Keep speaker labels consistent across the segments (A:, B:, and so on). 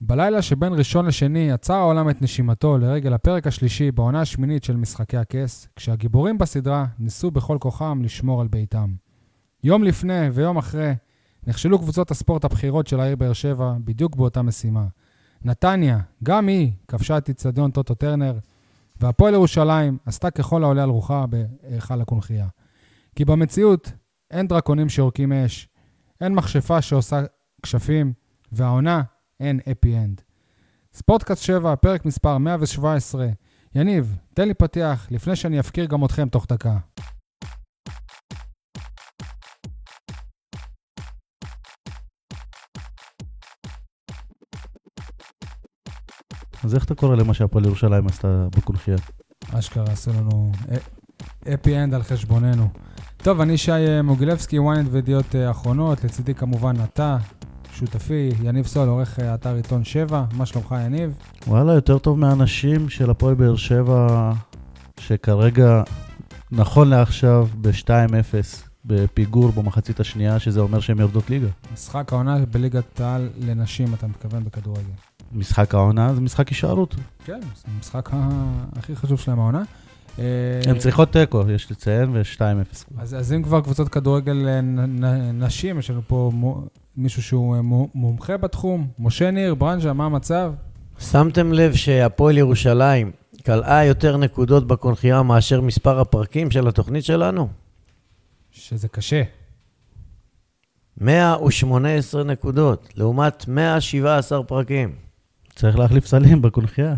A: בלילה שבין ראשון לשני עצר העולם את נשימתו לרגל הפרק השלישי בעונה השמינית של משחקי הכס, כשהגיבורים בסדרה ניסו בכל כוחם לשמור על ביתם. יום לפני ויום אחרי נכשלו קבוצות הספורט הבכירות של העיר באר שבע בדיוק באותה משימה. נתניה, גם היא, כבשה את איצטדיון טוטו טרנר, והפועל ירושלים עשתה ככל העולה על רוחה בהיכל הקונכייה. כי במציאות אין דרקונים שיורקים אש, אין מכשפה שעושה כשפים, והעונה אין אפי אנד. ספורטקאסט 7, פרק מספר 117. יניב, תן לי פתיח לפני שאני אפקיר גם אתכם תוך דקה.
B: אז איך אתה קורא למה שהפועל ירושלים עשתה בקונחייה?
A: אשכרה עשו לנו א- אפי אנד על חשבוננו. טוב, אני שי אה, מוגילבסקי, ynet וידיעות אה, אחרונות. לצידי כמובן אתה, שותפי, יניב סול, עורך אה, אתר עיתון 7. מה שלומך, יניב?
B: וואלה, יותר טוב מהאנשים של הפועל באר שבע, שכרגע, נכון לעכשיו, ב-2-0, בפיגור במחצית השנייה, שזה אומר שהן יורדות ליגה.
A: משחק העונה בליגת העל לנשים, אתה מתכוון בכדורגל.
B: משחק העונה זה משחק הישארות.
A: כן, זה המשחק ה- הכי חשוב שלהם העונה. אה,
B: הן צריכות תיקו, יש לציין, ו-2-0.
A: אז, אז אם כבר קבוצות כדורגל אה, נ, נ, נשים, יש לנו פה מו, מישהו שהוא אה, מו, מומחה בתחום. משה ניר, ברנז'ה, מה המצב?
C: שמתם לב שהפועל ירושלים כלאה יותר נקודות בקונחייה מאשר מספר הפרקים של התוכנית שלנו?
A: שזה קשה.
C: 118 נקודות, לעומת 117 פרקים.
B: צריך להחליף סלים בקונחייה.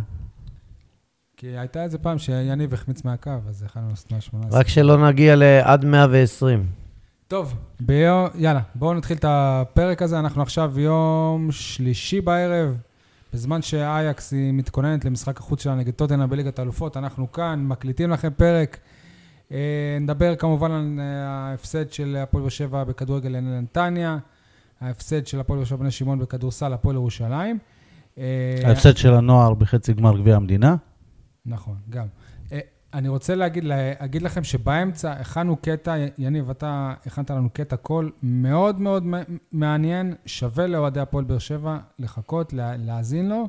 A: כי הייתה איזה פעם שיניב החמיץ מהקו, אז יכלנו לעשות 118.
C: רק שלא נגיע לעד 120.
A: טוב, ביום, יאללה, בואו נתחיל את הפרק הזה. אנחנו עכשיו יום שלישי בערב, בזמן שאייקס היא מתכוננת למשחק החוץ שלה נגד טוטנה בליגת האלופות. אנחנו כאן, מקליטים לכם פרק. אה, נדבר כמובן על אה, ההפסד של הפועל באר שבע בכדורגל לנתניה, ההפסד של הפועל באר שבע בני שמעון בכדורסל, הפועל ירושלים. אה,
B: ההפסד של הנוער בחצי גמר גביע המדינה.
A: נכון, גם. אה, אני רוצה להגיד, להגיד לכם שבאמצע הכנו קטע, י- יניב, אתה הכנת לנו קטע קול מאוד מאוד מ- מעניין, שווה לאוהדי הפועל באר שבע לחכות, לה, להאזין לו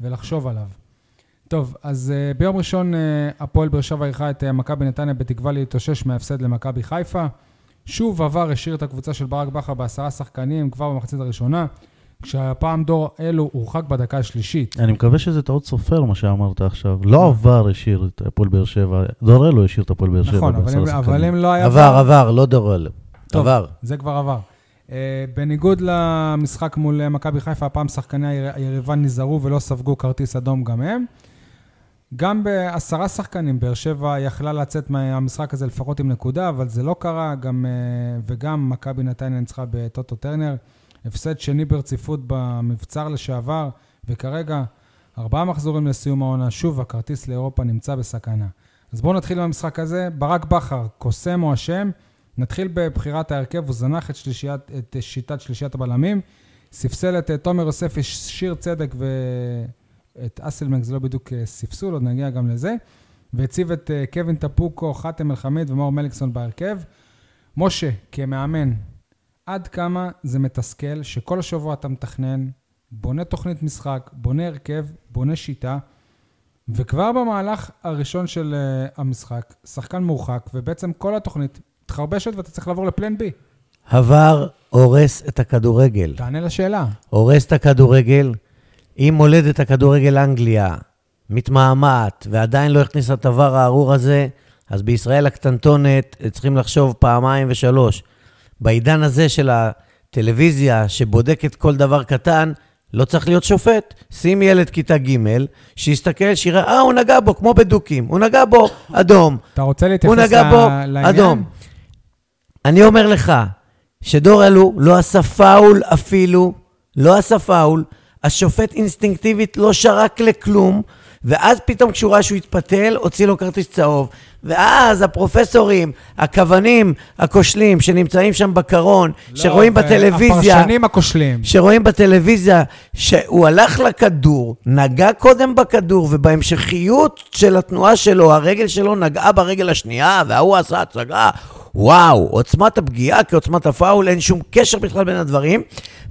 A: ולחשוב עליו. טוב, אז אה, ביום ראשון אה, הפועל באר שבע אירחה את אה, מכבי נתניה בתקווה להתאושש מההפסד למכבי חיפה. שוב עבר השאיר את הקבוצה של ברק בכר בעשרה שחקנים כבר במחצית הראשונה, כשהפעם דור אלו הורחק בדקה השלישית.
B: אני מקווה שזה טעות סופר, מה שאמרת עכשיו. לא עבר השאיר את הפועל באר שבע, דורל לא השאיר את הפועל באר שבע.
A: נכון, אבל
B: בעשרה
A: אם- אבל
B: שחקנים.
A: אם לא היה...
C: עבר, עבר, לא דורל.
A: טוב.
C: עבר.
A: זה כבר עבר. Uh, בניגוד למשחק מול אה, מכבי חיפה, הפעם שחקני היר- היריבה נזהרו ולא ספגו כרטיס אדום גם הם. גם בעשרה שחקנים, באר שבע יכלה לצאת מהמשחק הזה לפחות עם נקודה, אבל זה לא קרה, גם, אה, וגם מכבי נתניה ניצחה בטוטו טרנר. הפסד שני ברציפות במבצר לשעבר, וכרגע, ארבעה מחזורים לסיום העונה, שוב הכרטיס לאירופה נמצא בסכנה. אז בואו נתחיל עם המשחק הזה. ברק בכר, קוסם או אשם? נתחיל בבחירת ההרכב, הוא זנח את, שלישיית, את שיטת שלישיית הבלמים, ספסל את אה, תומר יוספי, שיר צדק ואת אסלמנק, זה לא בדיוק אה, ספסול, עוד נגיע גם לזה, והציב את אה, קווין טפוקו, חאתם אל-חמיד ומאור מליקסון בהרכב. משה, כמאמן, עד כמה זה מתסכל שכל השבוע אתה מתכנן, בונה תוכנית משחק, בונה הרכב, בונה שיטה, וכבר במהלך הראשון של uh, המשחק, שחקן מורחק, ובעצם כל התוכנית מתחרבשת ואתה צריך לעבור לפלן בי.
C: עבר הורס את הכדורגל.
A: תענה לשאלה.
C: הורס את הכדורגל. אם מולדת הכדורגל אנגליה מתמהמהת ועדיין לא הכניסה את הוואר הארור הזה, אז בישראל הקטנטונת אה, צריכים לחשוב פעמיים ושלוש. בעידן הזה של הטלוויזיה שבודקת כל דבר קטן, לא צריך להיות שופט. שים ילד כיתה ג' שיסתכל, שיראה, אה, הוא נגע בו, כמו בדוקים. הוא נגע בו, אדום.
A: אתה רוצה להתייחס
C: הוא נגע
A: ל-
C: בו,
A: לעניין?
C: אדום. אני אומר לך, שדור אלו לא עשה פאול אפילו, לא עשה פאול, השופט אינסטינקטיבית לא שרק לכלום, ואז פתאום כשהוא ראה שהוא התפתל, הוציא לו כרטיס צהוב. ואז הפרופסורים, הכוונים, הכושלים, שנמצאים שם בקרון,
A: לא,
C: שרואים
A: זה
C: בטלוויזיה...
A: הפרשנים הכושלים.
C: שרואים בטלוויזיה שהוא הלך לכדור, נגע קודם בכדור, ובהמשכיות של התנועה שלו, הרגל שלו נגעה ברגל השנייה, וההוא עשה הצגה, וואו, עוצמת הפגיעה כעוצמת הפאול, אין שום קשר בכלל בין הדברים.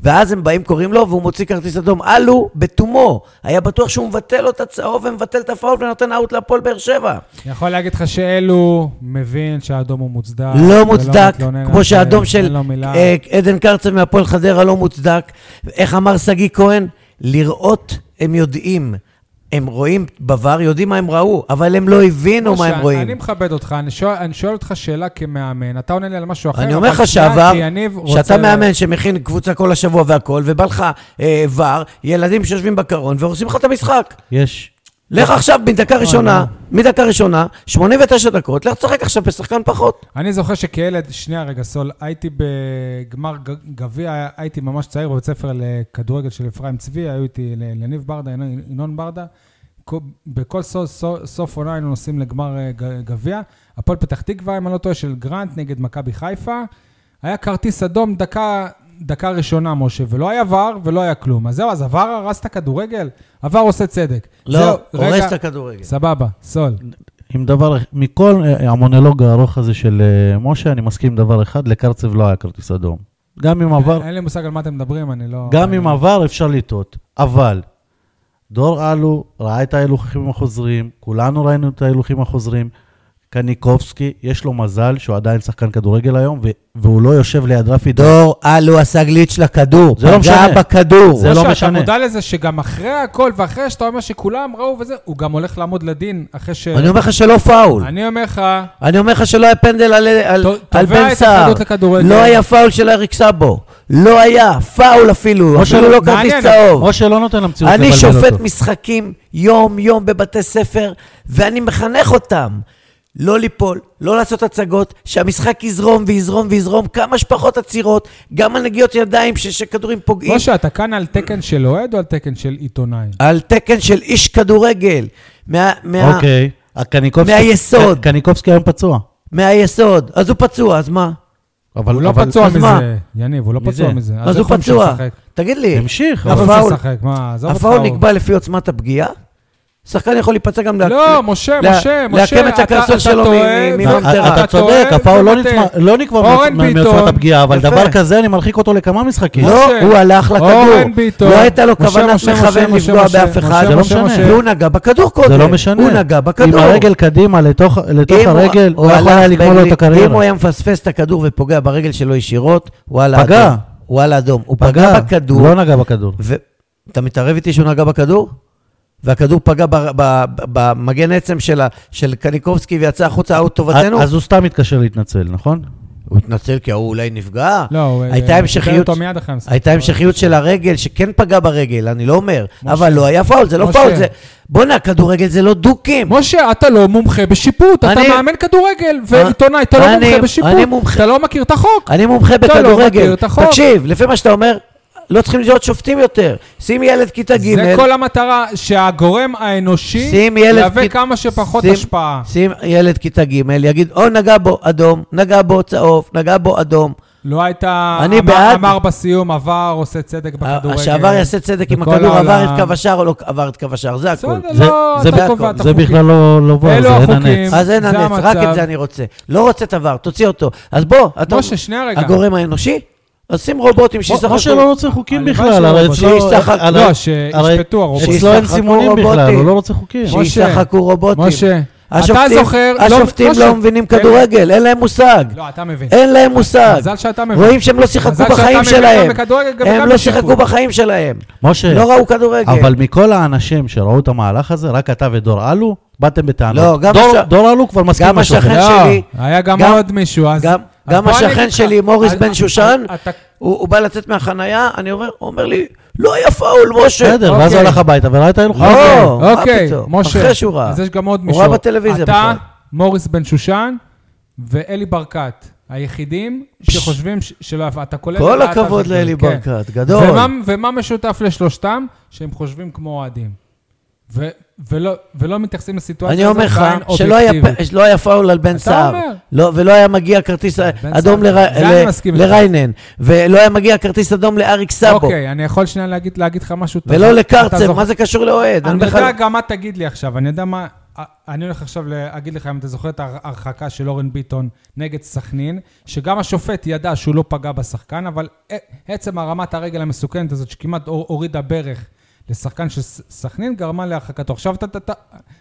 C: ואז הם באים, קוראים לו, והוא מוציא כרטיס אדום. אלו, בתומו. היה בטוח שהוא מבטל לו את הצהוב ומבטל את הפאול ונותן אאוט להפועל באר שבע.
A: אני יכול להגיד לך שאלו מבין שהאדום הוא מוצדק.
C: לא
A: ולא
C: מוצדק,
A: מתלונן
C: כמו
A: על זה,
C: שהאדום
A: אין
C: של
A: לו מילה.
C: אה, עדן קרצב מהפועל חדרה לא מוצדק. איך אמר שגיא כהן? לראות הם יודעים. הם רואים בבר, יודעים מה הם ראו, אבל הם לא הבינו מה
A: משה,
C: הם רואים.
A: אני מכבד אותך, אני שואל, אני שואל אותך שאלה כמאמן, אתה עונה לי על משהו אחר,
C: אני אומר
A: אבל
C: לך
A: שנייה,
C: שעבר,
A: כי יניב רוצה-
C: שאתה מאמן שמכין קבוצה כל השבוע והכול, ובא לך אה, ור, ילדים שיושבים בקרון והורסים לך את המשחק.
B: יש.
C: לך
A: לא.
C: עכשיו מדקה ראשונה, מדקה ראשונה, 89 דקות, לך תשחק עכשיו בשחקן פחות.
A: אני זוכר שכילד, שנייה רגע, סול, הייתי בגמר ג- גביע, הייתי ממש צעיר בבית ספר לכדורגל של אפרים צבי, היו איתי ל- לניב ברדה, ינון- ינון ברדה. כל- בכל סוף, סוף, סוף עונה היינו נוסעים לגמר אה, ג- גביע. הפועל פתח תקווה, אם אני לא טועה, של גרנט נגד מכבי חיפה. היה כרטיס אדום דקה, דקה ראשונה, משה, ולא היה ור ולא היה כלום. אז זהו, אז הוור הרס את הכדורגל? הוור עושה צדק. זהו,
C: לא, הורס
A: רגע,
C: את הכדורגל.
A: סבבה, סול.
B: עם דבר, מכל אה, המונולוג הארוך הזה של אה, משה, אני מסכים עם דבר אחד, לקרצב לא היה כרטיס אדום. גם אם עבר,
A: אין לי מושג על מה אתם מדברים, אני לא...
B: גם אם עבר, אפשר לטעות. אבל, דור אלו ראה את ההילוכים החוזרים, כולנו ראינו את ההילוכים החוזרים. קניקובסקי, יש לו מזל שהוא עדיין שחקן כדורגל היום, ו- והוא לא יושב ליד רפי דור.
C: דור אלו עשה גליץ' לכדור,
B: זה לא
C: פגע
B: משנה.
C: בכדור.
B: זה לא
A: משה,
B: משנה.
A: אתה מודע לזה שגם אחרי הכל ואחרי שאתה אומר שכולם ראו וזה, הוא גם הולך לעמוד לדין אחרי
B: כן.
A: ש...
C: אני אומר לך שלא פאול.
A: אני אומר לך,
C: אני אומר לך שלא היה פנדל על, על,
A: ת-
C: על
A: תובע
C: בן
A: את
C: סער.
A: ההתאחדות לכדורגל.
C: לא היה פאול של אריק סאבו. לא היה פאול אפילו,
B: או
C: אפילו
B: שלא-
C: לא כרטיס
A: מעניין,
C: צהוב.
B: או שלא לא נותן למציאות לבלבל
C: אני
B: אותו.
C: שופט משחקים יום-יום בבתי ספר, ואני מחנך אותם לא ליפול, לא לעשות הצגות, שהמשחק יזרום ויזרום ויזרום, כמה שפחות עצירות, גם על נגיעות ידיים ש- שכדורים פוגעים.
A: משה, אתה לא כאן על תקן של אוהד או על תקן של עיתונאי?
C: על תקן של איש כדורגל, מה, מה,
B: אוקיי. הקניקובסקי-
C: מהיסוד.
B: ק- קניקובסקי היום פצוע.
C: מהיסוד. אז הוא פצוע, אז מה?
B: אבל
A: הוא לא
B: אבל-
A: פצוע
C: אז מה?
A: מזה, יניב, הוא לא
B: מזה.
A: פצוע מזה.
C: אז הוא
A: איך שהוא
C: פצוע.
A: משחק?
C: תגיד לי,
B: המשיך.
A: איך
B: אבל-
A: הוא
C: הפאול-
A: משחק? מה, עזוב אותך.
C: הפאול
A: הוא-
C: נקבע לפי עוצמת הפגיעה? שחקן יכול להיפצע גם... לה-
A: לא, משה,
C: לה-
A: משה, משה,
C: להקם את
A: אתה-
C: הקרסול
A: אתה
C: שלו מ-
A: טועה,
C: מ-
A: אתה-
C: מוולטרה.
B: אתה
A: אתה
B: צודק,
A: טועה
B: הפאול לא
A: ומטעה.
B: נצמא- לא נקבע
A: אורן
B: מעוצ-
A: ביטון.
B: מעוצמת הפגיעה, אבל
C: יפה.
B: דבר כזה, אני מרחיק אותו לכמה משחקים.
A: משה,
C: לא, הוא הלך לכדור.
A: אורן ביטון.
C: לא הייתה לו
A: משה,
C: כוונת
A: משה,
C: מכוון
A: משה,
C: לפגוע
A: משה,
C: באף אחד.
A: משה,
B: זה לא
A: משה,
B: משנה.
A: משה.
C: והוא נגע בכדור קודם.
B: זה לא משנה.
C: הוא נגע בכדור.
B: עם הרגל קדימה לתוך, לתוך
C: אם הוא-
B: הרגל, הוא
C: הוא
B: יכול היה
C: הלך
B: לגמור לו
C: ברגל-
B: את הקריירה.
C: אם הוא היה מפספס את הכדור ופוגע ברגל שלו ישירות, וואלה
B: פגע.
C: אדום. וואלה אדום. הוא פגע בכדור.
B: לא נגע בכדור.
C: ו- אתה מתערב איתי שהוא נגע בכדור? והכדור פגע ב- ב- ב- במגן עצם של ה- של קניקובסקי ויצא החוצה, אאוט טובתנו?
B: אז הוא סתם התקשר להתנצל, נכון?
C: הוא התנצל כי ההוא אולי נפגע?
A: לא, הוא... אה,
C: הייתה
A: הוא
C: המשכיות,
A: פיטר אותו מיד אחרי המשחק.
C: הייתה המשכיות של הרגל, שכן פגע ברגל, אני לא אומר.
A: משה.
C: אבל לא היה פאול, זה לא
A: משה.
C: פאול, זה... בואנה, כדורגל זה לא דוקים.
A: משה, אתה לא מומחה בשיפוט, אתה
C: אני-
A: מאמן כדורגל ועיתונאי, אתה לא
C: אני-
A: מומחה בשיפוט,
C: אני מומחה.
A: אתה לא מכיר את החוק.
C: אני מומחה
A: אתה לא מכיר
C: בכדורגל.
A: את החוק.
C: תקשיב, לפי מה שאתה אומר, לא צריכים להיות שופטים יותר. שים ילד כיתה ג',
A: זה כל המטרה, שהגורם האנושי
C: שים ילד...
A: יהווה
C: כית-
A: כמה שפחות
C: שים-
A: השפעה.
C: שים ילד כיתה ג', יגיד, או נגע בו אדום, נגע בו צהוב, נגע בו אדום.
A: לא הייתה...
C: אני
A: אמר-
C: בעד-
A: אמר בסיום, עבר, עושה צדק בכדורגל.
C: שעבר יעשה צדק עם
A: בכל
C: הכדור, עבר
A: העולם.
C: את קו השער או לא עבר את קו השער, זה הכול.
A: בסדר,
B: זה-
A: לא,
B: זה
A: אתה
C: בהכל.
A: קובע את
B: זה
A: החוקים.
B: בכלל לא לא בר,
A: אלו
B: זה אין
A: החוקים.
B: הנץ.
C: אז אין
A: זה
C: הנץ, רק
A: המצב.
C: את זה אני רוצה. לא רוצה את הוואר, תוציא אותו. אז בוא, אתה...
A: משה, שנייה רגע.
C: הגורם האנושי? אז שים רובוטים שישחקו.
B: משה לא רוצה חוקים
A: הלוואי
B: בכלל,
A: שלא
B: הרי
A: רוצה.
B: אצלו...
C: שישחק-
B: הרי-
A: לא,
B: הרי-
A: שישפטו הרוב.
B: אצלו אין
C: שישחקו
B: סימונים בכלל,
C: רובוטים.
B: הוא לא רוצה חוקים.
A: משה,
C: שישחקו רובוטים.
A: משה, אתה
C: השופטים-
A: זוכר... לא-
C: השופטים לא
A: ש-
C: מבינים
A: אין-
C: כדורגל, אין להם מושג.
A: לא, אתה מבין.
C: אין להם מושג.
A: מזל שאתה מבין.
C: רואים שהם לא שיחקו
A: מזל שאתה
C: בחיים
A: מבין גם
C: שלהם.
A: בכדורגל, גם
C: הם
A: וגם
C: לא
A: בשיפוט.
C: שיחקו בחיים שלהם.
B: משה,
C: לא ראו כדורגל.
B: אבל מכל האנשים שראו את המהלך הזה, רק אתה ודור אלו, באתם בטענות.
C: לא, גם
B: דור-
C: הש-
B: דור אלו כבר מסכים
C: גם
B: משהו אחר.
C: השכן
A: לא,
C: שלי-
A: היה גם
C: גם-
A: עוד מישהו, אז...
C: גם-
A: אז
C: גם
A: בוא אני
C: השכן
A: אגיד לך-
C: שלי, מוריס
A: אז-
C: בן
A: אז-
C: שושן,
A: אתה-
C: הוא הוא בא לצאת מהחנייה, אני אומר, הוא אומר לי, לא היה פאול, משה.
B: בסדר, ואז הוא
A: אוקיי.
B: הלך הביתה וראית הילוך.
C: לא, מה
A: אוקיי,
C: פתאום?
A: משה.
C: אחרי שהוא ראה.
A: אז יש גם עוד
C: הוא
A: מישהו.
C: ראה בטלוויזיה
A: אתה,
C: בכלל.
A: מוריס בן שושן ואלי ברקת, היחידים שחושבים ש- שלא יפה. אתה כולל...
C: כל
A: את
C: הכבוד
A: אבי
C: לאלי
A: כן.
C: ברקת, גדול.
A: ומה- ומה משותף לשלושתם? שהם חושבים כמו אוהדים. ו- ולא- ולא מתייחסים
C: אני
A: לסיטואציה הזאת
C: אומר לך
A: בעין
C: שלא היה
A: אובייקטיבית.
C: פ- שלא היה פאול על בן
A: אתה
C: סער,
A: אומר.
C: לא- ולא היה מגיע כרטיס
A: בן
C: אדום
A: סער.
C: לר-
A: זה אני
C: ל-
A: מסכים איתך.
C: לריינן, ולא היה מגיע כרטיס אדום לאריק סאבו,
A: אוקיי, אני יכול שנייה להגיד להגיד לך משהו? אתה
C: ולא
A: זוכ- אתה
C: לקרצב,
A: זוכר-
C: מה זה קשור לאוהד?
A: אני
C: בכלל-
A: יודע גם מה תגיד לי עכשיו, אני יודע מה... אני הולך עכשיו להגיד לך אם אתה זוכר את ההרחקה של אורן ביטון נגד סכנין, שגם השופט ידע שהוא לא פגע בשחקן, אבל עצם הרמת הרגל המסוכנת הזאת, שכמעט הורידה ברך לשחקן של סכנין, גרמה להרחקתו. עכשיו אתה, אתה,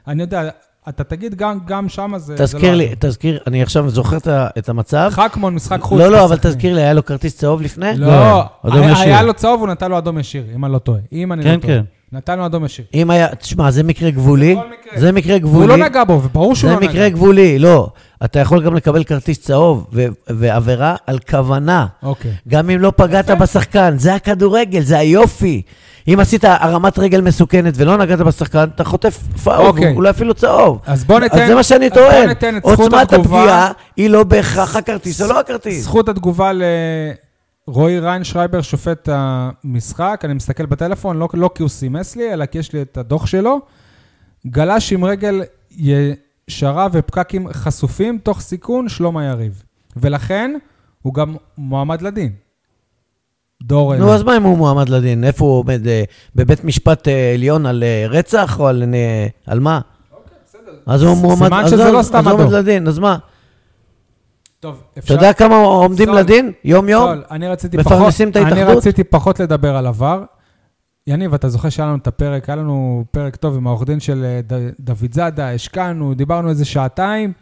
A: אני יודע, אתה תגיד גם, גם שם זה... לא
C: תזכיר לי, תזכיר, אני עכשיו זוכר את ה- את המצב.
A: חכמון, משחק חוץ.
C: לא, לא, אבל
A: בסכנין.
C: תזכיר לי, היה לו כרטיס צהוב לפני?
A: לא,
B: אדום
A: היה-
B: ישיר.
A: היה לו צהוב, הוא נתן לו אדום ישיר, אם אני לא טועה. אם אני לא
B: כן,
A: טועה.
B: כן.
A: נתן לו אדום ישיר.
C: אם היה, תשמע, זה מקרה גבולי.
A: בכל מקרה.
C: זה מקרה גבולי.
A: הוא לא נגע בו, וברור שהוא
C: זה
A: לא נגע.
C: מקרה גבולי, לא. אתה יכול גם לקבל כרטיס צהוב ו- ועבירה על כוונה.
A: אוקיי.
C: גם אם לא פגעת בשחקן, זה הכדורגל, זה היופי. אם עשית הרמת רגל מסוכנת ולא נגעת בשחקן, אתה חוטף פאול,
A: אוקיי.
C: אולי אפילו צהוב.
A: אז בוא ניתן-
C: אז זה מה שאני
A: אז בוא
C: טוען.
A: ניתן את זכות
C: עוצמת
A: התגובה.
C: הפגיעה היא לא בהכרח הכרטיס או לא הכרטיס.
A: זכות התגובה לרועי ריינשרייבר, שופט המשחק, אני מסתכל בטלפון, לא, לא כי הוא סימס לי, אלא כי יש לי את הדוח שלו. גלש עם רגל ישרה ופקקים חשופים, תוך סיכון שלום היריב. ולכן, הוא גם מועמד לדין. דור
C: נו,
A: אילן.
C: אז מה אם הוא מועמד לדין? איפה הוא עומד? אה, בבית משפט אה, עליון על אה, רצח או על אה, על מה? אז הוא
A: ס-
C: מועמד...
A: סימן
C: אז
A: שזה
C: אז-
A: לא סתם
C: אז הוא עומד
A: אדום.
C: לדין, אז מה?
A: טוב,
C: אתה יודע כמה עומדים
A: סול.
C: לדין? יום-יום?
A: סול, אני רציתי פחות,
C: מפרנסים את
A: אני
C: ההתאחדות?
A: רציתי פחות לדבר על עבר. יניב, אתה זוכר שהיה לנו את הפרק, היה לנו פרק טוב עם העורך דין של אה, ד- דוד זאדה, השקענו, דיברנו איזה שעתיים.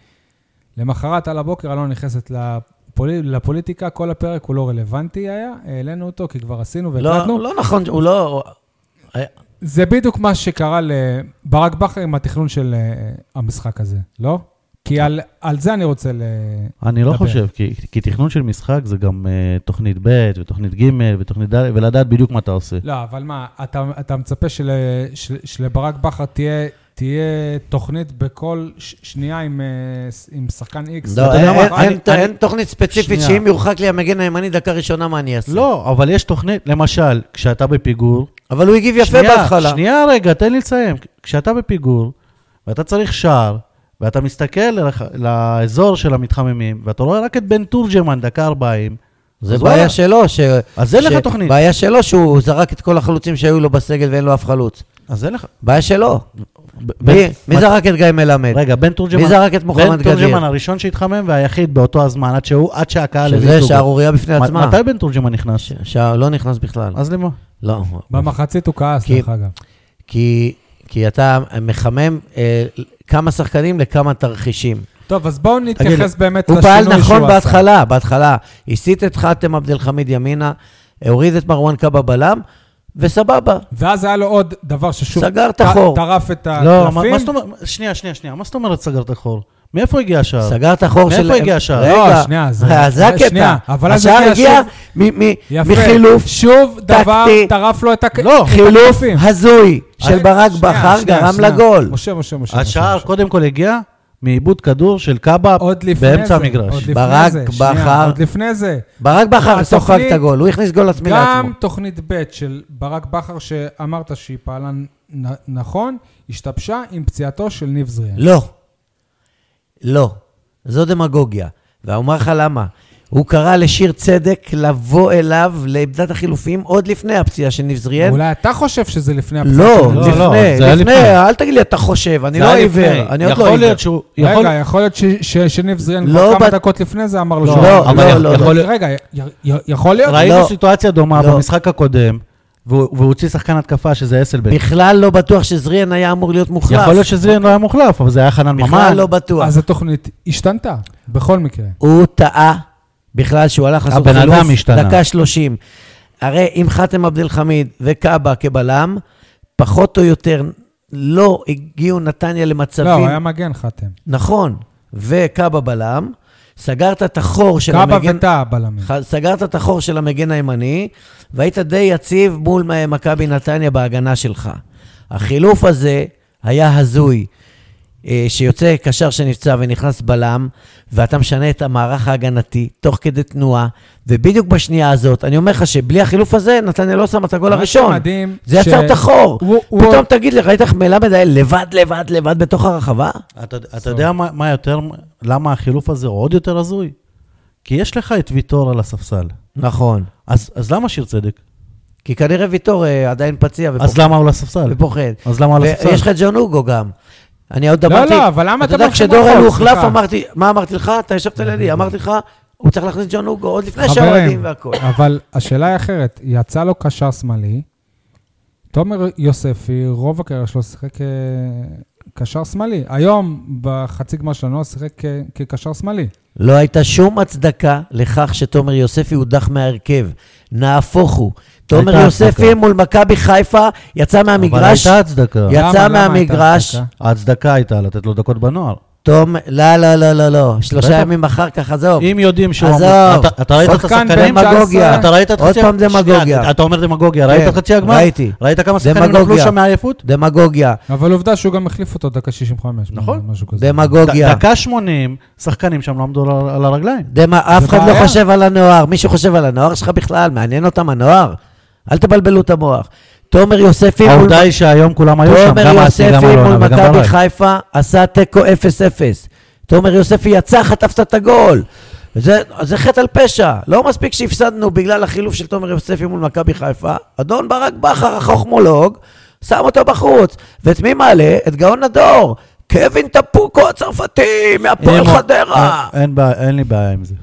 A: למחרת על הבוקר אלונה נכנסת לפולי, לפוליטיקה, כל הפרק הוא לא רלוונטי היה, העלינו אותו כי כבר עשינו והקלטנו.
C: לא, לא נכון, הוא לא...
A: זה בדיוק מה שקרה לברק בכר עם התכנון של אה, המשחק הזה, לא? כי על, על זה אני רוצה ל...
B: אני לא
A: דבר.
B: חושב, כי, כי תכנון של משחק זה גם uh, תוכנית ב' ותוכנית ג' ותוכנית ד', ולדעת בדיוק מה אתה עושה.
A: לא, אבל מה, אתה, אתה מצפה של, של, שלברק בכר תהיה, תהיה תוכנית בכל ש, שנייה עם, אה, ס- עם שחקן איקס?
C: לא,
B: אתה יודע
C: אין-
B: מה?
C: אין-
B: אני-
C: אין-
B: אני-
C: אין תוכנית ספציפית
B: שנייה.
C: שאם יורחק לי המגן הימני דקה ראשונה, מה אני אעשה?
B: לא, אבל יש תוכנית, למשל, כשאתה בפיגור...
C: אבל הוא הגיב יפה
B: שנייה,
C: בהתחלה.
B: שנייה רגע, תן לי לסיים. כשאתה בפיגור, ואתה צריך שער, ואתה מסתכל לרח... לאזור של המתחממים, ואתה רואה רק את בן תורג'מן, דקה 40,
C: זה
B: אז
C: בעיה
B: וואלה.
C: שלו, ש...
B: אז אין
C: ש-
B: לך תוכנית.
C: בעיה שלו שהוא זרק את כל החלוצים שהיו לו בסגל ואין לו אף חלוץ.
B: אז אין לך...
C: בעיה שלו.
B: ב-
C: מי-
B: בן-
C: מי זרק את גיא מלמד?
B: רגע, בן תורג'מן...
C: מי זרק את מוחמד
B: בן
C: גדיר?
B: תורג'מן הראשון שהתחמם והיחיד באותו הזמן, עד שהוא, עד שהקהל... הביא
C: שזה
B: זוגו.
C: שערורייה בפני
B: אה, מ-
C: עצמה.
B: מתי אה. בן תורג'מן נכנס?
C: שעה לא נכנס בכלל.
B: אז למה?
C: לא.
A: במחצית הוא כעס,
C: כי-
A: דרך אגב.
C: כי, כי אתה מחמם אה, כמה שחקנים לכמה תרחישים.
A: טוב, אז בואו
C: תגיד,
A: נתייחס באמת
C: הוא
A: לשינוי שהוא עשה.
C: פעל נכון בהתחלה, בהתחלה. הסיט את חאתם עבד אל חמיד ימינה, הוריד את מרואן קאבה בלם, וסבבה.
A: ואז היה לו עוד דבר ששוב...
C: סגר את
A: ט-
C: החור.
A: טרף את הקלפים.
B: לא, מה- מה זאת אומרת? שנייה, שנייה, שנייה. מה זאת אומרת סגרת חור? מאיפה הגיע השער?
C: סגר את החור של...
B: אה. מאיפה הגיע השער?
A: לא,
C: רגע, אה,
A: שנייה, זה-
C: זה
A: זה-
C: הקטע.
A: שנייה, אבל אז
C: השער
A: הגיע
C: הגיע
A: שוב-
C: מ- מ-
A: יפה.
C: מחילוף
A: שוב דבר
C: טקטי.
A: טרף לו את הק-
B: לא,
A: את
C: חילוף
A: הקלפים.
C: הזוי של
A: אה,
C: ברק
A: שנייה,
C: בכר
A: שנייה,
C: גרם
A: שנייה.
C: לגול.
A: משה, משה, משה. משה,
B: השער
A: משה.
B: קודם כל הגיע מעיבוד כדור של קאבה
A: עוד לפני זה.
B: באמצע
A: עוד
B: המגרש.
A: לפני
C: ברק
A: זה, שנייה,
C: בכר.
A: עוד לפני זה.
C: ברק בכר ספג
A: לא, התוכנית-
C: את הגול, הוא הכניס גול עצמי לעצמו.
A: גם תוכנית ב' של ברק בכר, שאמרת שהיא פעלה נ- נכון, השתבשה עם פציעתו של ניב זריאן.
C: לא. לא. זו דמגוגיה. ואני אומר לך למה. הוא קרא לשיר צדק לבוא אליו לעמדת החילופים עוד לפני הפציעה של ניב זריאל.
A: אולי אתה חושב שזה לפני הפציעה
C: כן. לא,
A: של
B: לא,
A: ניב זריאן.
B: לא,
C: לפני,
B: זה היה
C: לפני,
B: לפני.
C: אל תגיד לי, אתה חושב, אני
B: זה
C: לא
B: היה לפני.
C: עיוור, אני עוד לא
B: יכול
C: עיוור.
B: להיות שהוא... יכול-
A: רגע, יכול להיות ש- ש- שניב זריאן
C: לא
A: כבר כמה
C: בת-
A: דקות לפני זה אמר לו
C: לא,
A: שהוא-
C: לא,
B: אבל
C: לא,
B: יכול-
A: אבל רגע, י- י- יכול להיות?
C: לא.
B: ראינו סיטואציה דומה
C: לא.
B: במשחק הקודם, והוא והוא הוציא שחקן התקפה שזה אסלבן.
C: בכלל לא בטוח שזריאן היה אמור להיות מוחלף.
B: יכול להיות שזרין לא היה מוחלף, אבל זה היה חנן ממן.
C: בכלל לא בטוח.
A: אז התוכנית השתנתה, בכל מקרה.
C: הוא טעה בכלל שהוא הלך לעשות
B: הבן
C: חילוף.
B: אדם השתנה.
C: דקה 30. הרי אם חאתם עבד אל חמיד וקאבה כבלם, פחות או יותר לא הגיעו נתניה למצבים.
A: לא, הוא היה מגן חתם.
C: נכון, וקאבה בלם, סגרת את החור של
A: קאבה
C: המגן...
A: וטאה בלמים.
C: ח- סגרת את החור של המגן הימני, והיית די יציב מול מ- מכבי נתניה בהגנה שלך. החילוף הזה היה הזוי, אה, שיוצא קשר שנפצע ונכנס בלם, ואתה משנה את המערך ההגנתי תוך כדי תנועה, ובדיוק בשנייה הזאת, אני אומר לך שבלי החילוף הזה, נתניה לא שמה את הגול
A: מה
C: הראשון.
A: שמדהים
C: זה
A: ש-
C: יצר את החור.
A: הוא- הוא-
C: פתאום תגיד לי, ראית איך מלמד היה לבד, לבד, לבד בתוך הרחבה?
B: אתה, אתה יודע מה, מה יותר, למה החילוף הזה עוד יותר הזוי? כי יש לך את ויטור על הספסל.
C: נכון.
B: אז, אז למה שיר צדק?
C: כי כנראה ויטור אה, עדיין פציע ופוחד.
B: אז למה הוא על הספסל?
C: ופוחד.
B: אז למה על הספסל?
C: ויש לך את ג'ון אוגו גם. אני עוד
A: לא,
C: אמרתי...
A: לא, אבל למה אתה
C: אתה יודע,
A: אומר שהוא
C: כשדורל
A: מחול?
C: הוחלף,
A: סליחה.
C: אמרתי, מה אמרתי לך? אתה ישבת לידי, אמרתי לך, הוא צריך להכניס ג'ון הוגו עוד לפני
A: חברים,
C: שהאוהדים והכול.
A: אבל השאלה היא אחרת, יצא לו קשר שמאלי, תומר יוספי, רוב הקריירה שלו שיחק אה, קשר שמאלי. היום, בחצי גמר של הנוער, שיחק כ- כקשר שמאלי.
C: לא הייתה שום הצדקה לכך שתומר יוספי הודח מההרכב. נהפוך הוא. תומר
B: הייתה
C: יוספי
B: הצדקה.
C: מול מכבי חיפה, יצא
B: אבל
C: מהמגרש,
B: הייתה הצדקה.
C: יצא
A: למה- למה הייתה
C: מהמגרש.
A: הפסקה?
B: ההצדקה הייתה לתת לו דקות בנוער.
C: תום... לא, לא, לא, לא, לא. שלושה
B: בטח.
C: ימים אחר כך, עזוב.
B: אם יודעים שהוא...
C: עזוב.
B: אמור- אתה- אתה ראית את
A: שחקן
B: השחקנים?
A: בן 19.
B: דמגוגיה. אתה ראית את
C: עוד
B: חצי...
C: פעם דמגוגיה.
B: שנייה, אתה אומר דמגוגיה. ראית את
C: כן,
B: חצי הגמר?
C: ראיתי.
B: ראית כמה שחקנים נפלו
C: דמגוגיה.
B: שם מעייפות?
C: דמגוגיה,
A: אבל עובדה שהוא גם החליף אותו דקה 65.
B: נכון.
A: משהו כזה.
C: דמגוגיה.
B: ד- דקה 80, שחקנים שם לא עמדו על- על הרגליים.
C: דמ... אף אחד לא
A: בעיה.
C: חושב על הנוער. מישהו חושב על הנוער שלך בכלל? מעניין אותם הנוער? אל תבלבלו את המוח. תומר יוספי מול-
B: העובדה היא שהיום כולם היו שם,
C: תומר
B: גם אסי, גם
C: יוספי מול
B: אלונה וגם
C: מכבי
B: ברק.
C: חיפה עשה תיקו 0-0. תומר יוספי יצא, חטפת את הגול. זה, זה חטא על פשע. לא מספיק שהפסדנו בגלל החילוף של תומר יוספי מול מכבי חיפה, אדון ברק בכר, החוכמולוג, שם אותו בחוץ. ואת מי מעלה? את גאון הדור. קווין טפוקו הצרפתי, מהפועל
B: אם-
C: חדרה.
B: אין- אין בעיה- אין לי בעיה עם זה.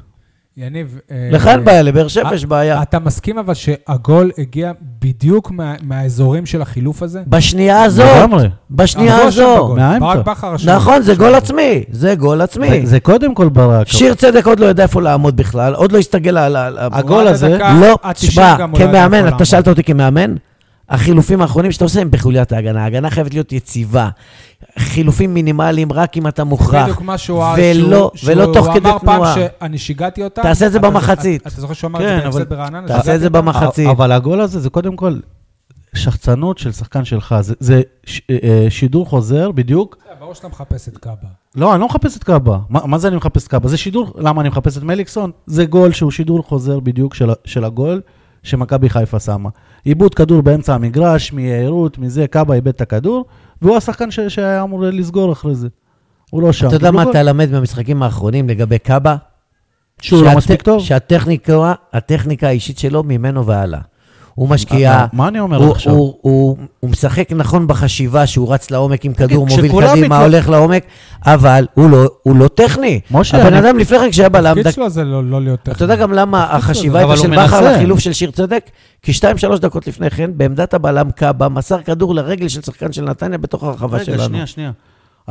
A: יניב... אה,
C: לך אין בעיה, לבאר שבע יש בעיה.
A: אתה מסכים אבל שהגול הגיע בדיוק מה- מהאזורים של החילוף הזה?
C: בשנייה הזאת,
B: לגמרי.
C: בשנייה
A: אמרו שם
C: הזו.
A: בגול.
B: מהאמצע.
A: ברק בכר רשם.
C: נכון, זה גול עצמי, זה גול
B: זה-
C: עצמי.
B: זה קודם כל ברק.
C: שיר צדק עוד לא יודע איפה לעמוד בכלל, עוד לא הסתגל על ה... על ה-
B: הגול הזה-
A: הדקה
C: לא,
A: ה-90
C: תשמע,
A: גם הוא לא היה
C: כמאמן,
A: יכול
C: אתה שאלת
A: לעמוד.
C: אותי כמאמן, החילופים האחרונים שאתה עושה הם בחוליית ההגנה. ההגנה חייבת להיות יציבה. חילופים מינימליים רק אם אתה מוכרח.
A: בדיוק מה שהוא אמר,
C: ולא-
A: שהוא-
C: ולא
A: שהוא
C: תוך כדי
A: אמר פעם
C: תנועה.
A: שאני שיגעתי אותם.
C: תעשה את זה
A: אתה-
C: במחצית.
A: אתה- אתה זוכר שהוא אמר את
B: כן,
A: זה
B: אבל
A: בהפסד ברעננה?
C: תעשה את זה
A: שיגעתי אותם?
C: במחצית.
B: אבל הגול הזה זה קודם כל שחצנות של שחקן שלך. זה- זה ש- אה, שידור חוזר בדיוק.
A: אה, ברור שאתה מחפש את קאבה.
B: לא, אני לא מחפש את קאבה. מה מה זה אני מחפש את קאבה? זה שידור, למה אני מחפש את מליקסון? זה גול שהוא שידור חוזר בדיוק של ה- של הגול שמכבי חיפה שמה. עיבוד כדור באמצע המגרש, מיהירות, מזה, קאבה איבד את הכדור, והוא השחקן ש- שהיה אמור לסגור אחרי זה. הוא לא שם.
C: אתה יודע
B: קיבלו
C: מה
B: גול.
C: אתה למד מהמשחקים האחרונים לגבי קאבה?
B: שהוא לא
C: שהט-
B: מספיק טוב?
C: שהטכניקה הטכניקה האישית שלו ממנו והלאה. הוא משקיע,
B: אה, מה אני אומר
C: הוא-
B: עכשיו?
C: הוא- הוא הוא משחק נכון בחשיבה שהוא רץ לעומק עם כדור,
B: כן,
C: מוביל
B: כשכולם
C: קדימה,
B: מתל-
C: הולך לעומק, אבל הוא לא- הוא לא טכני.
B: משה,
C: הבן
B: אני-
C: אדם לפני כן כשהיה בלם,
A: התפקיד
C: דק-
A: שלו זה לא לא להיות טכני.
C: אתה יודע גם למה החשיבה הייתה
B: אבל
C: של
B: הוא
C: בכר
B: מנסה.
C: לחילוף של שיר צדק? כי שתיים, שלוש דקות לפני כן, בעמדת הבלם קאבה, מסר כדור לרגל של שחקן של נתניה בתוך הרחבה
B: רגע,
C: שלנו.
B: שנייה, שנייה.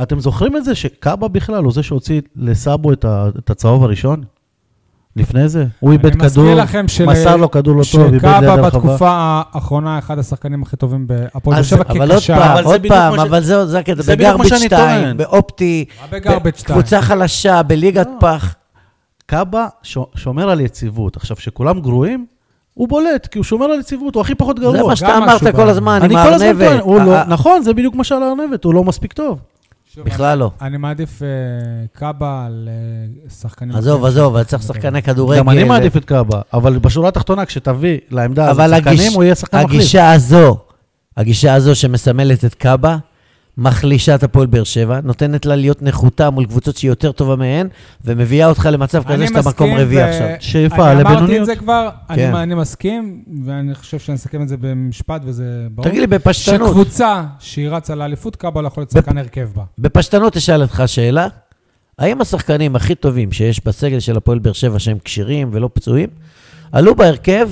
B: אתם זוכרים את זה שקאבה בכלל הוא זה שהוציא לסאבו את, ה, את הצהוב הראשון? לפני זה? הוא
A: אני
B: איבד כדור,
A: מזכיר לכם של-
B: מסר לו כדור לא טוב, איבד ליד
A: שקאבה
B: הרחבה.
A: בתקופה האחרונה, אחד השחקנים הכי טובים בהפועל באר
B: אז-
A: שבע
C: אבל עוד
A: כקשר.
C: פעם,
B: אבל זה
C: עוד
B: בדיוק
C: פעם,
B: מה ש-
C: אבל זהו, זה הקטע,
B: זה בדיוק מה
C: בגרביץ'
B: שאני
C: 2,
B: טוען. אה,
C: באופטי,
A: מה בגרביץ' שתיים?
C: קבוצה חלשה, בליגת פח.
B: קאבה ש- שומר על יציבות. עכשיו, כשכולם גרועים, הוא בולט, כי הוא שומר על יציבות, הוא הכי פחות גרוע.
C: זה מה שאתה
A: גם
C: אמרת
A: משהו
C: כל
A: בא.
C: הזמן,
B: אני
C: עם
B: כל הזמן
C: הארנבת.
B: טוען, הוא לא,
C: אה,
B: נכון, זה בדיוק מה שעל הארנבת, הוא לא מספיק טוב.
A: שוב,
C: בכלל לא.
A: אני מעדיף אה, קאבה על אה, שחקנים... אחרים.
C: עזוב, עזוב, אתה צריך שחקני כדורגל.
B: גם אני מעדיף את קאבה, אבל בשורה התחתונה, כשתביא לעמדה הזאת
C: אבל
B: שחקנים,
C: הגיש-
B: הוא יהיה שחקן מחליף.
C: הגישה הזו, הגישה הזו שמסמלת את קאבה, מחלישה את הפועל באר שבע, נותנת לה להיות נחותה מול קבוצות שהיא יותר טובה מהן, ומביאה אותך למצב
A: אני
C: כזה שאתה
A: מסכים,
C: מקום רביעי
A: ו-
C: עכשיו.
B: שאיפה
A: אני אמרתי את
B: לבינוניות.
A: זה כבר, אני
C: כן.
A: מה- אני מסכים, ואני חושב שנסכם את זה במשפט, וזה ברור.
C: תגיד לי, בפשטנות,
A: שקבוצה שהיא רצה לאליפות, קאבה לא יכול להיות שחקן הרכב בה.
C: בפשטנות אשאל אותך שאלה, האם השחקנים הכי טובים שיש בסגל של הפועל באר שבע שהם כשירים ולא פצועים, עלו בהרכב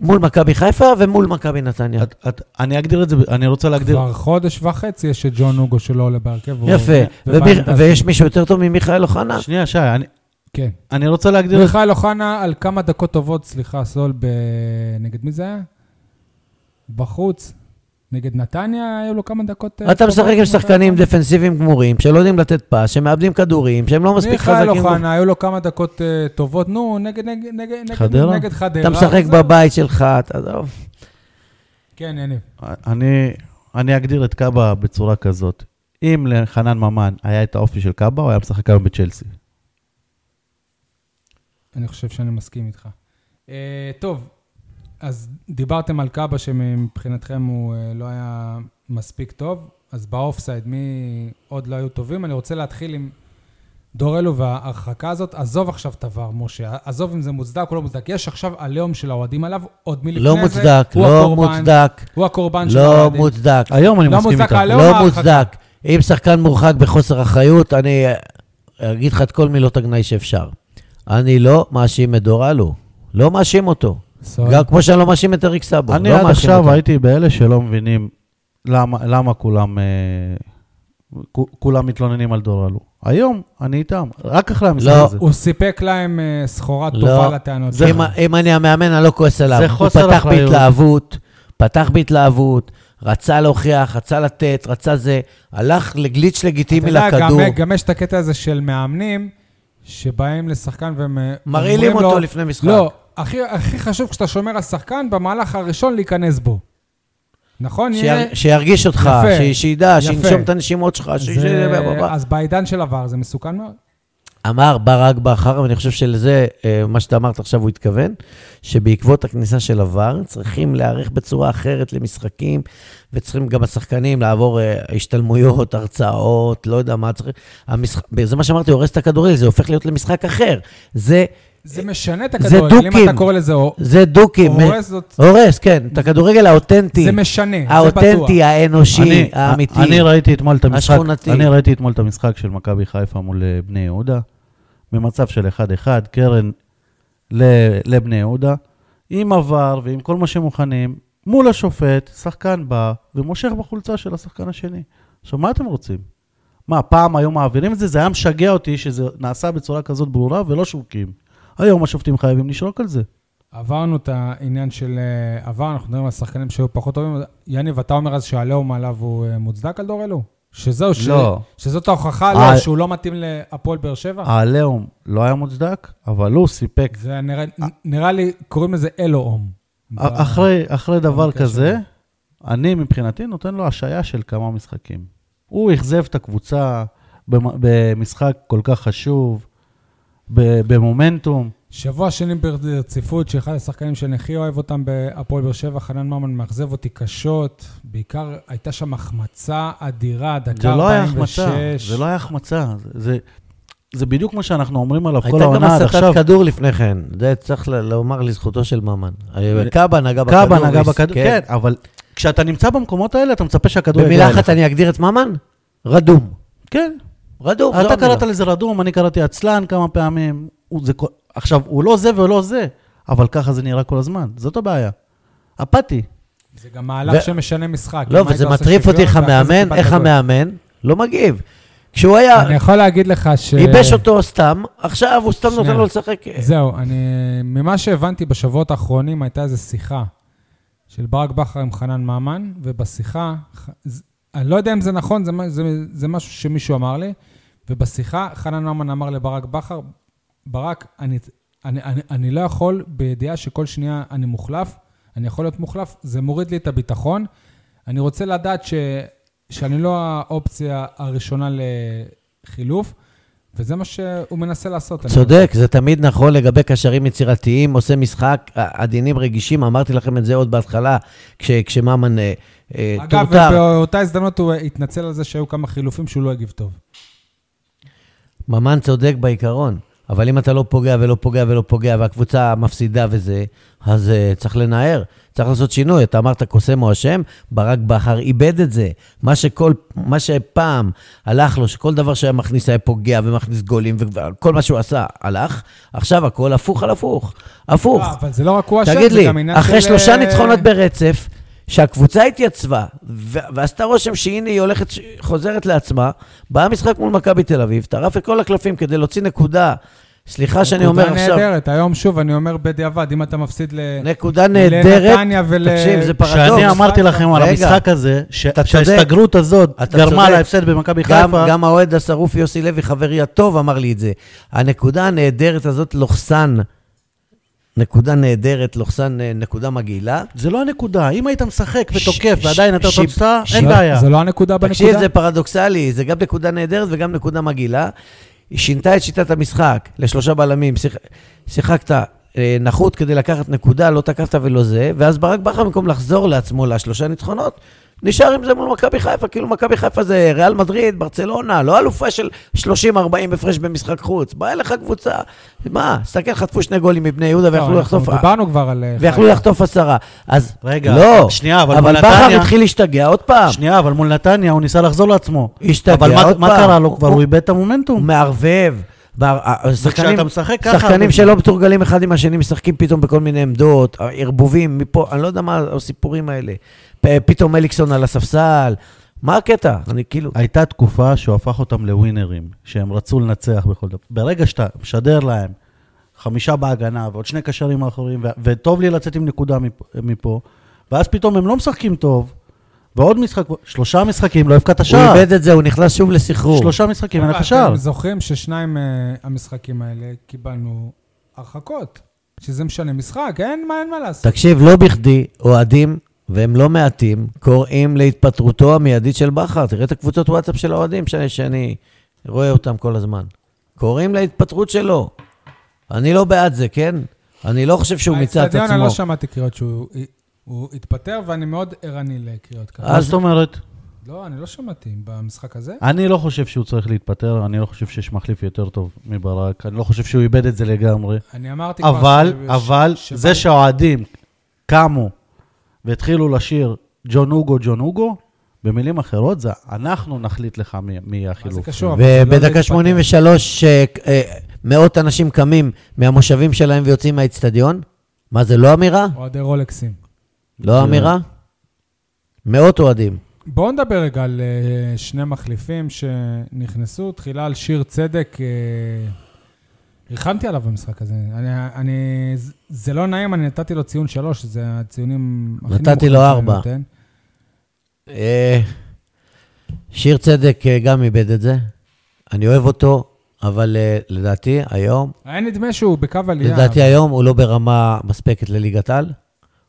C: מול מכבי חיפה ומול מכבי נתניה?
B: את- את- אני אגדיר את זה, ב- אני רוצה להגדיר.
A: כבר חודש וחצי יש את ג'ון הוגו שלא עולה בהרכב. והוא-
C: יפה.
A: ובא
C: ומי-
A: עמדה
C: ויש
A: שלי.
C: מישהו יותר טוב ממיכאל אוחנה?
B: שנייה, שי, אני-
A: כן.
B: אני רוצה להגדיר את
A: מיכאל אוחנה על כמה דקות טובות, סליחה, סול, ב... נגד מי זה היה? בחוץ. נגד נתניה היו לו כמה דקות... אה,
C: אתה משחק עם
A: טובות.
C: שחקנים דפנסיביים גמורים, שלא יודעים לתת פס, שמאבדים כדורים, שהם לא מספיק
A: מיכאל
C: חזקים.
A: אוחנה, היו לו כמה דקות אה, טובות, נו, נגד נגד- נגד- נגד-
B: חדרה?
A: נגד חדרה.
C: אתה משחק
A: זה-
C: בבית שלך, אתה עזוב.
A: כן, יניב.
B: אני, אני אגדיר את קאבה בצורה כזאת. אם לחנן ממן היה את האופי של קאבה, הוא היה משחק היום בצ'לסי.
A: אני חושב שאני מסכים איתך. אה, טוב, אז דיברתם על קאבה שמבחינתכם הוא אה, לא היה מספיק טוב, אז באופסייד מי עוד לא היו טובים? אני רוצה להתחיל עם דורלו וההרחקה הזאת. עזוב עכשיו את עבר, משה. עזוב אם זה מוצדק או לא מוצדק. יש עכשיו עליהום של האוהדים עליו, עוד מלפני
C: לא
A: זה.
C: מוצדק,
A: הוא
C: לא
A: הקורבן-
C: מוצדק,
A: הוא הקורבן של
C: לא
A: האוהדים.
C: מוצדק,
B: היום אני
A: לא
B: מסכים
A: מוצדק
B: איתך.
A: העליהום
C: לא
A: ההרחקה.
C: מוצדק. אם שחקן מורחק בחוסר אחריות, אני אגיד לך את כל מילות הגנאי שאפשר. אני לא מאשים את דור אלו. לא מאשים אותו.
A: סבבה.
C: גם כמו שאני לא מאשים את אריק סאבו.
B: אני
C: לא
B: עד
C: מאשים
B: עכשיו
C: אותו.
B: הייתי באלה שלא מבינים למה, למה כולם, אה, כו- כולם מתלוננים על דור אלו. היום אני איתם, רק אחרי המשחק
C: לא,
B: הזה.
A: הוא סיפק להם אה, סחורה
C: לא.
A: טובה לטענות
C: זה
A: שלך.
C: אם, אם אני המאמן, אני לא כועס עליו.
B: זה חוסר
C: הוא פתח
B: אחריות.
C: בהתלהבות, פתח בהתלהבות, רצה להוכיח, רצה לתת, רצה זה, הלך לגליץ' לגיטימי
A: אתה יודע,
C: לכדור.
A: גם- גם יש את הקטע הזה של מאמנים שבאים לשחקן והם...
C: מרעילים
A: אומרים לו-
C: אותו לפני משחק.
A: לא, הכי, הכי חשוב כשאתה שומר על שחקן, במהלך הראשון להיכנס בו. נכון? הנה,
C: שיר, שירגיש אותך,
A: יפה,
C: ש- שידע,
A: יפה.
C: שינשום את הנשימות שלך, ש... ש-
A: זה-
C: ב- ב- ב-
A: אז בעידן של עבר זה מסוכן מאוד.
C: אמר ברק בכר, ואני חושב שלזה, אה, מה שאתה אמרת עכשיו הוא התכוון, שבעקבות הכניסה של עבר, צריכים להיערך בצורה אחרת למשחקים, וצריכים גם השחקנים לעבור אה, השתלמויות, הרצאות, לא יודע מה צריך... המשח... זה מה שאמרתי, הורס את הכדורגל, זה הופך להיות למשחק אחר. זה,
A: זה משנה את
C: זה
A: הכדורגל, אם
C: דוקים.
A: אתה קורא לזה או-
C: זה דוקים.
A: הורס זאת...
C: הורס, כן, את הכדורגל האותנטי.
A: זה משנה, זה בטוח.
C: האותנטי, האנושי,
B: אני-
C: האמיתי.
B: אני ראיתי אתמול את המשחק,
C: השכונתי.
B: אני ראיתי אתמול את המשחק של מכבי חיפה מול אה, בני יהודה, במצב של 1-1, קרן ל- לבני יהודה, עם עבר ועם כל מה שמוכנים, מול השופט, שחקן בא ומושך בחולצה של השחקן השני. עכשיו, מה אתם רוצים? מה, פעם היו מעבירים את זה? זה היה משגע אותי שזה נעשה בצורה כזאת ברורה ולא שורקים. היום השופטים חייבים לשרוק על זה.
A: עברנו את העניין של אה, עבר, אנחנו מדברים על שחקנים שהיו פחות טובים. יניב, אתה אומר אז שהעליהום עליו הוא אה, מוצדק על דור אלו? שזהו, ש-
B: לא.
A: שזאת ההוכחה
B: אה.
A: לו שהוא לא מתאים להפועל באר שבע?
B: העליהום לא היה מוצדק, אבל הוא סיפק
A: זה נראה,
B: אה.
A: נראה לי, קוראים לזה אלוהום.
B: א- אחרי, אחרי דבר
A: במקרה
B: כזה, אני מבחינתי נותן לו השעיה של כמה משחקים. הוא אכזב את הקבוצה במ- במשחק כל כך חשוב, ב- במומנטום.
A: שבוע שני ברציפות, שאחד השחקנים שאני הכי אוהב אותם בהפועל באר שבע, חנן ממן, מאכזב אותי קשות. בעיקר הייתה שם החמצה אדירה,
B: זה
A: דקה 46.
B: לא היה החמצה, זה לא היה החמצה. זה- זה, זה בדיוק מה שאנחנו אומרים עליו כל
C: הייתה גם
B: העונה עד
C: הסטת
B: עכשיו.
C: כדור לפני כן, זה צריך ל- לומר לזכותו של ממן. קאבה נגע בכדור.
B: קאבה נגע
C: והס-
B: בכדור, כן, אבל כשאתה נמצא במקומות האלה, אתה מצפה שהכדור יגיע
C: במילה
B: אליך.
C: אחת אני אגדיר את ממן? רדום.
B: כן.
C: רדום, לא
B: אתה
C: המילה.
B: קראת לזה רדום, אני קראתי עצלן כמה פעמים. הוא- זה כל- עכשיו, הוא לא זה ולא זה, אבל ככה זה נראה כל הזמן. זאת הבעיה. אפאתי.
A: זה גם מהלך
C: ו-
A: שמשנה משחק.
C: לא,
A: אם היית
C: וזה
A: עושה
C: מטריף אותי איך
A: שוויון ואחרי זה
C: המאמן,
A: טיפה
C: איך
A: גדול.
C: המאמן לא מגיב. כשהוא היה,
A: אני יכול להגיד לך ש...
C: ייבש אותו סתם, עכשיו הוא סתם נותן
A: שנייה.
C: לו לשחק.
A: זהו, אני... ממה שהבנתי בשבועות האחרונים, הייתה איזו שיחה של ברק בכר עם חנן ממן, ובשיחה, ח- ז- אני לא יודע אם זה נכון, זה, מה- זה, זה משהו שמישהו אמר לי, ובשיחה חנן ממן אמר לברק בכר, ברק, אני, אני, אני, אני לא יכול, בידיעה שכל שנייה אני מוחלף, אני יכול להיות מוחלף, זה מוריד לי את הביטחון. אני רוצה לדעת ש, שאני לא האופציה הראשונה לחילוף, וזה מה שהוא מנסה לעשות. אני
C: צודק, זה תמיד נכון לגבי קשרים יצירתיים, עושה משחק, ע- עדינים רגישים, אמרתי לכם את זה עוד בהתחלה, כש- כשממן אה, אה,
A: אגב,
C: טורטר.
A: באותה הזדמנות הוא התנצל על זה שהיו כמה חילופים שהוא לא הגיב טוב.
C: ממן צודק בעיקרון, אבל אם אתה לא פוגע ולא פוגע ולא פוגע והקבוצה מפסידה וזה, אז uh, צריך לנער, צריך לעשות שינוי. אתה אמרת קוסם או אשם, ברק בכר איבד את זה. מה שכל, מה שפעם הלך לו, שכל דבר שהיה מכניס היה פוגע ומכניס גולים, וכל מה שהוא עשה הלך, עכשיו הכל הפוך על הפוך. הפוך.
A: לא, אבל זה לא רק הוא אשם,
C: תגיד
A: זה
C: לי,
A: גם עניין של...
C: אחרי שלושה
A: אה,
C: ניצחונות ברצף, שהקבוצה התייצבה ו- ועשתה רושם שהנה היא הולכת, ש- חוזרת לעצמה, בא המשחק מול מכבי תל אביב, טרף את כל הקלפים כדי להוציא נקודה, סליחה שאני אומר
A: נקודה
C: עכשיו,
A: נהדרת, היום שוב, אני אומר בדיעבד, אם אתה מפסיד ל...
C: נקודה נהדרת,
A: לנתניה ול...
C: תקשיב, זה פרדוקס.
B: כשאני אמרתי לכם על
C: רגע.
B: המשחק הזה, ש-
C: אתה צודק.
B: שההסתגרות הזאת
C: אתה
B: גרמה
C: צודק.
B: להפסד במכבי
C: גם,
B: חיפה,
C: גם האוהד השרוף יוסי לוי, חברי הטוב, אמר לי את זה. הנקודה הנהדרת הזאת, לוחסן, נקודה נהדרת, לוחסן, אה, נקודה מגעילה.
B: זה לא הנקודה. אם היית משחק
C: ש-
B: ותוקף
C: ש-
B: ועדיין אתה
C: שיב-
B: תוצאה,
C: שיב-
B: אין
A: לא,
B: בעיה.
A: זה לא הנקודה בנקודה?
C: תקשיב, זה פרדוקסלי, זה גם נקודה נהדרת וגם נקודה מגעילה. היא שינתה את שיטת המשחק לשלושה בלמים, שיח... שיחקת אה, נחות כדי לקחת נקודה, לא תקפת ולא זה, ואז ברק בכר במקום לחזור לעצמו לשלושה ניצחונות, נשאר עם זה מול מכבי חיפה, כאילו מכבי חיפה זה ריאל מדריד, ברצלונה, לא אלופה של 30-40 הפרש במשחק חוץ. באה לך קבוצה, מה, תסתכל, חטפו שני גולים מבני יהודה ויכלו
A: לא, אנחנו
C: לחטוף...
A: דיברנו כבר על... אה,
C: ויכלו
A: חיפה.
C: לחטוף עשרה. אז
B: רגע,
C: לא,
B: שנייה, אבל מול
C: אבל בכר
B: נתניה-
C: התחיל להשתגע עוד פעם.
B: שנייה, אבל מול נתניה הוא ניסה לחזור לעצמו.
C: לא- השתגע
B: אבל מה-
C: עוד
B: מה
C: פעם.
B: קרה לו כבר?
C: הוא-
B: הוא איבד את המומנטום.
C: הוא מערבב. בר- השחקנים-
B: משחק ככה,
C: שחקנים
B: הרבה
C: שלא
B: זמן.
C: מתורגלים אחד עם השני, משחקים פתאום בכל מיני עמדות, ערבובים מפה, אני לא יודע מה הסיפורים האלה. פ- פתאום אליקסון על הספסל, מה הקטע? אני כאילו...
B: הייתה תקופה שהוא הפך אותם לווינרים, שהם רצו לנצח בכל דבר. ברגע שאתה משדר להם חמישה בהגנה ועוד שני קשרים אחרים, ו- וטוב לי לצאת עם נקודה מפה, מפה, ואז פתאום הם לא משחקים טוב, ועוד משחק, שלושה משחקים, לא הבקעת
C: הוא
B: שער.
C: איבד את זה, הוא נכנס שוב לסחרור.
B: שלושה משחקים, אין לך שער.
A: אתם זוכרים ששניים אה, המשחקים האלה קיבלנו הרחקות, שזה משנה משחק, אין מה, אין מה לעשות.
C: תקשיב, לא בכדי, אוהדים, והם לא מעטים, קוראים להתפטרותו המיידית של בכר. תראה את הקבוצות וואטסאפ של האוהדים שאני, שאני רואה אותם כל הזמן. קוראים להתפטרות שלו. אני לא בעד זה, כן? אני לא חושב שהוא מיצה את
A: האצטדיון, אני
C: עצמו.
A: לא שמעתי קריאות שהוא הוא התפטר, ואני מאוד ערני לקריאות כאלה.
B: מה
C: אז-
B: זאת אומרת?
A: לא, אני לא שמעתי במשחק הזה.
B: אני לא חושב שהוא צריך להתפטר, אני לא חושב שיש מחליף יותר טוב מברק, אני לא חושב שהוא איבד את זה לגמרי.
A: אני אמרתי כבר...
B: אבל,
A: ש-
B: אבל,
A: ש-
B: זה שהאוהדים קמו והתחילו לשיר ג'ון אוגו, ג'ון אוגו, במילים אחרות, זה אנחנו נחליט לך מי- מי יהיה
A: מה זה
B: החילוף.
A: קשור? אבל זה לא
C: ובדקה
A: להתפטר.
C: 83, אה, אה, מאות אנשים קמים מהמושבים שלהם ויוצאים מהאיצטדיון? מה, זה לא אמירה?
A: אוהדי רולקסים.
C: לא אמירה? מאות אוהדים.
A: בואו נדבר רגע על אה, שני מחליפים שנכנסו. תחילה על שיר צדק. אה, ריחמתי עליו במשחק הזה. אני, אני, ז- זה לא נעים, אני נתתי לו ציון שלוש, זה הציונים הכי
C: נתתי
A: נמוכים
C: לו
A: שאני
C: ארבע.
A: נותן.
C: אה, שיר צדק אה, גם איבד את זה. אני אוהב אותו, אבל אה, לדעתי היום,
A: היה נדמה שהוא בקו עלייה.
C: לדעתי היום הוא לא ברמה מספקת לליגת על.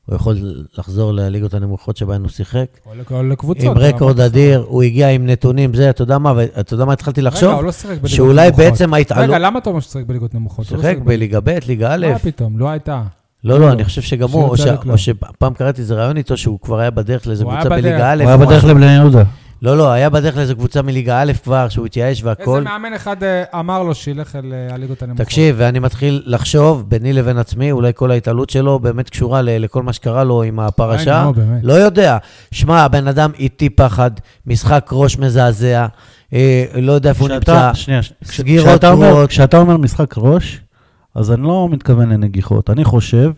C: הוא יכול לחזור לליגות הנמוכות שבהן הוא שיחק.
A: או לק- או לקבוצות.
C: עם
A: אבל-
C: רקורד אדיר, הוא הגיע עם נתונים, זה, אתה יודע מה, ואתה יודע מה התחלתי
A: רגע,
C: לחשוב?
A: הוא לא שיחק בליגות
C: שאולי
A: נמוכות.
C: בעצם ההתעלות-
A: רגע, למה אתה אומר שהוא שיחק בליגות נמוכות? הוא לא
C: שיחק
A: בליגות-
C: בליגה ב', ליגה א'.
A: מה פתאום? לא הייתה.
C: לא, לא, אני חושב שגם
A: שיר
C: הוא, או ש-
A: צדק לא.
C: או שפעם קראתי איזה רעיון איתו שהוא כבר היה בדרך לאיזה
A: הוא היה
C: קבוצה בליגה
A: בדרך.
C: א'.
B: הוא היה בדרך לבני יהודה.
C: לא, לא, היה בדרך לאיזה קבוצה מליגה א' כבר, שהוא התייאש
A: איזה
C: והכל.
A: מאמן אחד אה, אמר לו שילך אל אה, הליגות הנמוכות.
C: תקשיב, ואני מתחיל לחשוב ביני לבין עצמי, אולי כל ההתעלות שלו באמת קשורה ל- לכל מה שקרה לו עם
A: די,
C: הפרשה.
A: אה, נו, באמת.
C: לא יודע. שמע, הבן אדם איטי פחד, משחק ראש מזעזע, אה, לא יודע איפה הוא נמצא.
B: כשאתה- שנייה, ש-
C: סגירות
B: כשאתה אומר-
C: גרועות.
B: כשאתה אומר משחק ראש, אז אני לא מתכוון לנגיחות. אני חושב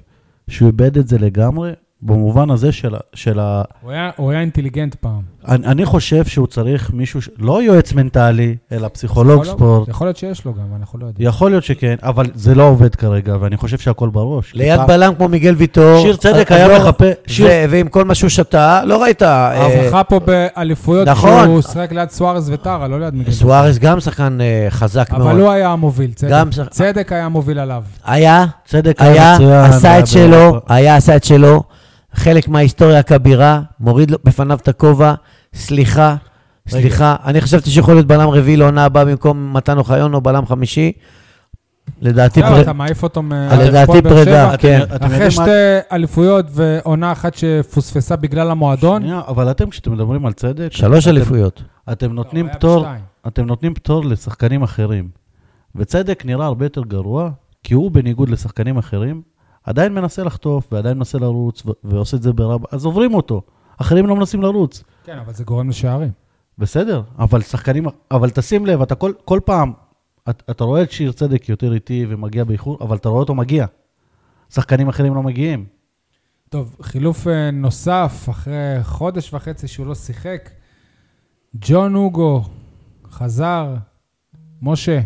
B: שהוא איבד את זה לגמרי, במובן הזה של ה- של ה...
A: הוא היה- הוא היה אינטליגנט פעם.
B: אני אני חושב שהוא צריך מישהו, ש- לא יועץ מנטלי, אלא פסיכולוג
A: יכול-
B: לא ספורט.
A: יכול להיות שיש לו גם, אנחנו לא יודעים.
B: יכול להיות שכן, אבל זה לא עובד כרגע, ואני חושב שהכל בראש.
C: ליד
B: כי פעם-
C: בלם כמו מיגל ויטור.
B: שיר צדק
C: אז
B: היה
C: לא-
B: מחפה, שיר-
C: ו- ועם כל מה שהוא שתה, לא ראית... אה,
A: ההברחה פה באליפויות,
C: נכון.
A: שהוא שיחק ליד סוארז וטרה, לא ליד מיגל.
C: סוארז גם שחקן אה, חזק מאוד.
A: אבל הוא היה המוביל, צדק.
C: גם שח-
A: צדק היה המוביל עליו.
C: היה,
B: צדק
C: היה,
B: מצוין,
C: עשה
B: היה
C: את שלו,
B: באירופה.
C: היה, עשה את שלו, חלק מההיסטוריה הכבירה, מוריד לו- בפניו את הכובע, סליחה, סליחה, אני חשבתי שיכול להיות בלם רביעי לעונה הבאה במקום מתן אוחיון או בלם חמישי. לדעתי,
A: עכשיו
C: פר-
A: לא, אתה מעיף אותו מ...
C: לדעתי
A: הפועל באר
C: פרידה,
A: שבע.
B: אתם-
C: כן.
B: אתם יודעים
A: אחרי
B: מה-
A: שתי אליפויות ועונה אחת שפוספסה בגלל המועדון,
B: שנייה, אבל אתם, כשאתם מדברים על צדק,
C: שלוש
B: אתם-
C: אליפויות.
B: אתם נותנים
A: לא, היה
B: פטור,
A: בשתיים.
B: אתם נותנים פטור לשחקנים אחרים. וצדק נראה הרבה יותר גרוע, כי הוא בניגוד לשחקנים אחרים, עדיין מנסה לחטוף, ועדיין מנסה לרוץ, ו- ועושה את זה ברב, אז עוברים אותו. אחרים לא מנסים לרוץ.
A: כן, אבל זה גורם לשערים.
B: בסדר, אבל שחקנים, אבל תשים לב, אתה כל, כל פעם, את, אתה רואה את שיר צדק יותר איטי ומגיע באיחור, אבל אתה רואה אותו מגיע. שחקנים אחרים לא מגיעים.
A: טוב, חילוף אה, נוסף אחרי חודש וחצי שהוא לא שיחק. ג'ון הוגו חזר. משה,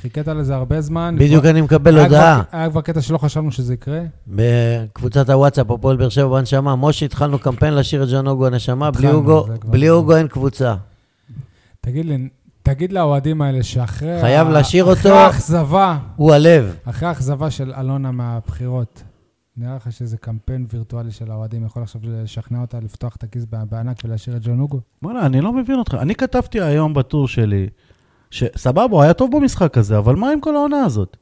A: חיכית לזה הרבה זמן.
C: בדיוק
A: כבר-
C: אני מקבל
A: היה כבר-
C: הודעה
A: היה כבר קטע שלא חשבנו שזה יקרה.
C: בקבוצת הוואטסאפ, הפועל באר שבע בנשמה. משה, התחלנו קמפיין לשיר את ג'ון אוגו הנשמה, בלי
A: התחלנו,
C: אוגו-
A: זה כבר-
C: בלי אוגו אין קבוצה.
A: תגיד לי, תגיד לאוהדים האלה שאחרי...
C: חייב
A: ה-
C: להשאיר
A: אחרי
C: אותו.
A: האכזבה,
C: הוא הלב.
A: אחרי האכזבה של אלונה מהבחירות, נראה לך שזה קמפיין וירטואלי של האוהדים יכול עכשיו לשכנע אותה לפתוח את הכיס בענק ולהשאיר את ג'ון הוגו?
B: וואלה, אני לא מבין אותך. אני כתבתי היום בטור שלי, שסבבה, הוא היה טוב במשחק הזה, אבל מה עם כל העונה הזאת?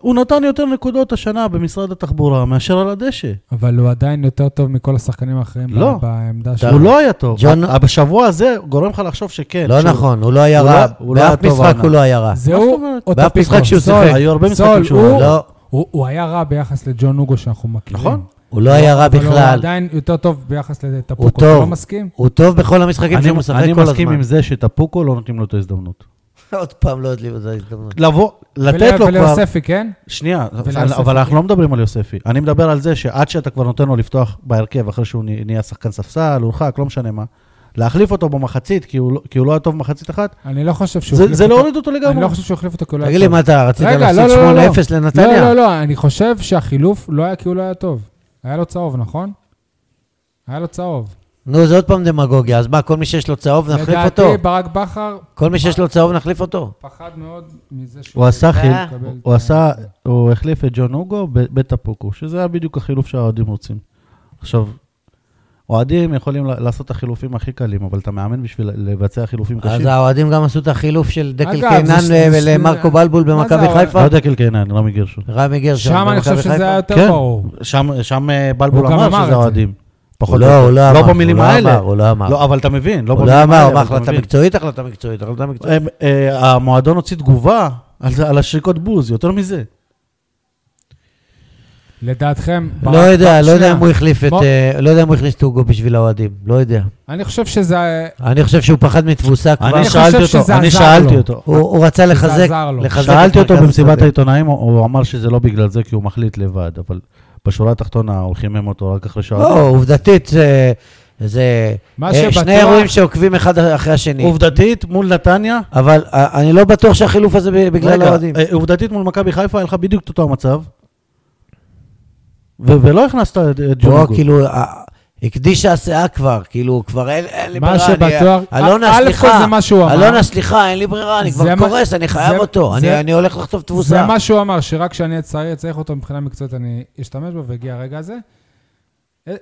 B: הוא נתן יותר נקודות השנה במשרד התחבורה מאשר על הדשא.
A: אבל הוא עדיין יותר טוב מכל השחקנים האחרים
B: לא.
A: ב- בעמדה שלו.
B: הוא לא היה טוב.
C: ג'ון-
B: אבל בשבוע הזה גורם לך לחשוב שכן.
C: לא
B: שהוא-
C: נכון, הוא לא היה
B: כן, הוא
C: רע.
B: לא- הוא לא היה
C: באף
B: טוב
C: משחק
B: העונה.
C: הוא לא היה רע.
A: זה
B: מה
A: הוא
B: זאת אומרת?
A: או
C: באף
A: טפיקו.
C: משחק שהוא
A: סול,
C: שיחק.
B: היו הרבה
A: סול,
B: משחקים שהוא
A: הוא-
B: היה.
C: לא,
A: הוא הוא היה רע ביחס לג'ון אוגו שאנחנו מכירים.
B: נכון.
C: הוא לא היה רע
A: אבל הוא
C: בכלל.
A: עדיין יותר טוב ביחס
C: הוא
A: לטפוקו, אתה
C: טוב.
A: לא מסכים?
C: הוא טוב בכל המשחקים
B: אני,
C: שהוא משחק
B: אני
C: כל
B: מסכים
C: הזמן.
B: עם זה שטפוקו לא נותנים לו את ההזדמנות.
C: עוד פעם לא יודעים את ההזדמנות.
B: לבוא, לתת
A: ול-
B: לו כבר...
A: וליוספי, כן?
B: שנייה,
A: וליוספי.
B: אבל אנחנו לא מדברים על יוספי. אני מדבר על זה שעד שאתה כבר נותן לו לפתוח בהרכב, אחרי שהוא נה- נהיה שחקן ספסל, הורחק, לא משנה מה, להחליף אותו במחצית, כי הוא לא- כי הוא לא היה טוב במחצית אחת,
A: אני לא חושב שהוא
B: זה-
A: החליף
B: זה לא
A: אותו-
B: הוריד אותו
A: אני
B: לגמרי.
A: לא חושב שהוא החליף אותו כי הוא לא היה
C: תגיד לי, מה אתה רצית
A: רגע, לא,
C: להפסיד
A: לא, לא,
C: 8-0 לנתניה?
A: לא, לא, לא, אני חושב שהחילוף לא היה כי הוא לא היה טוב. היה לו צהוב, נכון? היה לו צהוב.
C: נו, זה עוד פעם דמגוגיה. אז מה, כל מי שיש לו צהוב נחליף אותו?
A: לדעתי, ברק בכר
C: כל מי שיש לו צהוב נחליף אותו?
A: פחד מאוד מזה שהוא...
B: הוא עשה
A: יקבל
B: חיל,
A: את ה-
B: הוא עשה, הוא החליף את ג'ון אוגו ב- בטפוקו, שזה היה בדיוק החילוף שהאוהדים רוצים. עכשיו, אוהדים יכולים ל- לעשות את החילופים הכי קלים, אבל אתה מאמן בשביל לבצע חילופים
C: אז
B: קשים.
C: האוהדים גם עשו את החילוף של דקל
A: אגב, זה
C: קינן
A: ש-
C: ל-
A: זה ש-
C: ולמרקו בלבול
A: מה זה
C: במכבי
A: האוהד?
C: חיפה?
B: לא יודע קלקינן, רמי גרשון.
C: רמי גרשון
A: שם אני
C: במכבי
A: חושב שזה היה
C: חיפה? לא,
A: יותר
B: כן.
A: ברור.
B: שם, שם אה, בלבול
A: הוא גם
B: אמר
A: אמר את
B: שזה
A: זה.
B: אוהדים. פחות או
C: הוא לא,
B: יותר.
C: הוא לא אמר.
B: לא במילים
C: הוא לא
B: האלה.
C: אמר, הוא לא אמר.
B: לא, אבל אתה מבין, לא
C: הוא
B: במילים
C: לא
B: האלה.
C: אמר, מה
B: אבל אתה
C: החלטה
B: מבין.
C: מקצועית? החלטה מקצועית, החלטה מקצועית.
B: הם, אה, המועדון הוציא תגובה על זה- על השריקות בוז, יותר מזה.
A: לדעתכם, ברק
C: לא יודע,
A: בכר-
C: לא יודע
A: אה, שנייה.
C: אם הוא החליף את...
A: בוא-
C: אה, לא יודע אם הוא הכניס את אוגו בשביל האוהדים, לא יודע.
A: אני חושב שזה...
C: אני חושב שהוא פחד מתבוסה כבר.
B: אני
A: חושב
B: שאלתי אותו,
A: שזה
B: אני
A: עזר
B: שאלתי
A: לו.
B: אותו.
C: הוא הוא רצה לחזק,
A: עזר לו.
C: לחזק
B: שאלתי
C: את
B: אותו
C: מרכז
B: במסיבת
C: השדה.
B: העיתונאים, הוא- הוא אמר שזה לא בגלל זה, כי הוא מחליט לבד, אבל בשורה התחתונה הוא חימם אותו רק אחרי שעה.
C: לא, עובדתית זה... זה
A: מה
C: אה,
A: שבטוח-
C: שני אירועים שעוקבים אחד אחרי השני.
B: עובדתית מול נתניה,
C: אבל אה, אני לא בטוח שהחילוף הזה ב- בגלל
B: רגע,
C: האוהדים.
B: אה, עובדתית מול מכבי חיפה היה לך בדיוק את אותו המצב, ו- ולא הכנסת את את
C: פה
B: ג'ונגו.
C: כאילו, אה, הקדישה הסאה כבר, כאילו, כבר אין אין לי ברירה.
A: מה
C: אני-
A: שבטוח...
C: אלונה,
A: א',
C: סליחה.
A: כל זה מה שהוא אמר.
C: אלונה, סליחה, אין לי ברירה, אני
A: זה
C: כבר
A: מה-
C: קורס, אני חייב
A: זה-
C: אותו. אני-
A: זה-
C: אני הולך לחטוף תבוסה.
A: זה מה שהוא אמר, שרק כשאני אהיה צעיר, צריך אותו מבחינה מקצועית, אני אשתמש בו, והגיע הרגע הזה. אה,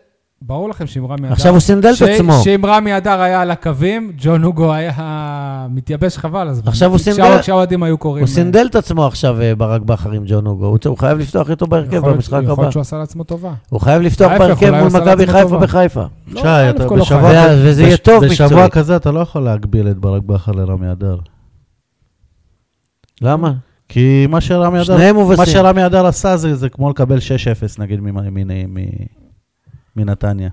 A: ברור לכם שאם רמי אדר...
C: עכשיו הוא סינדל את
A: ש-
C: עצמו.
A: שאם רמי אדר היה על הקווים, ג'ון הוגו היה מתייבש חבל הזמן.
C: עכשיו הוא
A: כשה-
C: סינדל-
A: כשהאוהדים היו קוראים... אה,
C: הוא סינדל את עצמו עכשיו, אה, ברק בכר עם ג'ון אוגו. הוא צ- הוא חייב לפתוח איתו בהרכב
A: יכול להיות-
C: במשחק
A: יכול
C: הבא.
A: להיות שהוא עשה לעצמו טובה.
C: הוא חייב לפתוח
A: ההפך,
C: בהרכב
A: אולי הוא
C: מול
A: עשה
C: מכבי
A: לעצמו
C: חיפה
A: טובה.
C: בחיפה.
A: לא,
B: שי,
A: אלף
B: אתה
A: כל לא
B: בשבוע-
A: חייב.
C: ואז- וזה יהיה
B: בש-
C: טוב
B: בשבוע
C: מקצועית.
B: כזה אתה לא יכול להגביל את ברק בכר לרמי אדר.
C: למה?
B: כי מה שרמי אדר,
C: שניהם
B: מה
C: מובסים.
B: שרמי אדר עשה זה, זה כמו לקבל 6-0 נגיד ממ- מ- מ- מנתניה.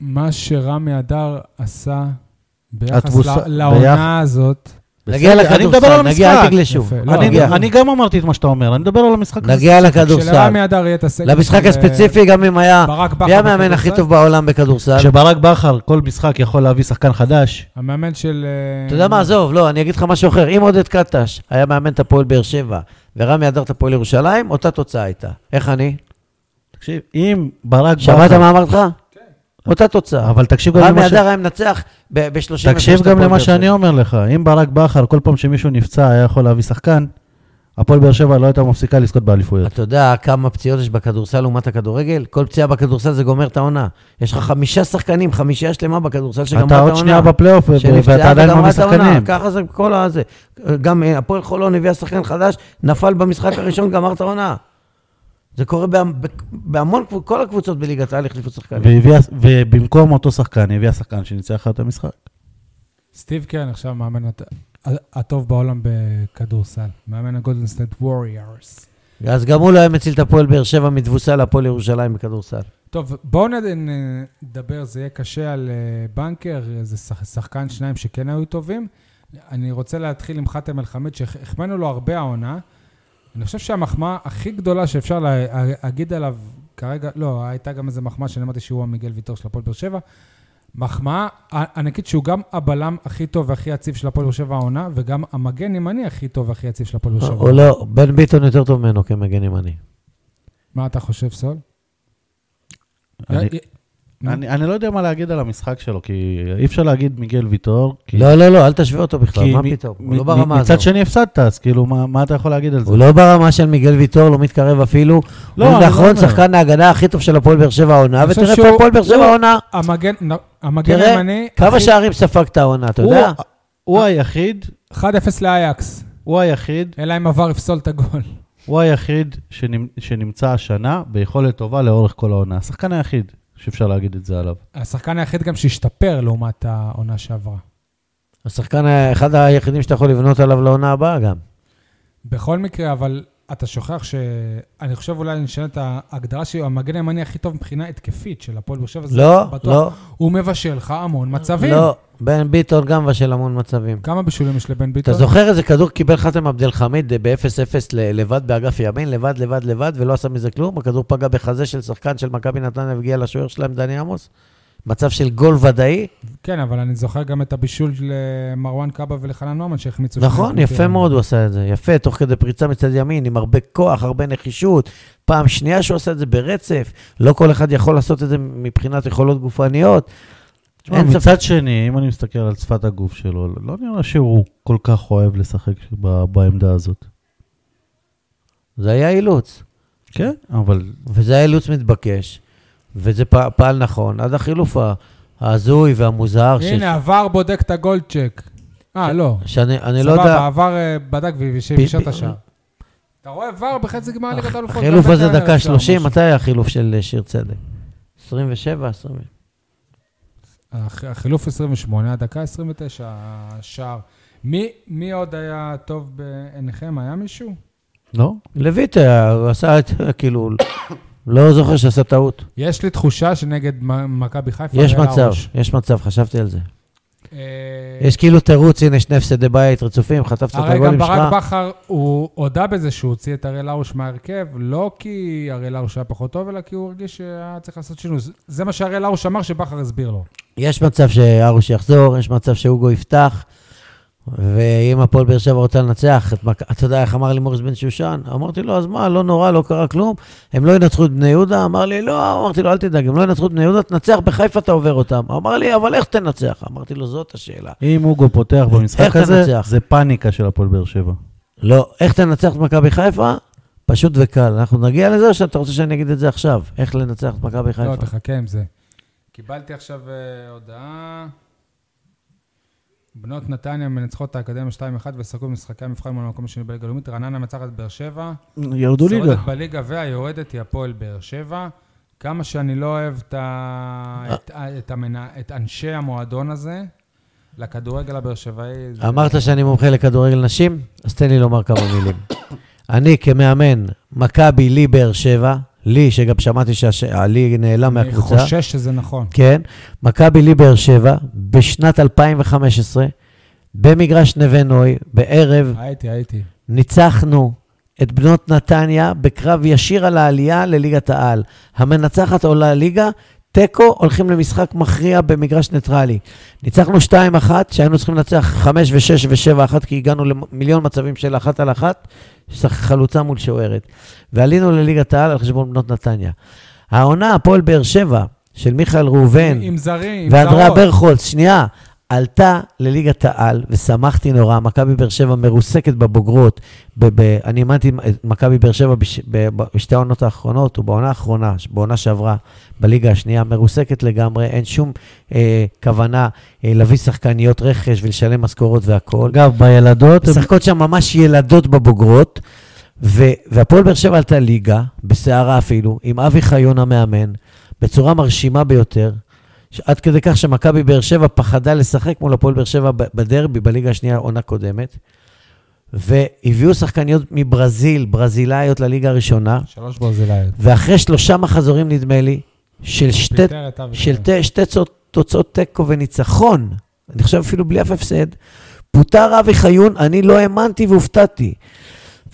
A: מה שרמי אדר עשה ביחס
B: התבוסה-
A: ל- לעונה הזאת,
C: נגיע
B: בסדר, אני מדבר על
C: לכדורסל, נגיע, אל
B: המשחק.
C: תגלה שוב.
A: יפה, לא,
C: נגיע.
B: אני, אני גם אמרתי את מה שאתה אומר, אני מדבר על המשחק הזה.
C: נגיע לכדורסל.
A: כשלרמי אדר יהיה את הסגל...
C: למשחק
A: של,
C: הספציפי, גם אם היה...
A: אה, ברק בכר...
C: מי המאמן הכי
A: בכדורסל,
C: טוב בעולם בכדורסל?
B: כשברק בכר כל משחק יכול להביא שחקן חדש,
A: המאמן של... אה,
C: אתה יודע מה, עזוב, לא, אני אגיד לך משהו אחר. אם עודד קטש היה מאמן את הפועל באר שבע ורמי אדר את הפועל ירושלים, אותה תוצאה הייתה. איך אני?
B: תקשיב, אם ברק בכר...
C: שמעת מה אמרתי לך?
A: כן.
C: אותה תוצאה.
B: אבל תקשיב גם
C: רמי
B: למה, ש...
C: אדר היה מנצח ב-30...
B: תקשיב גם למה שאני אומר לך, אם ברק בכר כל פעם שמישהו נפצע היה יכול להביא שחקן, הפועל באר שבע לא הייתה מפסיקה לזכות באליפויות.
C: אתה יודע כמה פציעות יש בכדורסל לעומת הכדורגל? כל פציעה בכדורסל זה גומר את העונה. יש לך חמישה שחקנים, חמישייה שלמה בכדורסל שגמרה את
B: אתה
C: העונה.
B: עוד שנייה בפלייאוף ו-
C: שנפצעה
B: ואתה עדיין
C: וגמרה
B: מביא
C: את העונה,
B: שחקנים.
C: ככה זה כל הזה. גם אה, הפועל חולון הביאה שחקן חדש, נפל במשחק הראשון, גמר את העונה. זה קורה בה, ב- בהמון, קבוצ- כל הקבוצות בליגת העל החליפו שחקנים.
B: והביאה- ובמקום אותו שחקן, היא הביאה שחקן שניצח לך את המשחק.
A: סטיב קרן עכשיו המאמן הט- הטוב בעולם בכדורסל. מאמן הגולדן סטייט ווריארס.
C: אז גם הוא לא היה מציל את הפועל באר שבע מתבוסה להפועל ירושלים בכדורסל.
A: טוב, בואו נד- נ- נדבר, זה יהיה קשה על אה, בנקר, זה שח- שחקן שניים שכן היו טובים. אני רוצה להתחיל עם חאתם אל-חמיד, שהחמאנו לו הרבה העונה. אני חושב שהמחמאה הכי גדולה שאפשר לה- אה, להגיד עליו כרגע, לא, הייתה גם איזו מחמאה שאני אמרתי שהוא המיגל ויטור של הפועל באר שבע. מחמאה ענקית שהוא גם הבלם הכי טוב והכי יציב של הפועל באר שבע העונה, וגם המגן ימני הכי טוב והכי יציב של הפועל באר שבע.
C: או לא, בן ביטון יותר טוב ממנו כמגן ימני.
A: מה אתה חושב, סול?
B: אני-
A: י-
B: אני אני לא יודע מה להגיד על המשחק שלו, כי אי אפשר להגיד מיגל ויטור. כי-
C: לא, לא, לא, אל תשווה אותו בכלל,
B: כי
C: מה
B: מ-
C: פתאום? הוא
B: מ-
C: לא ברמה
B: מ-
C: הזו.
B: מצד שני הפסדת, אז כאילו, מה- מה אתה יכול להגיד על זה?
C: הוא לא ברמה של מיגל ויטור, לא מתקרב אפילו.
B: לא,
C: הוא
B: אני לא
C: נכון
B: אומר.
C: שחקן ההגנה הכי טוב של הפועל באר שבע העונה,
A: אני חושב
C: ותראה
A: שהוא-
C: את הפועל באר שבע
A: לא.
C: העונה.
A: המגן, נ- המגן
C: תראה,
A: הימני...
C: כמה
A: הכי-
C: שערים ספגת העונה, אתה
B: הוא-
C: יודע?
B: הוא היחיד,
A: 1-0 לאייקס,
B: הוא היחיד
A: אלא אם עבר יפסול את הגול.
B: הוא היחיד שנמ- שנמצא השנה ביכולת טובה לאורך כל העונה. השחקן היחיד שאפשר להגיד את זה עליו.
A: השחקן היחיד גם שהשתפר לעומת העונה שעברה.
C: השחקן, ה- אחד היחידים שאתה יכול לבנות עליו לעונה הבאה גם.
A: בכל מקרה, אבל אתה שוכח ש... אני חושב אולי נשנה את ההגדרה שלי, המגן הימני הכי טוב מבחינה התקפית של הפועל באר שבע. זה
C: לא,
A: בטוח.
C: לא,
A: הוא מבשל לך המון מצבים.
C: לא. בן ביטון גם מבשל המון מצבים.
A: כמה בישולים יש לבן ביטון?
C: אתה זוכר איזה כדור קיבל חתם עבד אל חמיד ב-0-0 ל- לבד באגף ימין, לבד, לבד, לבד, ולא עשה מזה כלום? הכדור פגע בחזה של שחקן של מכבי נתניה והגיע לשוער שלהם, דני עמוס? מצב של גול ודאי?
A: כן, אבל אני זוכר גם את הבישול למרואן קאבה ולחנן נומן שהחמיצו. שני
C: נכון,
A: חוטים.
C: יפה מאוד הוא עשה את זה. יפה, תוך כדי פריצה מצד ימין, עם הרבה כוח, הרבה נחישות. פעם שנייה שהוא עשה את זה ברצף. לא כל אחד יכול לעשות את זה מבחינת יכולות גופניות.
B: תשמע,
C: אין ספק.
B: מצד שני, אם אני מסתכל על שפת הגוף שלו, לא נראה שהוא כל כך אוהב לשחק ב- בעמדה הזאת.
C: זה היה אילוץ.
B: כן, אבל
C: וזה היה אילוץ מתבקש. וזה פע- פעל נכון. עד החילוף ה- ההזוי והמוזר. ש-
A: הנה, עבר בודק את הגולד צ'ק. אה, לא.
C: שאני אני לא
A: סבבה,
C: יודע,
A: עבר אה, בדק
C: ב-
A: והגישה את
C: ב-
A: השער. אתה רואה, עבר בחצי גמר ליגת האלופות.
C: החילוף
A: גם
C: הזה
A: בטרנר
C: דקה
A: עשה
C: 30,
A: משהו.
C: מתי היה החילוף של אה, שיר צדק? 27, 20.
A: הח- החילוף 28, הדקה 29, השער. מי- מי עוד היה טוב בעיניכם? היה מישהו?
B: לא.
C: לויט היה, הוא עשה את, כאילו, לא זוכר שעשה טעות.
A: יש לי תחושה שנגד מ- מכבי חיפה
C: יש
A: היה
C: מצב,
A: ראש.
C: יש מצב, חשבתי על זה.
A: אה,
C: יש כאילו תירוץ, הנה שני הפסדי בית, רצופים, חטפת את
A: הרי גם
C: הגולים
A: ברק
C: שלך.
A: בכר, הוא הודה בזה שהוא הוציא את הראל הרוש מההרכב, לא כי הראל הרוש היה פחות טוב, אלא כי הוא הרגיש שהיה צריך לעשות שינוי. זה- זה מה שהראל הרוש אמר שבכר הסביר לו.
C: יש מצב שארוש יחזור, יש מצב שהוגו יפתח, ואם הפועל באר שבע רוצה לנצח, את מכ- אתה יודע איך אמר לי מוריס בן שושן? אמרתי לו, אז מה, לא נורא, לא קרה כלום, הם לא ינצחו את בני יהודה? אמר לי, לא, אמרתי לו, אל תדאג, הם לא ינצחו את בני יהודה, תנצח, בחיפה אתה עובר אותם. אמר לי, אבל איך תנצח? אמרתי לו, זאת השאלה.
B: אם הוגו פותח
C: איך
B: במשחק הזה,
C: תנצח?
B: זה פאניקה של הפועל באר שבע.
C: לא, איך תנצח את מכבי חיפה? פשוט וקל. אנחנו נגיע לזה, או שאתה רוצה שאני אגיד את זה עכשיו? איך לנצח את מכבי
A: לא,
C: חיפה?
A: תחכה עם זה. קיבלתי עכשיו אה, הודעה. בנות נתניה מנצחות את האקדמיה 2-1 וסגרו במשחקי המבחן מול המקום השני בליגה הלאומית. רעננה מנצחת את באר שבע.
B: ירדו ליגה.
A: שורדת בליגה והיורדת היא הפועל באר שבע. כמה שאני לא אוהב את, ה...
C: אה.
A: את, את, המנה... את אנשי המועדון הזה, לכדורגל הבאר שבעי... זה-
C: אמרת שאני מומחה לכדורגל נשים, אז תן לי לומר כמה מילים. אני כמאמן, מכבי לי באר שבע, לי, שגם שמעתי שהלי נעלם
A: אני
C: מהקבוצה.
A: חושש שזה נכון.
C: כן. מכבי לי באר שבע, בשנת 2015, במגרש נווה נוי, בערב,
A: הייתי, הייתי.
C: ניצחנו את בנות נתניה בקרב ישיר על העלייה לליגת העל. המנצחת עולה ליגה, תיקו, הולכים למשחק מכריע במגרש ניטרלי. ניצחנו 2-1, שהיינו צריכים לנצח 5 ו-6 ו-7-1, כי הגענו למיליון מצבים של אחת על אחת, שח- חלוצה מול שוערת. ועלינו לליגת העל על חשבון בנות נתניה. העונה, הפועל באר שבע, של מיכאל ראובן,
A: עם זרים, עם
C: ואדריה
A: זרות.
C: ברכולץ, שנייה, עלתה לליגת העל, ושמחתי נורא, מכבי באר שבע מרוסקת בבוגרות. ב- ב- אני אימנתי את מכבי באר שבע בש- ב- ב- בשתי העונות האחרונות, ובעונה האחרונה, ש- בעונה שעברה, בליגה השנייה, מרוסקת לגמרי, אין שום אה, כוונה אה, להביא שחקניות רכש ולשלם משכורות והכול.
B: אגב, בילדות, הם-
C: משחקות שם ממש ילדות בבוגרות, ו- והפועל באר שבע עלתה ליגה, בסערה אפילו, עם אבי חיון המאמן, בצורה מרשימה ביותר, ש- עד כדי כך שמכבי באר שבע פחדה לשחק מול הפועל באר שבע ב- בדרבי בליגה השנייה עונה קודמת, והביאו שחקניות מברזיל, ברזילאיות לליגה הראשונה,
A: שלוש ברזילאיות.
C: ואחרי שלושה מחזורים, נדמה לי, של שתי
A: פיטר את אבי
C: של
A: כהן.
C: ת, שתי צו- תוצאות תיקו וניצחון, אני חושב אפילו בלי אף הפסד, פוטר אבי חיון, אני לא האמנתי והופתעתי.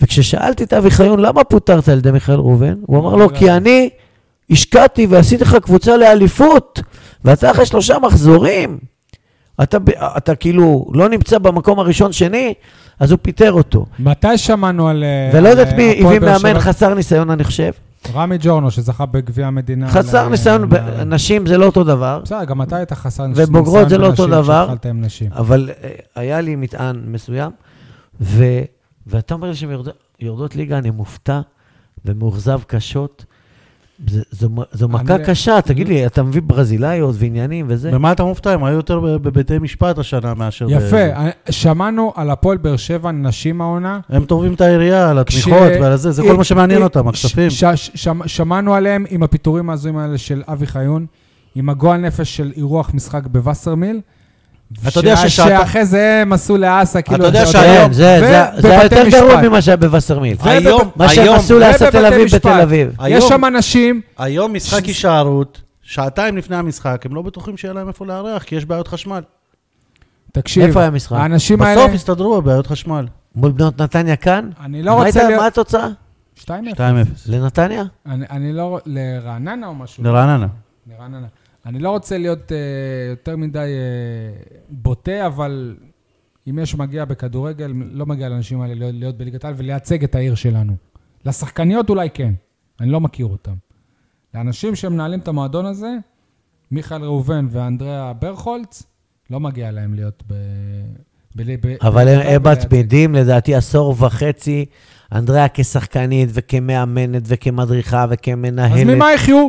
C: וכששאלתי את אבי חיון, למה פוטרת על ידי מיכאל ראובן? הוא אמר לו,
A: אה.
C: כי אני השקעתי ועשיתי לך קבוצה לאליפות, ואתה אחרי שלושה מחזורים, אתה, ב- אתה כאילו לא נמצא במקום הראשון-שני, אז הוא פיטר אותו.
A: מתי שמענו על... אה,
C: ולא יודעת
A: על,
C: מי
A: אה, הפועל
C: הביא
A: באר
C: מאמן
A: שבע?
C: חסר ניסיון, אני חושב.
A: רמי ג'ורנו, שזכה בגביע המדינה.
C: חסר
A: ל-
C: ניסיון, ב-
A: ל-
C: נשים זה לא אותו דבר.
A: בסדר, גם אתה היית חסר ניסיון.
C: ובוגרות זה לא אותו
A: בנשים
C: דבר.
A: כשהתחלת עם נשים.
C: אבל אה, היה לי מטען מסוים, ו, ואתה אומר לי שהן יורד, יורדות ליגה, אני מופתע ומאוכזב קשות, זה- זו מ- זו מכה
A: אני-
C: קשה, תגיד לי, אתה מביא ברזילאיות ועניינים וזה?
B: במה אתה מופתע? הם היו יותר ב- בבתי משפט השנה מאשר... ב-
A: יפה, אה, שמענו על הפועל באר שבע, נשים העונה.
B: הם טובים את העירייה על
A: כש-
B: התמיכות ועל זה, זה כל מה שמעניין
A: אה,
B: אותם,
A: אה,
B: הכספים.
A: ש- ש- שמ- שמענו עליהם עם הפיטורים ההזויים האלה של אבי חיון, עם הגועל נפש של אירוח משחק בווסרמיל.
B: אתה יודע
A: שה-
B: ששעתה-
A: שאחרי זה הם עשו לאסה, כאילו...
B: יודע
A: זה-
B: שהיום-
C: כן, זה- זה- זה היה
A: ובבתי
C: יותר גרוע
A: משפט.
C: ממה שהיה בווסרמיל.
B: היום-
C: מה שהם
B: היום-
C: עשו לאסת תל
A: ובבתי
C: אביב
A: משפט.
C: בתל אביב.
A: יש
B: היום-
A: שם אנשים,
B: היום משחק
A: ש-
B: הישארות, שעתיים לפני המשחק, הם לא בטוחים שיהיה להם איפה לארח, כי יש בעיות חשמל.
A: תקשיב,
C: איפה היה המשחק?
A: האנשים האלה...
B: בסוף הסתדרו בבעיות חשמל.
C: מול בנות נתניה כאן?
A: אני לא רוצה
C: ראית מה
A: להיות...
C: התוצאה?
A: 2-0.
B: 2-0.
C: לנתניה?
A: אני אני לא... לרעננה או משהו?
B: לרעננה.
A: לרעננה. אני לא רוצה להיות אה, יותר מדי אה, בוטה, אבל אם יש מגיע בכדורגל, לא מגיע לאנשים האלה להיות, להיות בליגת העל ולייצג את העיר שלנו. לשחקניות אולי כן, אני לא מכיר אותם. לאנשים שמנהלים את המועדון הזה, מיכאל ראובן ואנדריאה ברכולץ, לא מגיע להם להיות ב... בלי, ב
C: אבל
A: בליגת העל
C: הם- הם
A: ולייצג.
C: מצמידים
A: אה.
C: לדעתי עשור וחצי, אנדריאה כשחקנית וכמאמנת וכמדריכה
A: אז
C: וכמנהלת.
A: ממה יחיו?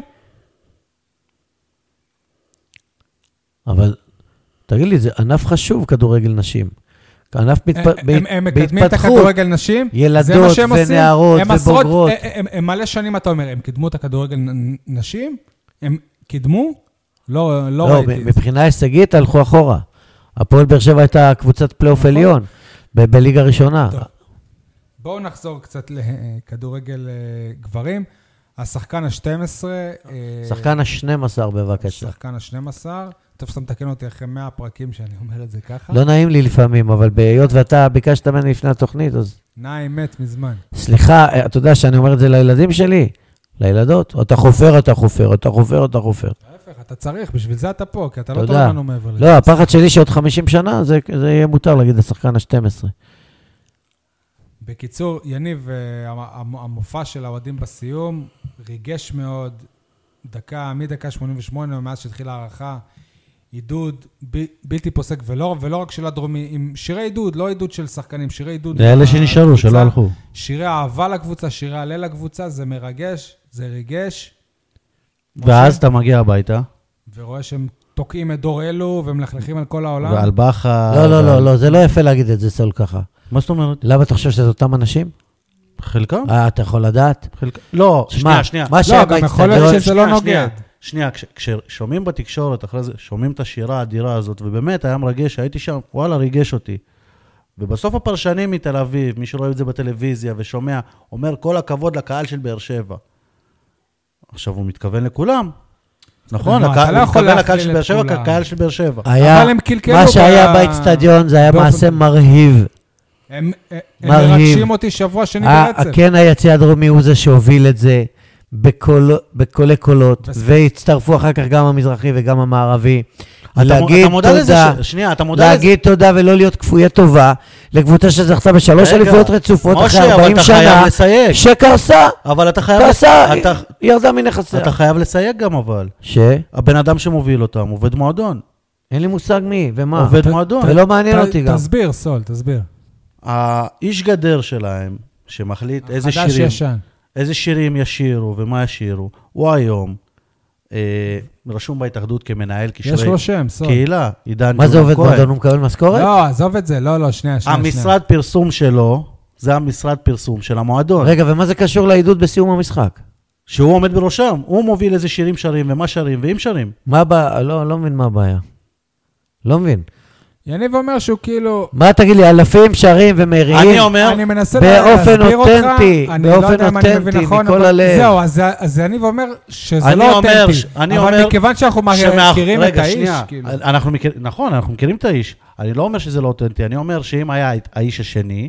C: אבל תגיד לי, זה ענף חשוב, כדורגל נשים. ענף
A: הם,
C: מתפ-
A: אה, הם, הם מקדמים את
C: בהתפתחות.
A: הכדורגל נשים, זה מה
C: ילדות
A: שהם עושים.
C: ונערות
A: הם עשרות-
C: ובוגרות.
A: הם- הם- הם מלא שנים, אתה אומר, הם קידמו את הכדורגל נ- נשים, הם קידמו, לא, לא
C: לא,
A: ראיתי. את זה.
C: מבחינה הישגית הלכו אחורה. הפועל באר שבע הייתה קבוצת פלייאוף
A: נכון.
C: עליון ב- בליגה ראשונה.
A: טוב. בואו נחזור קצת לכדורגל אה, גברים. השחקן ה-12, אה,
C: שחקן ה-12 בבקשה.
A: השחקן ה-12, טוב שאתה מתקן אותי אחרי 100 פרקים שאני אומר את זה ככה.
C: לא נעים לי לפעמים, אבל בהיות ואתה ביקשת ממני לפני התוכנית, אז
A: נעים מת מזמן.
C: סליחה, אה, אתה יודע שאני אומר את זה לילדים שלי, לילדות. אתה חופר, אתה חופר, אתה חופר, אתה חופר.
A: ההפך, אתה צריך, בשביל זה אתה פה, כי אתה לא
C: תודה.
A: תורם לנו מעבר לזה.
C: לא, הפחד שלי שעוד 50 שנה זה זה יהיה מותר להגיד לשחקן ה-12.
A: בקיצור, יניב, אה, המ- המ- המופע של האוהדים בסיום ריגש מאוד. דקה, מדקה 88, מאז שהתחילה ההערכה, עידוד ב- בלתי פוסק, ולא, ולא רק של הדרומי, עם שירי עידוד, לא עידוד של שחקנים, שירי עידוד.
B: זה אלה
A: לקבוצה,
B: שנשארו, שלא הלכו.
A: שירי אהבה לקבוצה, שירי הלל לקבוצה, זה מרגש, זה ריגש.
B: ואז
A: משה,
B: אתה מגיע הביתה,
A: ורואה שהם תוקעים את דור אלו ומלכלכים על כל העולם.
B: ועל בכר...
C: לא, לא,
B: ועל-
C: לא, לא, זה לא יפה להגיד את זה סול ככה.
B: מה זאת אומרת?
C: למה אתה חושב שזה אותם אנשים?
B: חלקם?
C: אה, אתה יכול לדעת?
B: חלקם. לא,
C: שמע,
B: שנייה, שנייה.
C: מה
A: לא,
C: שהיה
A: גם יכול להיות
C: באצטדיון...
A: שזה לא
B: שנייה, שנייה,
A: נוגד.
B: שנייה, כש- כששומעים בתקשורת, אחרי זה, שומעים את השירה האדירה הזאת, ובאמת היה מרגש, הייתי שם, וואלה, ריגש אותי. ובסוף הפרשנים מתל אביב, מי שרואה את זה בטלוויזיה ושומע, אומר כל הכבוד לקהל של באר שבע. עכשיו, הוא מתכוון לכולם. נכון,
A: לא,
B: הקהל-
A: אתה לא
B: הוא
A: יכול
B: מתכוון לקהל
A: להכליל
B: של
A: את
B: באר שבע
A: כולם.
B: כקהל של באר שבע.
C: היה-
A: אבל הם קלקלו
C: מה
A: ב-
C: שהיה באצטדיון זה היה
A: באופן-
C: מעשה מרהיב.
A: הם, הם
C: מרהיב.
A: מרגשים אותי שבוע שני
B: אה,
C: ה-
A: ברצף.
C: כן, היציע הדרומי הוא זה שהוביל את זה בקול- בקולי קולות,
A: בסדר.
C: והצטרפו אחר כך גם המזרחי וגם המערבי.
B: אתה מ-
C: להגיד
B: אתה מודע לזה
C: תודה,
B: ש- שנייה, אתה מודע לזה.
C: להגיד תודה ולא להיות כפויי טובה לקבוצה שזכתה בשלוש
B: רגע,
C: לא אליפויות רצופות
B: משה,
C: אחרי
B: אבל
C: 40
B: אתה
C: שנה,
B: חייב לסייג.
C: שקרסה,
B: אבל אתה חייב...
C: קרסה,
B: אתה-
C: ירדה מנכסיה.
B: אתה חייב לסייג גם, אבל.
C: ש?
B: הבן אדם שמוביל אותם, עובד מועדון.
C: אין לי מושג מי ומה.
B: עובד
C: ו-
B: מועדון.
A: לא-
C: ולא מעניין
A: ת-
C: אותי גם.
A: תסביר, סול, תסביר.
B: האיש גדר שלהם, שמחליט איזה
A: אה, חדש
B: שירים,
A: ישן.
B: איזה שירים ישירו ומה ישירו, הוא היום אה, רשום בהתאחדות כמנהל קשרי
A: יש לו שם, סול.
B: קהילה, עידן
C: מה זה
B: ג'ולון
C: עובד
B: כהן.
C: מועדון? הוא מקבל משכורת?
A: לא, עזוב את זה, לא, לא, שנייה, שנייה. שנייה.
B: המשרד פרסום שלו, זה המשרד פרסום של המועדון,
C: רגע, ומה זה קשור לעידוד בסיום המשחק?
B: שהוא עומד בראשם, הוא מוביל איזה שירים שרים ומה שרים ואם שרים.
C: מה הבעיה? לא, לא מבין מה הבעיה. לא מבין.
A: יניב אומר שהוא כאילו...
C: מה תגיד לי, אלפים שרים ומריעים?
B: אני אומר,
A: אני מנסה לה-
C: באופן
A: להסביר אותך,
C: אותנטי,
A: אני
C: באופן
A: לא יודע אם אני מבין
C: אותנטי,
A: נכון,
C: מכל
A: אבל-
C: הלב.
A: זהו, אז- אז יניב אומר שזה
B: אני
A: לא
B: אומר
A: אותנטי.
B: ש- אני
A: אבל
B: אומר
A: מכיוון שאנחנו
B: שמאח-
A: מכירים את
B: רגע,
A: האיש,
B: שנייה,
A: כאילו.
B: אנחנו מכיר, נכון, אנחנו מכירים את האיש. אני לא אומר שזה לא אותנטי, אני אומר שאם היה את- האיש השני,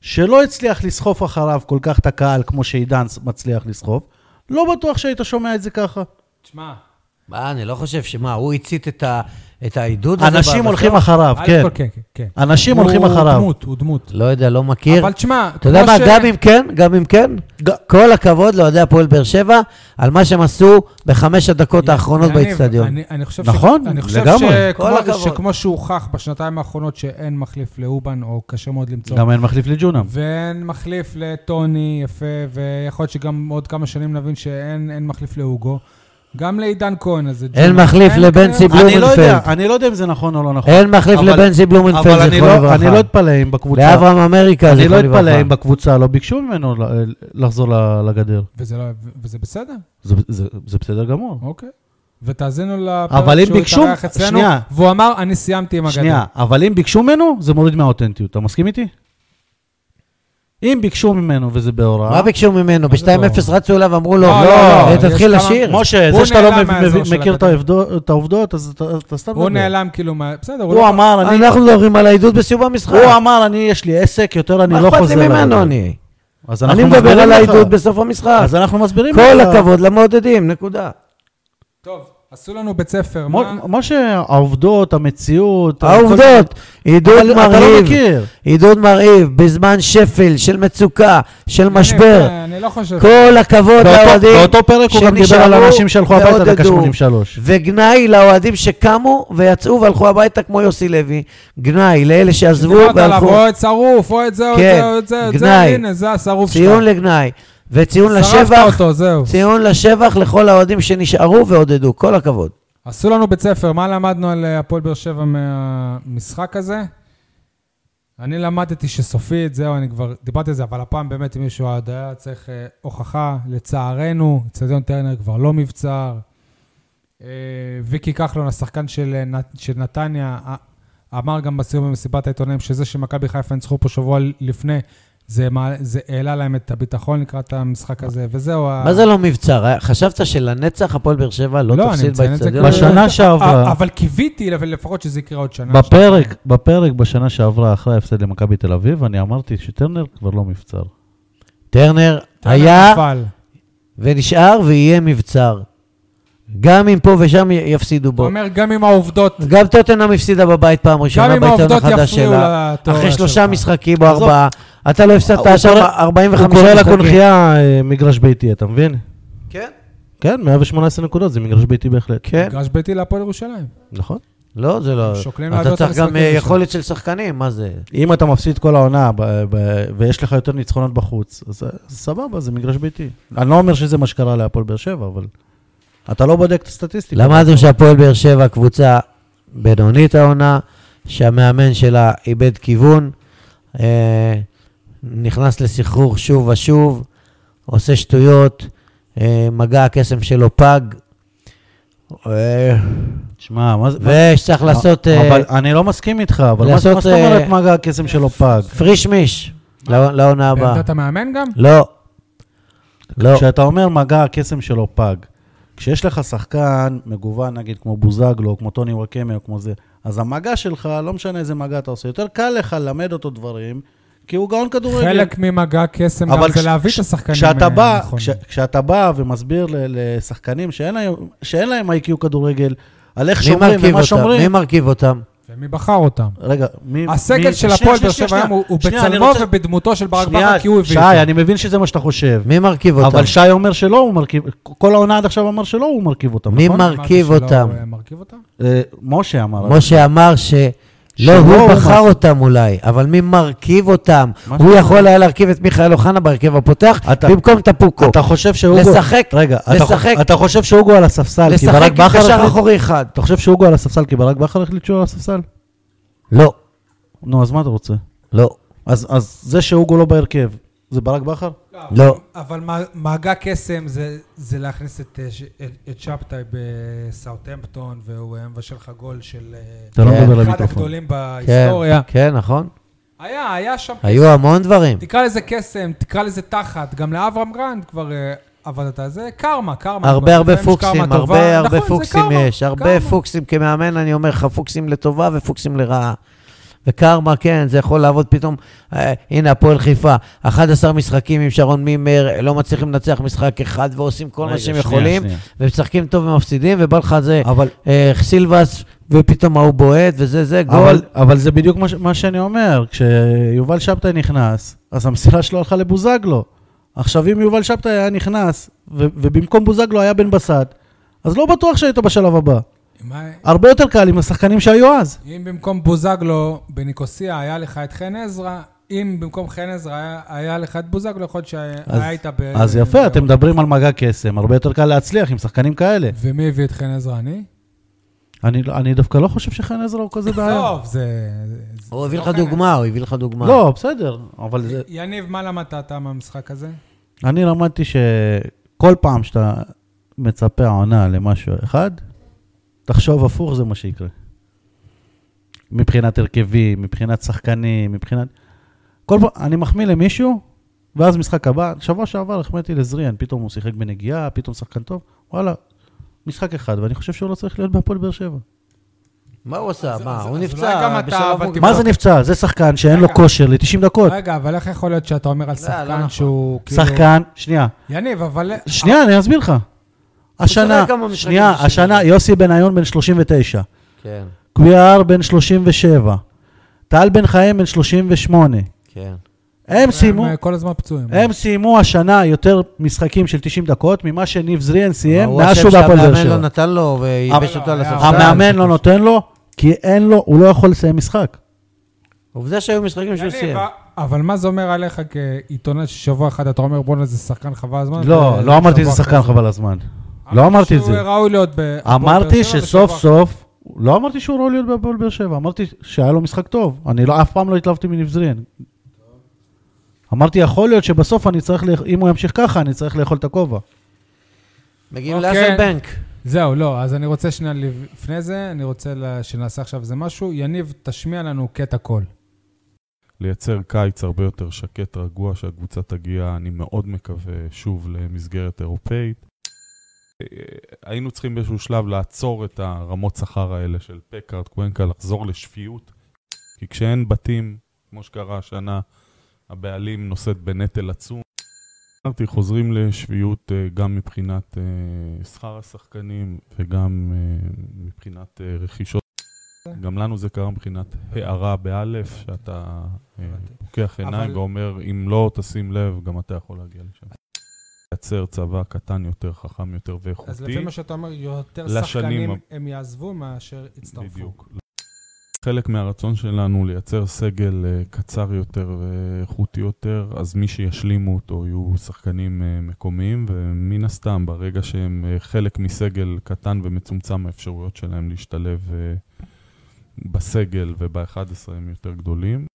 B: שלא הצליח לסחוף אחריו כל כך את הקהל כמו שעידן ס- מצליח לסחוף, לא בטוח שהיית שומע את זה ככה.
A: תשמע,
C: מה, אני לא חושב שמה, הוא הצית את ה- את העידוד הזה?
B: אנשים
C: בסוף?
B: הולכים אחריו,
A: אל
B: כן.
A: תקול- כן, כן. כן.
B: אנשים הולכים
A: הוא
B: אחריו.
A: דמות, הוא דמות.
C: לא יודע, לא מכיר.
A: אבל תשמע,
C: אתה יודע
A: כמו
C: מה,
A: ש-
C: גם אם כן, גם אם כן, כל הכבוד לאוהדי הפועל באר שבע על מה שהם עשו בחמש הדקות האחרונות
A: יניב,
C: באיצטדיון.
A: אני- אני חושב
B: נכון,
A: ש... אני חושב
B: לגמרי.
A: שכמו-
C: כל הכבוד.
A: שכמו שהוכח בשנתיים האחרונות שאין מחליף לאובן, או קשה מאוד למצוא,
B: גם אין מחליף
C: אה.
B: לג'ונם.
A: ואין מחליף לטוני, יפה, ויכול להיות שגם עוד כמה שנים נבין שאין אין מחליף לאוגו. גם לעידן כהן הזה.
C: אין
A: ג'וני,
C: מחליף לבן
A: כנראה-
C: סיבלום.
B: אני לא יודע,
C: בלומנפלד.
B: אני לא יודע אם זה נכון או לא נכון.
C: אין מחליף
B: אבל-
C: לבנזי בלומנפלד,
B: אבל אני
C: זכרו
B: לא-
C: לברכה.
B: אני לא אתפלא אם בקבוצה...
C: לאברהם אמריקה,
B: אני
C: זכרו
B: לא
C: לברכה.
B: אתפלא אם בקבוצה לא ביקשו ממנו ל- לחזור ל- לגדר.
A: וזה לא- וזה בסדר,
B: זה- זה זה בסדר גמור.
A: אוקיי. ותאזינו
B: אבל אם
A: לפרק שהוא
B: ביקשו-
A: התארח אצלנו,
B: שנייה.
A: והוא אמר, אני סיימתי עם הגדר.
B: שנייה, אבל אם ביקשו ממנו, זה מוריד מהאותנטיות. אתה מסכים איתי? אם ביקשו ממנו וזה בהוראה...
C: מה ביקשו
B: לא-
C: ממנו? ב-2-0 רצו אליו, ואמרו לו,
A: לא, לא,
C: "אה,
A: לא,
C: תתחיל
A: יש כמה-
C: לשיר.
B: משה,
A: הוא
B: זה שאתה לא
A: נעלם
B: מב-
A: מהאזור
B: מב-
A: של
B: מכיר את
A: הגדר.
B: העובדות- את העובדות, אז אתה- אתה סתם...
C: לא
B: לא
A: הוא
B: מדבר.
A: נעלם כאילו מה... בסדר, הוא
B: הוא
A: לא...
B: אמר, אני...
C: אנחנו מדברים על העידוד בסיום המשחק.
B: הוא אמר, אני, יש לי עסק, יותר אני
C: מה
B: לא
C: אכפת
B: חוזר.
C: לי ממנו
B: לגדר.
C: אני?
B: אז אנחנו
C: אני מדבר
B: מסבירים
C: על
B: לך.
C: העידוד בסוף המשחק.
B: אז אנחנו מסבירים
C: כל
B: לך.
C: הכבוד למעודדים, נקודה.
A: לא. טוב, עשו לנו בית ספר,
B: מו-
A: מה?
B: משה, העובדות, המציאות... אה,
C: העובדות,
B: כל-
C: עידוד
B: אבל אתה לא
C: מרהיב,
B: מכיר.
C: עידוד מרהיב, בזמן שפל, של מצוקה, של משבר.
A: אני- אני לא חושב...
C: כל הכבוד
B: באותו-
C: לאוהדים
B: באותו פרק הוא גם דיבר
C: שנשארו
B: על אנשים שהלכו הביתה דקה
C: ועודדו.
B: 83.
C: וגנאי לאוהדים שקמו ויצאו והלכו הביתה כמו יוסי לוי. גנאי לאלה שעזבו
A: דיברת עליו,
C: והלכו.
A: או את שרוף, או את זה, או את
C: כן,
A: זה, או את זה, או את זה,
C: גנאי.
A: הנה, זה השרוף שלך.
C: ציון לגנאי. וציון לשבח,
A: שרפת אותו, זהו.
C: ציון לשבח לכל האוהדים שנשארו ועודדו. כל הכבוד.
A: עשו לנו בית ספר, מה למדנו על אה, הפועל באר שבע מהמשחק הזה? אני למדתי שסופית, זהו, אני כבר דיברתי על זה, אבל הפעם באמת אם מישהו עד היה צריך אה, הוכחה, לצערנו, אצטדיון טרנר כבר לא מבצר. אה, ויקי כחלון, השחקן של, אה, נת- של נתניה, אה, אמר גם בסיום במסיבת העיתונאים שזה שמכבי חיפה ניצחו פה שבוע לפני, זה, מה- זה העלה להם את הביטחון לקראת המשחק הזה, וזהו. ה-
C: מה זה לא מבצר? אה? חשבת שלנצח הפועל באר שבע לא
A: לא, אני
C: תפסיד
A: מציין את זה
C: באצטדיון?
A: כבר-
B: בשנה
A: אה,
B: שעברה.
A: אבל קיוויתי לפחות שזה יקרה עוד שנה.
B: בפרק, בפרק בשנה שעברה, אחרי ההפסד למכבי תל אביב, אני אמרתי שטרנר כבר לא מבצר.
C: טרנר
A: שנתיים.
C: היה
A: נפל.
C: ונשאר ויהיה מבצר. גם אם פה ושם י- יפסידו
A: אתה
C: בו.
A: אומר, גם עם העובדות,
C: גם טוטנאם הפסידה בבית פעם
A: גם
C: ראשונה
A: עם
C: בעיתון
A: העובדות
C: החדש
A: יפריעו
C: שלה.
A: לתיאוריה
C: אחרי שלושה
A: שלך.
C: משחקים או
B: עזוב.
C: ארבעה, אתה לא
B: הוא
C: הפסדת שם
B: קורא-
C: 45
B: הוא
C: משחקים.
B: קורא לקונכייה אה, מגרש ביתי, אתה מבין?
C: כן.
B: כן, 118 נקודות, זה מגרש ביתי בהחלט.
C: כן.
A: מגרש ביתי להפועל ירושלים.
B: נכון.
C: לא, זה לא...
A: שוקלים
C: אתה
A: לעלות
C: צריך גם
A: למשחקים
C: אה,
A: שם.
C: יכולת של שחקנים, מה זה?
B: אם אתה מפסיד כל העונה ב- ב- ויש לך יותר ניצחונות בחוץ, אז אה, סבבה, זה מגרש ביתי. אני לא אומר שזה מה שקרה להפועל באר שבע, אבל אתה לא בודק את הסטטיסטיקה.
C: למדנו שהפועל באר שבע קבוצה בינונית העונה, שהמאמן שלה איבד כיוון, אה, נכנס לסחרור שוב ושוב, עושה שטויות, אה, מגע הקסם שלו פג, אה,
B: שמע, מה זה... מה-
C: ושצריך לעשות אה,
B: אבל אני לא מסכים איתך, אבל מה- מה
C: לעשות,
B: זאת אומרת
C: אה,
B: מגע הקסם שלו פג?
C: פריש מיש לא- לעונה הבאה.
A: בעמדת המאמן גם?
C: לא. לא.
B: כשאתה אומר מגע הקסם שלו פג, כשיש לך שחקן מגוון, נגיד כמו בוזגלו, כמו טוני וואקמה, או כמו זה, אז המגע שלך, לא משנה איזה מגע אתה עושה, יותר קל לך ללמד אותו דברים, כי הוא גאון כדורגל.
A: חלק ממגע קסם גם
B: לא אבל
A: זה
B: כש-
A: להביא
B: כש-
A: את השחקנים
B: כשאתה
A: אה,
B: בא,
A: הנכונים.
B: כש, כשאתה בא ומסביר ל, לשחקנים שאין להם, שאין להם איי-קיו כדורגל, על איך
C: מי
B: שומרים
C: מרכיב
B: ומה
C: אותם? מי
B: שומרים...
C: מרכיב אותם?
A: ומי בחר אותם?
B: רגע, מי...
A: הסגל
B: מי-
A: של
B: שנייה,
A: הפועל
B: שנייה,
A: באר
B: שנייה,
A: שבע היום הוא הוא
B: שנייה, אני
A: בצלמו
B: רוצה-
A: ובדמותו של ברק
B: שנייה,
A: בכר כי הוא הביא
B: שי,
A: אותו.
B: אני מבין שזה מה שאתה חושב.
C: מי מרכיב אותם?
B: אבל שי אומר שלא הוא מרכיב, כל העונה עד עכשיו אמר שלא הוא מרכיב אותם,
C: מי
B: נכון?
A: אמרתי
C: מרכיב
A: שלא,
C: אותם?
A: אה, מרכיב אותם?
B: אה, משה אמר.
C: משה אמר שלא,
B: שלא
C: הוא
B: הוא
C: בחר
B: מרכיב.
C: אותם אולי, אבל מי מרכיב אותם?
B: מה
C: הוא
B: שאתה
C: יכול היה להרכיב את מיכאל אוחנה בהרכב הפותח
B: אתה-
C: במקום טפוקו.
B: אתה חושב שהוגו...
C: לשחק,
B: רגע, אתה
C: לשחק.
B: חושב- אתה חושב שהוגו על הספסל, כי
C: לשחק
B: ברק
C: עם
B: בכר
C: קשר
B: החליט...
C: אחורי אחד.
B: אתה חושב שהוגו על הספסל כי ברק בכר החליט שהוא על הספסל?
C: לא,
B: נו, אז מה אתה רוצה?
C: לא,
B: אז אז זה שהוגו לא בהרכב, זה ברק בכר?
C: לא.
A: אבל מ- מגע קסם זה- זה להכניס את, אה, ש- את- את שבתאי בסאוטהמפטון, והוא אה, מבשל לך גול של... אה,
B: אתה לא
C: כן.
B: מדבר
A: אחד
B: למיקרופון.
A: הגדולים
C: כן,
A: בהיסטוריה.
C: כן, נכון.
A: היה, היה שם
C: היו המון דברים.
A: תקרא לזה קסם, תקרא לזה תחת, גם לאברהם גרנד כבר אה, עבדת על זה, קרמה, קרמה.
C: הרבה
A: כבר,
C: הרבה
A: לפעמים יש
C: פוקסים,
A: קרמה טובה.
C: הרבה הרבה
A: נכון, זה
C: פוקסים
A: קרמה,
C: יש. הרבה
A: קרמה.
C: פוקסים כמאמן, אני אומר לך, פוקסים לטובה ופוקסים לרעה. וקרמה, כן, זה יכול לעבוד פתאום. אה, הנה, הפועל חיפה, 11 משחקים עם שרון מימר, לא מצליחים לנצח משחק אחד ועושים כל מה
B: רגע,
C: שהם
B: שנייה,
C: יכולים,
B: שנייה.
C: ומשחקים טוב ומפסידים, ובא לך זה
B: אבל
C: אה, סילבס ופתאום ההוא בועט, וזה זה, גול.
B: אבל, אבל זה בדיוק מה, ש- מה שאני אומר, כשיובל שבתאי נכנס, אז המסירה שלו הלכה לבוזגלו. עכשיו, אם יובל שבתאי היה נכנס, ו, ובמקום בוזגלו היה בן בסט, אז לא בטוח שהיית בשלב הבא.
A: מה-
B: הרבה יותר קל עם השחקנים שהיו אז.
A: אם במקום בוזגלו בניקוסיה היה לך את חן עזרא, אם במקום חן עזרא היה- היה לך את בוזגלו, יכול להיות
B: אז,
A: שהיה איתה ב...
B: אז יפה, אתם מדברים על מגע קסם, הרבה יותר קל להצליח עם שחקנים כאלה.
A: ומי הביא את חן עזרא? אני?
B: אני, לא- אני דווקא לא חושב שחן עזרא הוא כזה בעיה.
A: טוב, זה... זה-
C: הוא
A: זה
C: הביא
A: לא
C: לך
A: חן-
C: דוגמה, הוא הביא לך דוגמה.
B: לא, בסדר, אבל זה...
A: יניב, מה למדת אתה מהמשחק הזה?
B: אני למדתי שכל פעם שאתה מצפה עונה למשהו אחד, תחשוב הפוך, זה מה שיקרה. מבחינת הרכבים, מבחינת שחקנים, מבחינת... כל פעם, אני מחמיא למישהו, ואז משחק הבא, שבוע שעבר החמאתי לזריאן, פתאום הוא שיחק בנגיעה, פתאום שחקן טוב, וואלה, משחק אחד, ואני חושב שהוא לא צריך להיות בהפועל באר שבע.
C: מה הוא עשה? מה,
A: אז-
C: הוא
A: אז
C: נפצע
A: אולי גם אתה,
C: בשלב
A: אבל
C: מוקדם.
B: מה זה נפצע? זה שחקן שאין לו
A: כאילו לא רגע.
B: כושר ל-90 דקות.
A: רגע, אבל איך יכול להיות שאתה אומר על
C: לא, לא
A: שחקן
C: נכון.
A: שהוא כאילו...
B: שחקן, שנייה,
A: יניב, אבל...
B: שנייה, אני אסביר לך. השנה,
C: שיחק כמה משחקים
B: שנייה,
C: בשביל
B: השנה,
C: זה.
B: יוסי בניון בן 39,
C: כן,
B: קוויאר בן 37, טל בן חיים בן 38.
C: כן.
B: הם סיימו,
A: אה, כל הזמן פצועים.
B: הם סיימו השנה יותר משחקים של 90 דקות ממה שניב זריאן סיים
C: הוא
B: מאז
C: השם
B: שהוא בהפועל באר
C: שהמאמן
B: שבע.
C: לא נתן לו וייבש
A: אבל-
C: אותו על
A: היה-
C: הספסל.
B: המאמן לא נותן לו, כי אין לו, הוא לא יכול לסיים משחק.
C: עובדה שהיו משחקים שהוא
A: יניב,
C: סיים.
A: אה, אבל מה זה אומר עליך כעיתונאי ששבוע אחד אתה אומר בואנה זה שחקן חבל הזמן?
B: לא,
A: ו-
B: לא אמרתי
A: שבוע
B: זה שחקן
A: אחרי
B: חבל הזמן. לא אמרתי את
A: שהוא
B: זה.
A: ראוי להיות ב...
B: אמרתי
A: באר שבע בשבוע
B: שסוף סוף, לא אמרתי שהוא ראוי להיות בהפועל באר שבע, אמרתי שהיה לו משחק טוב. אני לא, אף פעם לא התלהבתי מניב זרין. אמרתי, יכול להיות שבסוף אני צריך, לאכ- אם הוא ימשיך ככה, אני צריך לאכול את הכובע.
C: מגיעים
A: אוקיי.
C: לאסלבנק.
A: זהו, לא, אז אני רוצה שנייה, לב- לפני זה, אני רוצה לה- שנעשה עכשיו איזה משהו. יניב, תשמיע לנו קטע קול.
D: לייצר קיץ הרבה יותר שקט, רגוע, שהקבוצה תגיע, אני מאוד מקווה, שוב למסגרת אירופאית. אה, היינו צריכים באיזשהו שלב לעצור את הרמות שכר האלה של פקארט, קוונקה, לחזור לשפיות. כי כשאין בתים, כמו שקרה השנה, הבעלים נושאת בנטל עצום. אמרתי, חוזרים לשפיות אה, גם מבחינת אה, שכר השחקנים וגם אה, מבחינת אה, רכישות. גם לנו זה קרה מבחינת הערה באלף, שאתה אה, פוקח עיניים
A: אבל-
D: ואומר, אם לא תשים לב, גם אתה יכול להגיע לשם. לייצר צבא קטן יותר, חכם יותר ואיכותי.
A: אז לפי מה שאתה אומר, יותר
D: לשנים
A: שחקנים
D: ה-
A: הם יעזבו מאשר יצטרפו.
D: בדיוק. חלק מהרצון שלנו לייצר סגל אה, קצר יותר ואיכותי יותר, אז מי שישלימו אותו יהיו שחקנים אה, מקומיים, ומן הסתם, ברגע שהם אה, חלק מסגל קטן ומצומצם, האפשרויות שלהם להשתלב אה, בסגל וב-11 הם יותר גדולים.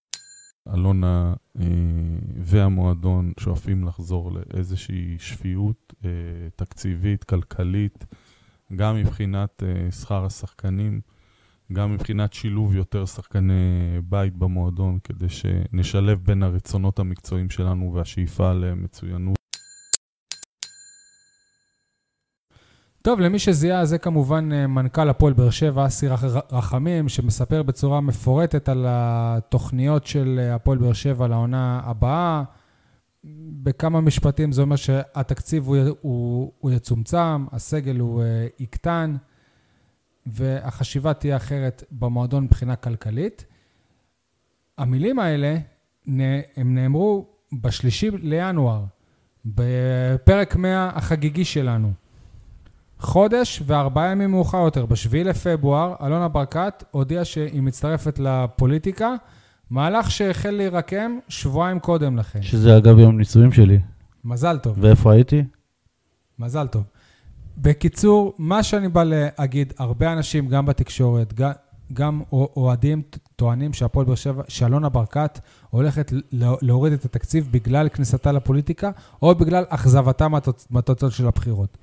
D: אלונה אה, והמועדון שואפים לחזור לאיזושהי שפיות אה, תקציבית, כלכלית, גם מבחינת אה, שכר השחקנים, גם מבחינת שילוב יותר שחקני בית במועדון, כדי שנשלב בין הרצונות המקצועיים שלנו והשאיפה למצוינות.
A: טוב, למי שזיהה, זה כמובן אה, מנכ"ל הפועל באר שבע, אסי רח- רחמים, שמספר בצורה מפורטת על התוכניות של אה, הפועל באר שבע לעונה הבאה. בכמה משפטים זה אומר שהתקציב הוא, י- הוא, הוא יצומצם, הסגל הוא אה, יקטן, והחשיבה תהיה אחרת במועדון מבחינה כלכלית. המילים האלה, נ- הם נאמרו בשלישי לינואר, בפרק 100 החגיגי שלנו. חודש וארבעה ימים מאוחר יותר, בשביעי לפברואר, אלונה ברקת הודיעה שהיא מצטרפת לפוליטיקה, מהלך שהחל להירקם שבועיים קודם לכן.
B: שזה אגב יום נישואים שלי.
A: מזל טוב,
B: ואיפה הייתי?
A: מזל טוב. בקיצור, מה שאני בא להגיד, הרבה אנשים, גם בתקשורת, גם, גם א- אוהדים ט- טוענים שהפועל באר שבע, שאלונה ברקת הולכת לה- להוריד את התקציב בגלל כניסתה לפוליטיקה, או בגלל אכזבתה מהתוצ- מהתוצאות של הבחירות.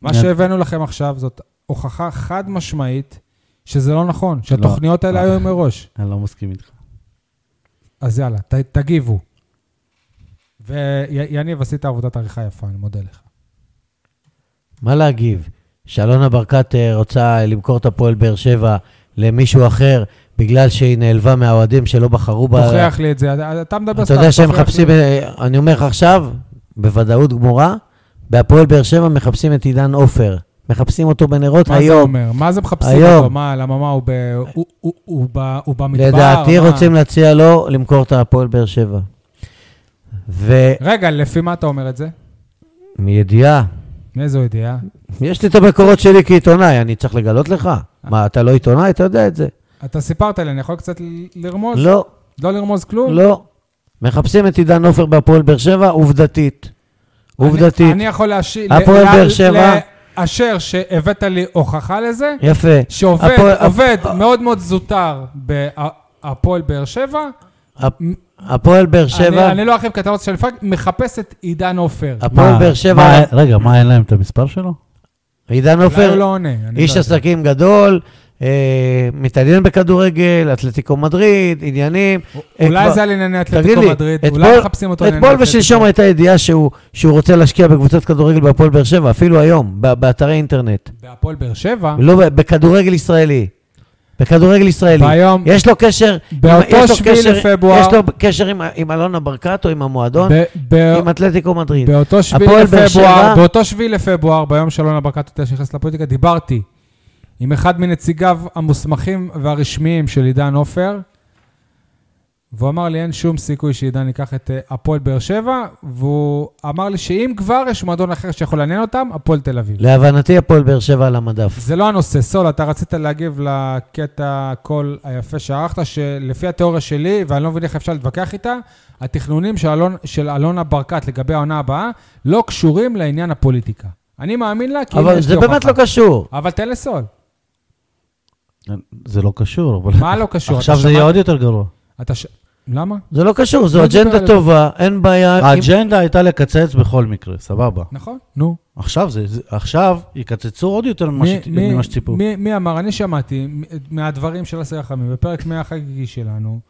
A: מה
B: כן.
A: שהבאנו לכם עכשיו זאת הוכחה חד משמעית שזה לא נכון, שהתוכניות האלה
B: אה.
A: היו מראש.
B: אני לא מסכים איתך.
A: אז יאללה, ת, תגיבו. ויניב, עשית עבודת עריכה יפה, אני מודה לך.
C: מה להגיב? שאלונה ברקת אה, רוצה למכור את הפועל באר שבע למישהו אחר בגלל שהיא נעלבה מהאוהדים שלא בחרו בה.
A: תוכיח לי את זה, אתה- אתה כאילו- מדבר
C: אתה יודע שהם מחפשים, אה, אני אומר לך עכשיו, בוודאות גמורה, בהפועל באר שבע מחפשים את עידן עופר. מחפשים אותו בנרות
A: מה זה
C: היום.
A: אומר? מה זה מחפשים
C: היום.
A: אותו? מה, למה מה, הוא ב- הוא- הוא- הוא ב- הוא במדבר?
C: לדעתי
A: מה?
C: רוצים להציע לו למכור את הפועל באר שבע.
A: רגע, לפי מה אתה אומר את זה?
C: ומידיעה,
A: מאיזו ידיעה?
C: יש לי את המקורות שלי כעיתונאי, אני צריך לגלות לך? מה, אתה לא עיתונאי? אתה יודע את זה.
A: אתה סיפרת לי, אני יכול קצת ל- לרמוז?
C: לא,
A: לא לרמוז כלום?
C: לא. מחפשים את עידן עופר בהפועל באר שבע, עובדתית.
A: אני-
C: עובדתית.
A: אני יכול להשאיר...
C: הפועל באר שבע.
A: אשר שהבאת לי הוכחה לזה,
C: יפה.
A: שעובד
C: הפועל-
A: עובד
C: הפ-
A: מאוד מאוד זוטר בהפועל באר שבע,
C: הפועל באר שבע,
A: אני, אני לא ארחיב כתבות של פאק, מחפש את עידן עופר.
C: הפועל
B: מה-
C: באר שבע, לא.
B: מה- רגע, מה, אין להם את המספר שלו?
C: עידן
A: אולי הוא
C: עופר,
A: לא עונה. אני
C: איש
A: לא יודע.
C: עסקים גדול, אה, מתעניין בכדורגל, אתלטיקו מדריד, עניינים.
A: לא
C: אה,
A: אולי
C: כבר-
A: זה על ענייני
C: תגיד
A: אתלטיקו
C: לי,
A: מדריד, אולי לא מחפשים אותו
C: אתמול-
A: על ענייני
C: אתמול ושלשום
A: אתלטיקו.
C: הייתה ידיעה שהוא שהוא רוצה להשקיע בקבוצת כדורגל בהפועל באר שבע, אפילו היום, ב- באתרי אינטרנט.
A: בהפועל באר שבע,
C: לא, ב- בכדורגל ישראלי. בכדורגל ישראלי.
A: ביום-
C: יש לו קשר...
A: באותו
C: יש לו
A: שביעי
C: קשר-
A: לפברואר-
C: יש לו קשר עם ה- עם אלונה ברקת או עם המועדון,
A: ב- ב-
C: עם אתלטיקו מדריד.
A: באותו שביעי
C: הפועל באר
A: לפברואר,
C: שבע-
A: באותו שביעי לפברואר, ביום שאלונה ברקת יותר שנכנסת לפוליטיקה, דיברתי עם אחד מנציגיו המוסמכים והרשמיים של עידן עופר, והוא אמר לי, אין שום סיכוי שעידן ייקח את אה, הפועל באר שבע, והוא אמר לי שאם כבר יש מועדון אחר שיכול לעניין אותם, הפועל תל אביב.
C: להבנתי הפועל באר שבע על המדף.
A: זה לא הנושא. סול, אתה רצית להגיב לקטע הקול היפה שערכת, שלפי התיאוריה שלי, ואני לא מבין איך אפשר להתווכח איתה, התכנונים של, אלון, של אלונה ברקת לגבי העונה הבאה לא קשורים לעניין הפוליטיקה. אני מאמין לה, כי
C: אבל
A: יש
C: זה
A: לי
C: באמת
A: הוכחה.
C: לא קשור.
A: אבל תן לסול.
B: זה לא קשור, אבל...
A: מה לא קשור?
B: עכשיו
A: אתה
B: זה
A: שמעת?
B: יהיה עוד יותר גרוע.
A: אתה ש... למה?
C: זה לא קשור, זו
A: לא דיבר
C: אג'נדה
A: על-
C: טובה, אין בעיה. עם-
B: האג'נדה הייתה לקצץ בכל מקרה, סבבה.
A: נכון? נו.
B: עכשיו זה, זה- עכשיו יקצצו עוד יותר ממה
A: מי-
B: שת-
A: מי-
B: ממה שציפו.
A: מי- מי אמר? אני שמעתי מ- מהדברים של אסי רחמים בפרק 100 החגיגי שלנו,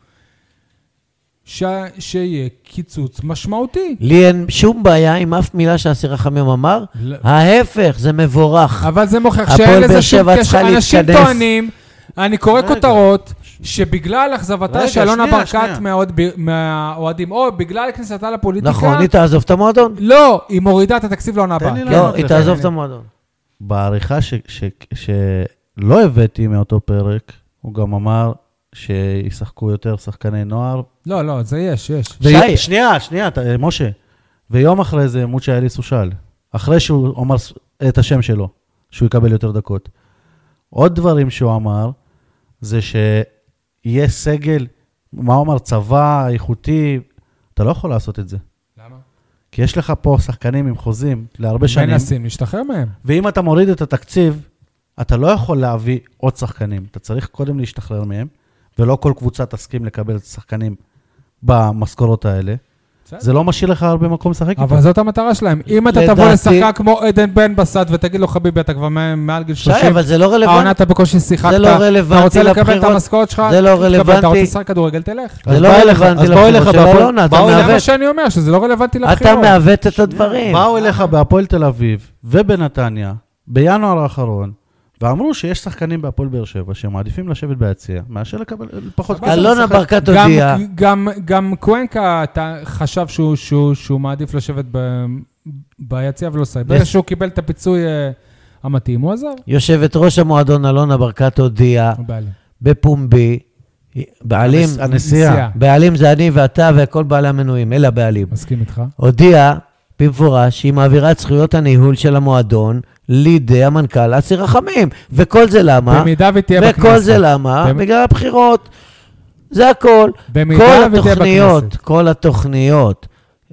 A: ש- שיהיה קיצוץ משמעותי.
C: לי אין שום בעיה עם אף מילה שאסיר רחמים אמר. ההפך, זה מבורך.
A: אבל זה מוכיח
C: הפועל
A: שאין
C: באר
A: לזה שום
C: שבע
A: קשר.
C: צריכה
A: אנשים
C: להתכנס.
A: טוענים, אני קורא
B: רגע.
A: כותרות, שבגלל אכזבתה
B: רגע,
A: של אלונה
B: שנייה,
A: ברקת
B: שנייה.
A: מהאוהד- מהאוהדים, או בגלל כניסתה לפוליטיקה,
C: נכון, היא תעזוב את המועדון?
A: לא, היא מורידה את התקציב לעונה
B: תן לי
A: הבאה.
B: לענות.
C: לא, היא
B: לך,
C: תעזוב
B: הנה.
C: את המועדון.
B: בעריכה ש- ש- שלא הבאתי מאותו פרק, הוא גם אמר שישחקו יותר שחקני נוער.
A: לא, לא, זה יש, יש.
C: שי.
B: ו- שנייה, שנייה, ת- אה, משה. ויום אחרי זה מוצ'ה אליס הוא שאל, אחרי שהוא אמר ס- את השם שלו, שהוא יקבל יותר דקות. עוד דברים שהוא אמר, זה שיהיה סגל, מה הוא אמר? צבא, איכותי, אתה לא יכול לעשות את זה.
A: למה?
B: כי יש לך פה שחקנים עם חוזים להרבה שנים.
A: מנסים להשתחרר מהם.
B: ואם אתה מוריד את התקציב, אתה לא יכול להביא עוד שחקנים. אתה צריך קודם להשתחרר מהם, ולא כל קבוצה תסכים לקבל את השחקנים במשכורות האלה.
A: בסדר.
B: זה לא משאיר לך הרבה מקום לשחק איתם.
A: אבל זאת המטרה שלהם. אם אתה תבוא
C: לדעתי-
A: לשחקן כמו עדן בן בסט ותגיד לו, חביבי, אתה כבר מ- מעל גיל
C: שי,
A: 30,
C: אבל זה לא
A: העונה
C: רלוונטי.
A: אתה בקושי שיחקת,
C: זה לא רלוונטי
A: אתה רוצה לקבל את
C: לבחירות.
A: המשכורת שלך,
C: זה לא
A: תקבל. אתה רוצה
C: רלוונטי.
A: לשחק כדורגל, תלך.
C: זה לא
B: בא אליך-
C: רלוונטי
B: אז באו
C: לבחירות
B: אליך
C: של
B: בהפועל-
C: אלונה, אתה
B: באו אליך-
A: זה מה
C: מעוות.
A: שאני אומר, שזה לא רלוונטי
C: אתה
A: לבחירות.
C: מעוות את הדברים.
B: באו אליך בהפועל תל אביב ובנתניה בינואר האחרון, ואמרו שיש שחקנים בהפועל באר שבע שמעדיפים לשבת ביציע, מאשר לקבל פחות
A: סבבה.
C: אלונה ברקת
A: גם,
C: הודיעה,
A: גם, גם קוונקה אתה חשב שהוא, שהוא, שהוא מעדיף לשבת ב, ביציע ולא סייב. ברגע
C: יש-
A: שהוא קיבל את הפיצוי אה, המתאים, הוא עזב.
C: אה. יושבת ראש המועדון אלונה ברקת הודיעה
A: הבעלים.
C: בפומבי, בעלים,
B: הנס- הנסיעה.
C: בעלים זה אני ואתה וכל בעלי המנויים, אלה הבעלים.
A: מסכים איתך.
C: הודיעה במפורש שהיא מעבירה את זכויות הניהול של המועדון לידי המנכ"ל אסי רחמים. וכל זה למה?
A: במידה ותהיה בכנסת.
C: וכל זה למה?
A: במ-
C: בגלל הבחירות. זה הכל.
A: במידה
C: כל
A: ותהיה
C: התוכניות,
A: בכנסת.
C: כל התוכניות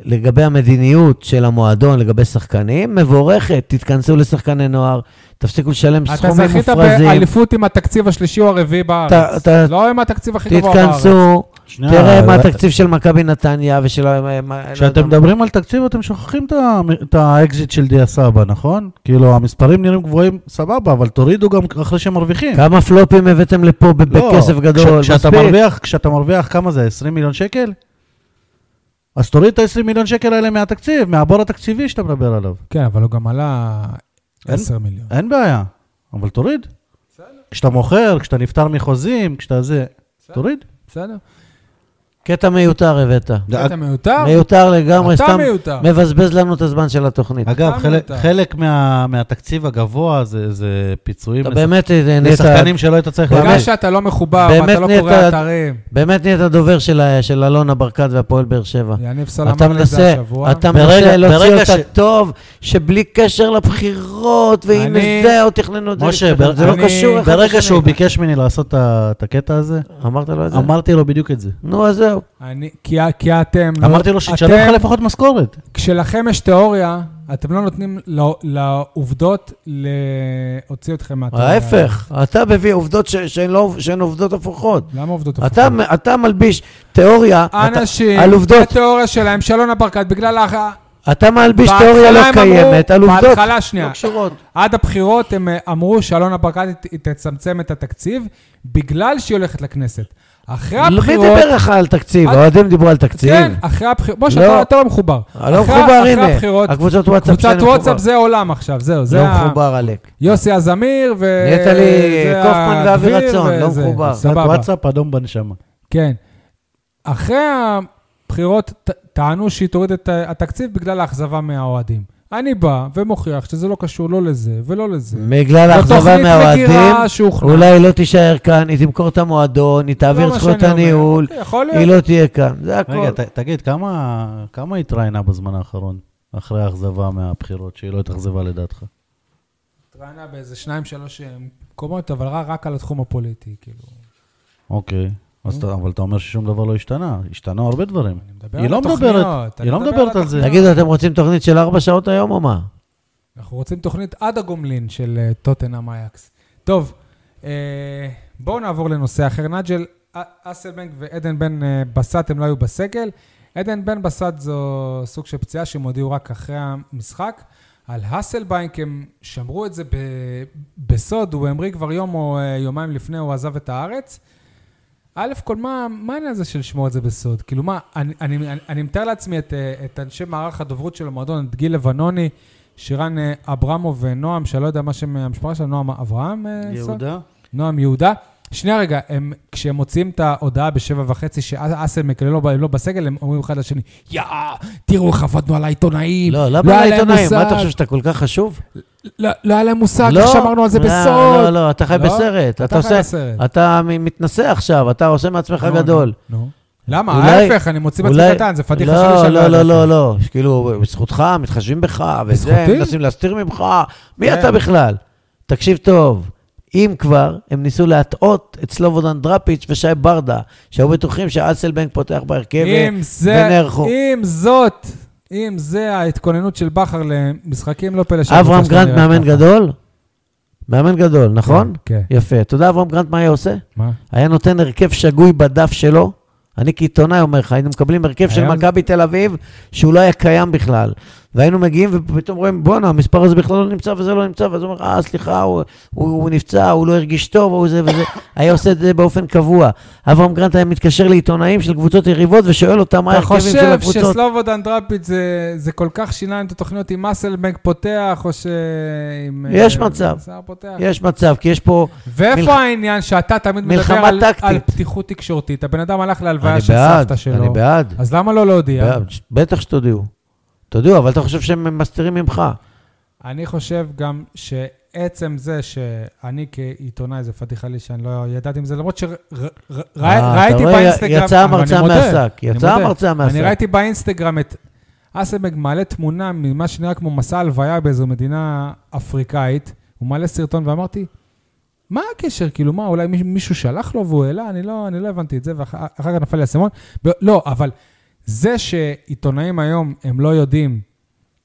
C: לגבי המדיניות של המועדון, לגבי שחקנים, מבורכת. תתכנסו לשחקני נוער, תפסיקו לשלם
A: אתה
C: סכומים
A: זכית
C: מופרזים,
A: באליפות עם התקציב השלישי או הרביעי בארץ.
C: אתה-
A: לא עם התקציב הכי גבוה בארץ.
C: תתכנסו,
B: שנייה,
C: תראה מה
B: אבל-
C: התקציב של מכבי נתניה ושל... ה- מה- לא יודע
B: כשאתם
C: מה.
B: מדברים על תקציב, אתם שוכחים את ה- את האקזיט של דיה סבא, נכון? כאילו, המספרים נראים גבוהים, סבבה, אבל תורידו גם אחרי שהם מרוויחים.
C: כמה פלופים הבאתם לפה ב-
B: לא,
C: בכסף גדול,
B: כש- כשאתה
C: מספיק.
B: מרוויח, כשאתה מרוויח, כמה זה, 20 מיליון שקל? אז תוריד את ה-20 מיליון שקל האלה מהתקציב, מהבור התקציבי שאתה מדבר עליו.
A: כן, אבל הוא גם עלה
B: אין-
A: 10 מיליון.
B: אין בעיה, אבל תוריד. כשאתה מוכר, כשאתה נפטר מחוזים, כשאתה זה, תוריד.
A: בסדר.
C: קטע מיותר הבאת.
A: אתה מיותר?
C: מיותר לגמרי,
A: אתה
C: סתם
A: מיותר.
C: מבזבז לנו את הזמן של התוכנית.
B: אגב,
A: אתה
B: חלק,
A: מיותר.
B: חלק מה, מהתקציב הגבוה זה, זה פיצויים
C: אתה
B: לשח-
C: באמת אה, נהיית...
B: לשחקנים שלא היית צריך
C: באמת.
A: בגלל
B: לעמד.
A: שאתה לא מחובר
C: באמת
A: ואתה לא
C: נהיית-
A: קורא אתרים.
C: באמת נהיית דובר של ה- של אלונה ברקת והפועל באר שבע.
A: יניב
C: אתה
A: סלמן לזה
C: מנסה,
A: השבוע.
C: אתה
B: ברגע-
C: מנסה להוציא
B: ברגע
C: אותה
B: ש-
C: טוב, שבלי קשר לבחירות, והנה
A: אני-
C: זה, או תכננו את זה.
B: משה,
C: לפני-
B: בר-
C: זה לא
A: אני-
C: קשור אחד
B: ברגע
C: לשני.
B: שהוא ביקש ממני לעשות את ה- את הקטע הזה,
C: אמרת לו את זה?
B: אמרתי לו בדיוק את זה.
C: נו, אז זהו.
A: אני- כי ה- כי אתם... לא-
B: אמרתי לו שישלם
A: אתם-
B: לך לפחות משכורת.
A: כשלכם יש תיאוריה, אתם לא נותנים לא- לעובדות להוציא אתכם מהתיאוריה.
C: ההפך, אתה מביא עובדות ש- שהן לא- שהן עובדות הפוכות.
A: למה עובדות
C: אתה-
A: הפוכות?
C: אתה מלביש תיאוריה אתה-
A: אנשים,
C: על עובדות.
A: התיאוריה שלהם, של אלונה ברקת, בגלל ה...
C: אתה מלביש
A: בהתחלה
C: תיאוריה לא
A: הם אמרו-
C: קיימת על עובדות
A: בהתחלה, שנייה,
C: לא קשורות.
A: עד הבחירות הם אה, אמרו שאלונה ברקת ת- תצמצם את התקציב בגלל שהיא הולכת לכנסת. אחרי
C: לא, מי
A: הבחירות...
C: דיבר לך על תקציב?
A: את-
C: האוהדים דיברו על תקציב.
A: כן, אחרי הבחירות... משה,
C: לא.
A: אתה- אתה לא מחובר.
C: אני לא
A: אחרי-
C: מחובר,
A: אחרי הבחירות,
C: הנה. הקבוצת וואטסאפ
A: קבוצת
C: שאני מחובר.
A: וואטסאפ זה עולם עכשיו, זהו. זה
C: לא
A: ה-
C: מחובר עלק.
A: יוסי הזמיר ו...
C: נהיית לי
A: זה
C: קופמן ואבי
A: הגביר
C: רצון, לא
A: וזה,
C: מחובר.
A: סבבה,
B: וואטסאפ אדום בנשמה.
A: כן. אחרי הבחירות ט- טענו שהיא תוריד את ה- התקציב בגלל האכזבה מהאוהדים. אני בא ומוכיח שזה לא קשור לא לזה ולא לזה. לא
C: בגלל האכזבה
A: התוכנית
C: מהאוהדים,
A: מגירה שהוכנה.
C: אולי היא לא תישאר כאן, היא תמכור את המועדון, היא
A: זה
C: תעביר
A: מה
C: את זכויות
B: אוקיי,
A: שאני לא אומר. כן.
C: הניהול,
A: יכול
C: היא
A: להיות.
C: לא תהיה כאן, זה הכול.
B: רגע, ת- תגיד, כמה כמה התראיינה בזמן האחרון, אחרי האכזבה מהבחירות, שהיא לא התאכזבה לדעתך?
A: התראיינה לא- באיזה שניים, שלוש אה, מקומות, אבל רק- רק על התחום הפוליטי, כאילו.
B: אוקיי. אז
C: אה?
B: אתה- אבל אתה אומר ששום דבר לא השתנה, השתנו הרבה דברים.
A: אני מדבר
B: היא
A: על
B: לא
A: התוכניות,
B: מדברת,
A: אני
B: היא לא
A: מדבר
B: מדברת על זה.
A: התוכניות.
C: תגידו, אתם רוצים תוכנית של ארבע שעות היום או מה?
A: אנחנו רוצים תוכנית עד הגומלין של אה, טוטנאם אייקס. טוב, אה, בואו נעבור לנושא אחר. נג'ל א- אסלבנק ועדן בן אה, בסט הם לא היו בסגל. עדן בן בסט זו סוג של פציעה שהם הודיעו רק אחרי המשחק. על האסלבנק הם שמרו את זה ב- בסוד, הוא המריא כבר יום או אה, יומיים לפני, הוא עזב את הארץ. א' כל, מה מה העניין הזה של לשמור את זה בסוד? כאילו מה, אני, אני, אני, אני מתאר לעצמי את, אה, את אנשי מערך הדוברות של המועדון, את גיל לבנוני, שירן אה, אברמוב ונועם, שאני לא יודע מה שם המשפחה שלהם, נועם אברהם? אה, סוד? נועם יהודה. שנייה רגע, הם, כשהם מוציאים את ההודעה בשבע וחצי שאסלמק לא, ב- לא בסגל, הם אומרים אחד לשני, יא, תראו איך עבדנו על העיתונאים.
C: לא, למה
A: לא
C: על
A: היה להם
C: העיתונאים? מה
A: מושג.
C: אתה חושב שאתה כל כך חשוב?
A: לא, לא היה להם מושג,
C: לא,
A: איך שמרנו על זה
C: לא,
A: בסוד.
C: לא, לא, אתה חי
A: לא?
C: בסרט. אתה
A: אתה חי
C: עושה...
A: בסרט.
C: אתה מ- מתנשא עכשיו, אתה עושה
B: לא,
C: מעצמך
A: נו,
C: גדול.
A: נו, לא, נו. למה?
C: אולי-
A: ההפך, אני מוציא בעצמי
C: אולי-
A: קטן, זה פדיחה שלי
C: לא,
A: שאני
C: לא, לא,
A: ידעתי.
C: לא, לא. כאילו, בזכותך, מתחשבים בך, וזה,
A: בזכותי?
C: מנסים להסתיר ממך. מי
A: כן.
C: אתה בכלל? תקשיב טוב, אם כבר, הם ניסו להטעות את סלובודן דראפיץ' ושי ברדה, שהיו בטוחים שאסלבנק פותח בהרכב אה,
A: אם זה,
C: ונערכו.
A: אם זאת, אם זה ההתכוננות של בכר למשחקים, לא פלא שהקבוצה
C: אברהם
A: שלו
C: גרנט
A: נראית
C: מאמן
A: ככה.
C: גדול? מאמן גדול, נכון?
A: כן.
C: יפה. אתה יודע אברהם גרנט מה היה עושה?
A: מה?
C: היה נותן הרכב שגוי בדף שלו. אני כעיתונאי אומר לך, היינו מקבלים הרכב של
A: היה-
C: מכבי תל אביב, שהוא לא היה קיים בכלל. והיינו מגיעים ופתאום רואים, בואנה, המספר הזה בכלל לא נמצא וזה לא נמצא, ואז הוא אומר, אה, סליחה, הוא, הוא, הוא נפצע, הוא לא הרגיש טוב, הוא זה וזה. היה עושה את זה באופן קבוע. אברהם גרנט היה מתקשר לעיתונאים של קבוצות יריבות ושואל אותם מה
A: אתה
C: ההרכבים של
A: חושב
C: הקבוצות.
A: שסלובודן דראפיץ' זה, זה כל כך שינה להם את התוכניות עם אסלבנק פותח, או שעם...
C: יש
A: אה,
C: מצב.
A: סער פותח?
C: יש מצב, כי יש פה...
A: ואיפה
C: מלח-
A: העניין שאתה תמיד מדבר
C: מלחמה
A: על,
C: טקטית.
A: על פתיחות תקשורתית? הבן אדם הלך
C: אני
A: להלוויה של
C: בעד,
A: סבתא שלו.
C: אני בעד.
A: אז למה לא להודיע?
C: בעד, בטח שתודיעו. תודיעו, אבל אתה חושב שהם מסתירים ממך.
A: אני חושב גם שעצם זה שאני כעיתונאי, זה פדיחה לי שאני לא ידעתי מזה, למרות
C: אה, אתה
A: שראיתי
C: רואה,
A: באינסטגרם...
C: יצא
A: אבל
C: המרצע
A: אני מודה,
C: מהשק,
A: אני
C: יצא
A: מודה.
C: המרצע
A: אני
C: מהשק.
A: ראיתי באינסטגרם את אסלבג מעלה תמונה ממה שנראה כמו מסע הלוויה באיזו מדינה אפריקאית, הוא מעלה סרטון ואמרתי, מה הקשר? כאילו, מה, אולי מיש- מישהו שלח לו והוא העלה? אני לא, אני לא הבנתי את זה, ואחר אחר כך נפל לי האסימון. ב- לא, אבל זה שעיתונאים היום, הם לא יודעים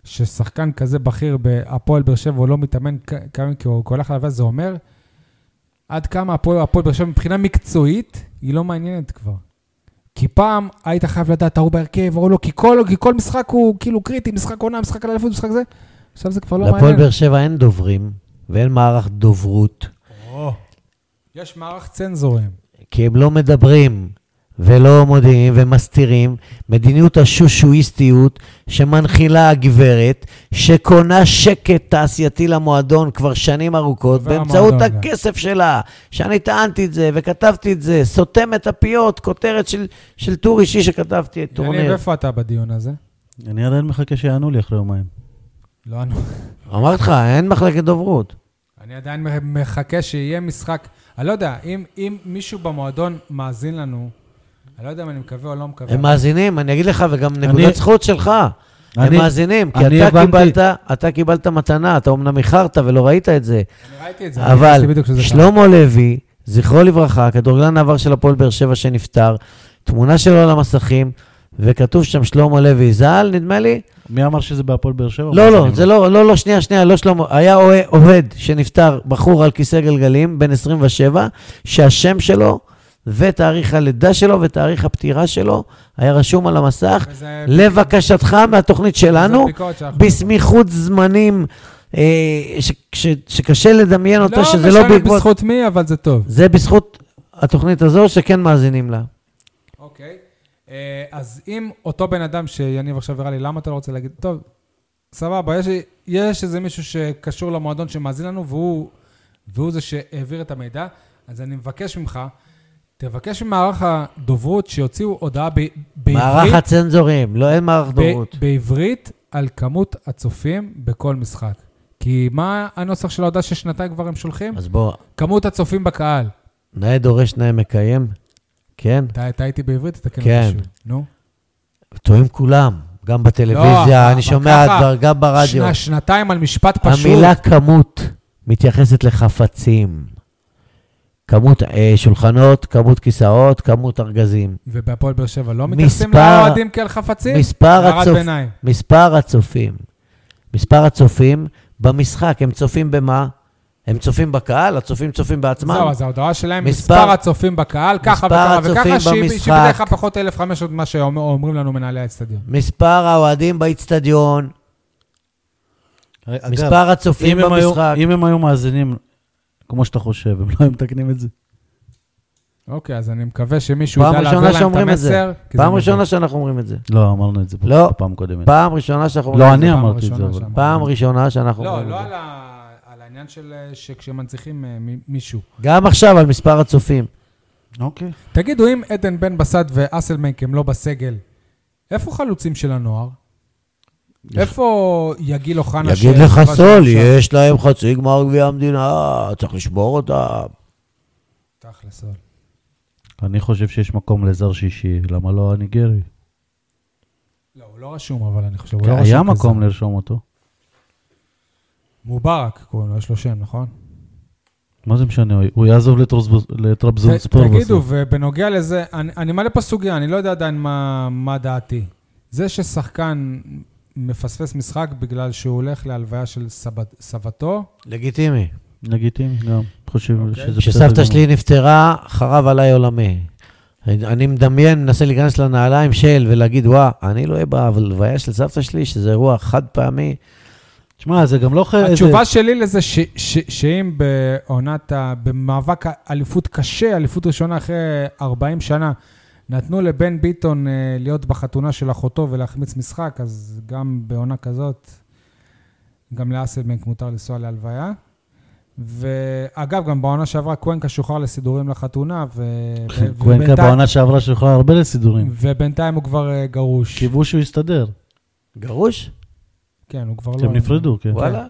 A: ששחקן כזה בכיר בהפועל באר שבע, הוא לא מתאמן כ- כ- כי הוא הולך להלוויה, זה אומר עד כמה הפועל הפועל באר שבע מבחינה מקצועית, היא לא מעניינת כבר. כי פעם היית חייב לדעת, ההוא בהרכב, ההוא לא, כי כל, כי כל משחק הוא כאילו קריטי, משחק עונה, משחק על אליפות, משחק זה. עכשיו זה כבר לא
C: להפועל
A: מעניין.
C: באר שבע אין דוברים ואין מערך דוברות,
A: או, יש מערך צנזורים.
C: כי הם לא מדברים. ולא מודיעים ומסתירים, מדיניות השושואיסטיות שמנחילה הגברת, שקונה שקט תעשייתי למועדון כבר שנים ארוכות,
A: עובר
C: באמצעות
A: המועדון, כן.
C: הכסף שלה, שאני טענתי את זה וכתבתי את זה, סותם את הפיות, כותרת של, של טור אישי שכתבתי את
A: יניב,
C: טורניר.
A: איפה אתה בדיון הזה?
B: אני עדיין מחכה שיענו לי אחרי יומיים.
A: לא ענו.
C: אמרתי לך, אין מחלקת דוברות.
A: אני עדיין מחכה שיהיה משחק. אני לא יודע, אם, אם מישהו במועדון מאזין לנו, אני לא יודע אם אני מקווה או לא מקווה.
C: הם מאזינים, אני אגיד לך, וגם
B: אני-
C: נקודת זכות שלך. הם
B: אני-
C: מאזינים, כי
B: אני
C: אתה
B: הבנתי-
C: קיבלת, אתה קיבלת מתנה, אתה אמנם איחרת ולא ראית את זה,
A: אני ראיתי את זה. אני
C: אבל
A: נכנסתי בדיוק כשזה קרה.
C: שלמה לוי, זכרו לברכה, כדורגלן העבר של הפועל באר שבע שנפטר, תמונה שלו על המסכים, וכתוב שם שלמה לוי ז"ל, נדמה לי.
B: מי אמר שזה בהפועל באר שבע?
C: לא, לא,
B: מאזינים.
C: זה לא, לא, לא, שנייה, שנייה, לא שלמה. היה אוה- אוהד שנפטר, בחור על כיסא גלגלים, בן 27, שהשם שלו ותאריך הלידה שלו ותאריך הפטירה שלו היה רשום על המסך.
A: וזה-
C: לבקשתך מהתוכנית
A: וזו
C: שלנו,
A: ביקורת שאנחנו-
C: בסמיכות זמנים אה, ש- ש- שקשה לדמיין אותה, שזה
A: לא
C: לא
A: משנה
C: בעקבות...
A: בזכות מי, אבל זה טוב.
C: זה בזכות התוכנית הזו שכן מאזינים לה.
A: אוקיי. אה, אז אם אותו בן אדם שיניב עכשיו הראה לי, למה אתה לא רוצה להגיד, טוב, סבבה, יש, יש איזה מישהו שקשור למועדון שמאזין לנו, והוא, והוא זה שהעביר את המידע, אז אני מבקש ממך, תבקש ממערך הדוברות שיוציאו הודעה ב, בעברית,
C: מערך הצנזורים, לא, אין מערך דוברות.
A: ב, בעברית על כמות הצופים בכל משחק. כי מה הנוסח של ההודעה ששנתיים כבר הם שולחים?
C: אז בוא,
A: כמות הצופים בקהל.
C: נאה דורש, נאה מקיים. כן,
A: אתה אתה הייתי בעברית? תתקן אותי
C: כן.
A: שוב. נו.
C: טועים כולם, גם בטלוויזיה,
A: לא,
C: אני
A: אבל
C: שומע
A: ככה,
C: דרגה ברדיו.
A: שנה- שנתיים על משפט פשוט.
C: המילה כמות מתייחסת לחפצים. כמות אה, שולחנות, כמות כיסאות, כמות ארגזים.
A: ובהפועל באר שבע לא מתייחסים
C: מספר-
A: לאוהדים כאל חפצים?
C: מספר,
A: הערת
C: הצופ...
A: ביניים.
C: מספר הצופים. מספר הצופים במשחק, הם צופים במה? הם צופים בקהל, הצופים צופים בעצמם.
A: זהו, אז ההודעה שלהם,
C: מספר-
A: מספר הצופים בקהל, ככה
C: מספר
A: וככה
C: הצופים
A: וככה, שהיא שהיא
C: במשחק.
A: בדרך כלל פחות 1,500 ממה שאומרים לנו מנהלי האצטדיון.
C: מספר האוהדים באיצטדיון,
B: אגב,
C: מספר הצופים
B: אם הם היו-
C: במשחק.
B: אם הם היו מאזינים, כמו שאתה חושב, הם לא היו מתקנים את זה.
A: אוקיי, אז אני מקווה שמישהו
C: פעם
A: ידע
C: ראשונה
A: להעביר להם את
C: שאומרים את זה.
A: המסר. כי זה
C: פעם
A: מביך.
C: ראשונה שאנחנו אומרים את זה.
B: לא, אמרנו את זה פה
C: לא.
B: בפעם הקודמת.
C: פעם ראשונה שאנחנו אומרים
B: לא,
C: את זה.
B: אני
A: פעם
B: אמרתי את זה,
A: ראשונה
B: אבל...
A: שאמרנו.
C: פעם ראשונה שאנחנו
A: לא,
C: אומרים
A: לא
C: את זה.
A: על ה- על העניין של אה, שכשמנציחים אה, מ- מישהו.
C: גם עכשיו על מספר הצופים.
B: אוקיי.
A: תגידו, אם עדן בן בסט ואסלמנק הם לא בסגל, איפה חלוצים של הנוער? איפה יגיל אוחנה?
C: יגיד
A: שכבש
C: לך
A: עכשיו?
C: סול, יש להם חצי גמר גביע המדינה, צריך לשבור אותם.
A: תכל'ס, סול.
B: אני חושב שיש מקום לזר שישי, למה לא הניגרי?
A: לא, הוא לא רשום, אבל אני חושב, הוא לא רשום.
B: כן, היה
A: כזה.
B: מקום לרשום אותו.
A: מובארק קוראים לו, יש לו שם, נכון?
B: מה זה משנה, הוא- הוא יעזוב לטרוזבוס- לטרבזונספור
A: ת-
B: בסוף.
A: תגידו, ובנוגע לזה, אני, אני מעלה פה סוגיה, אני לא יודע עדיין מה, מה דעתי. זה ששחקן מפספס משחק בגלל שהוא הולך להלוויה של סבת, סבתו,
C: לגיטימי.
B: לגיטימי גם, חושב
A: אוקיי.
B: שזה בסדר.
C: כשסבתא
B: גמור.
C: שלי נפטרה, חרב עליי עולמי. אני אני מדמיין, מנסה להיכנס לנעליים של ולהגיד, וואה, אני לא אהיה בהלוויה של סבתא שלי, שזה אירוע חד פעמי.
B: תשמע, זה גם לא חי...
A: התשובה שלי לזה ש, ש, שאם בעונת, ה- במאבק אליפות קשה, אליפות ראשונה אחרי 40 שנה, נתנו לבן ביטון אה, להיות בחתונה של אחותו ולהחמיץ משחק, אז גם בעונה כזאת, גם לאסלבנק מותר לנסוע להלוויה. ואגב, גם בעונה שעברה קוונקה שוחרר לסידורים לחתונה, ו... ו-
B: קוונקה
A: ובינתיים-
B: בעונה שעברה שלחה הרבה לסידורים.
A: ובינתיים הוא כבר אה, גרוש.
B: קיוו שהוא יסתדר.
C: גרוש?
A: כן, הוא כבר לא...
B: הם נפרדו, כן.
C: וואלה.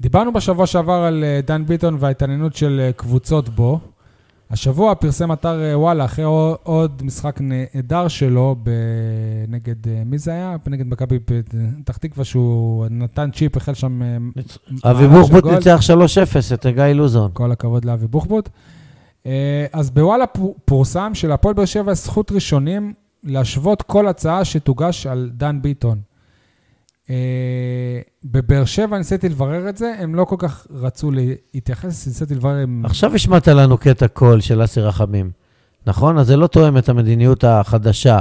A: דיברנו בשבוע שעבר על אה, דן ביטון וההתעניינות של אה, קבוצות בו. השבוע פרסם אתר אה, וואלה, אחרי עוד- עוד משחק נהדר שלו ב- נגד, אה, מי זה היה? נגד מכבי אה, פתח תקווה, שהוא נתן צ'יפ, החל שם... אה,
C: אבי
A: מהלך של
C: בוחבוט
A: גול.
C: ניצח 3-0 את גיא לוזון.
A: כל הכבוד לאבי בוחבוט. אה, אז בוואלה פו- פורסם שלהפועל באר שבע יש זכות ראשונים להשוות כל הצעה שתוגש על דן ביטון. אה, בבאר שבע ניסיתי לברר את זה, הם לא כל כך רצו להתייחס, ניסיתי לברר אם...
C: עכשיו השמעת לנו קטע קול של אסי רחמים, נכון? אז זה לא תואם את המדיניות החדשה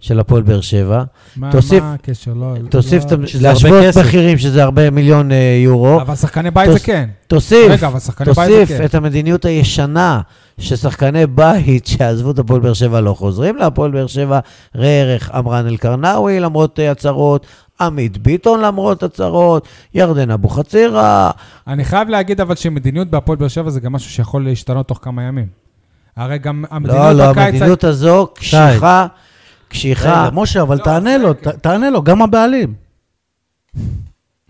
C: של הפועל באר שבע.
A: מה-
C: תוסיף-
A: מה הקשר? לא...
C: תוסיף,
A: לא-
C: את המ-
B: שזה הרבה
C: להשוות
B: כסף.
C: מחירים, שזה הרבה מיליון אה, יורו.
A: אבל שחקני בית
C: תוס-
A: זה כן.
C: תוסיף,
A: רגע, אבל שחקני בית זה
C: תוסיף
A: כן.
C: את המדיניות הישנה ששחקני בית שעזבו את הפועל באר שבע לא חוזרים להפועל באר שבע, ראה ערך עמרן אלקרנאווי למרות אה, הצהרות, עמית ביטון למרות הצהרות, ירדן אבוחצירא,
A: אני חייב להגיד אבל שמדיניות בהפועל באר שבע זה גם משהו שיכול להשתנות תוך כמה ימים. הרי גם
C: לא,
A: המדיניות
C: לא,
A: בקיץ...
C: המדיניות הזו קשיחה, קשיחה.
B: רגע, משה, אבל
A: לא,
B: תענה לו,
A: בסדר.
B: ת- תענה לו, גם הבעלים.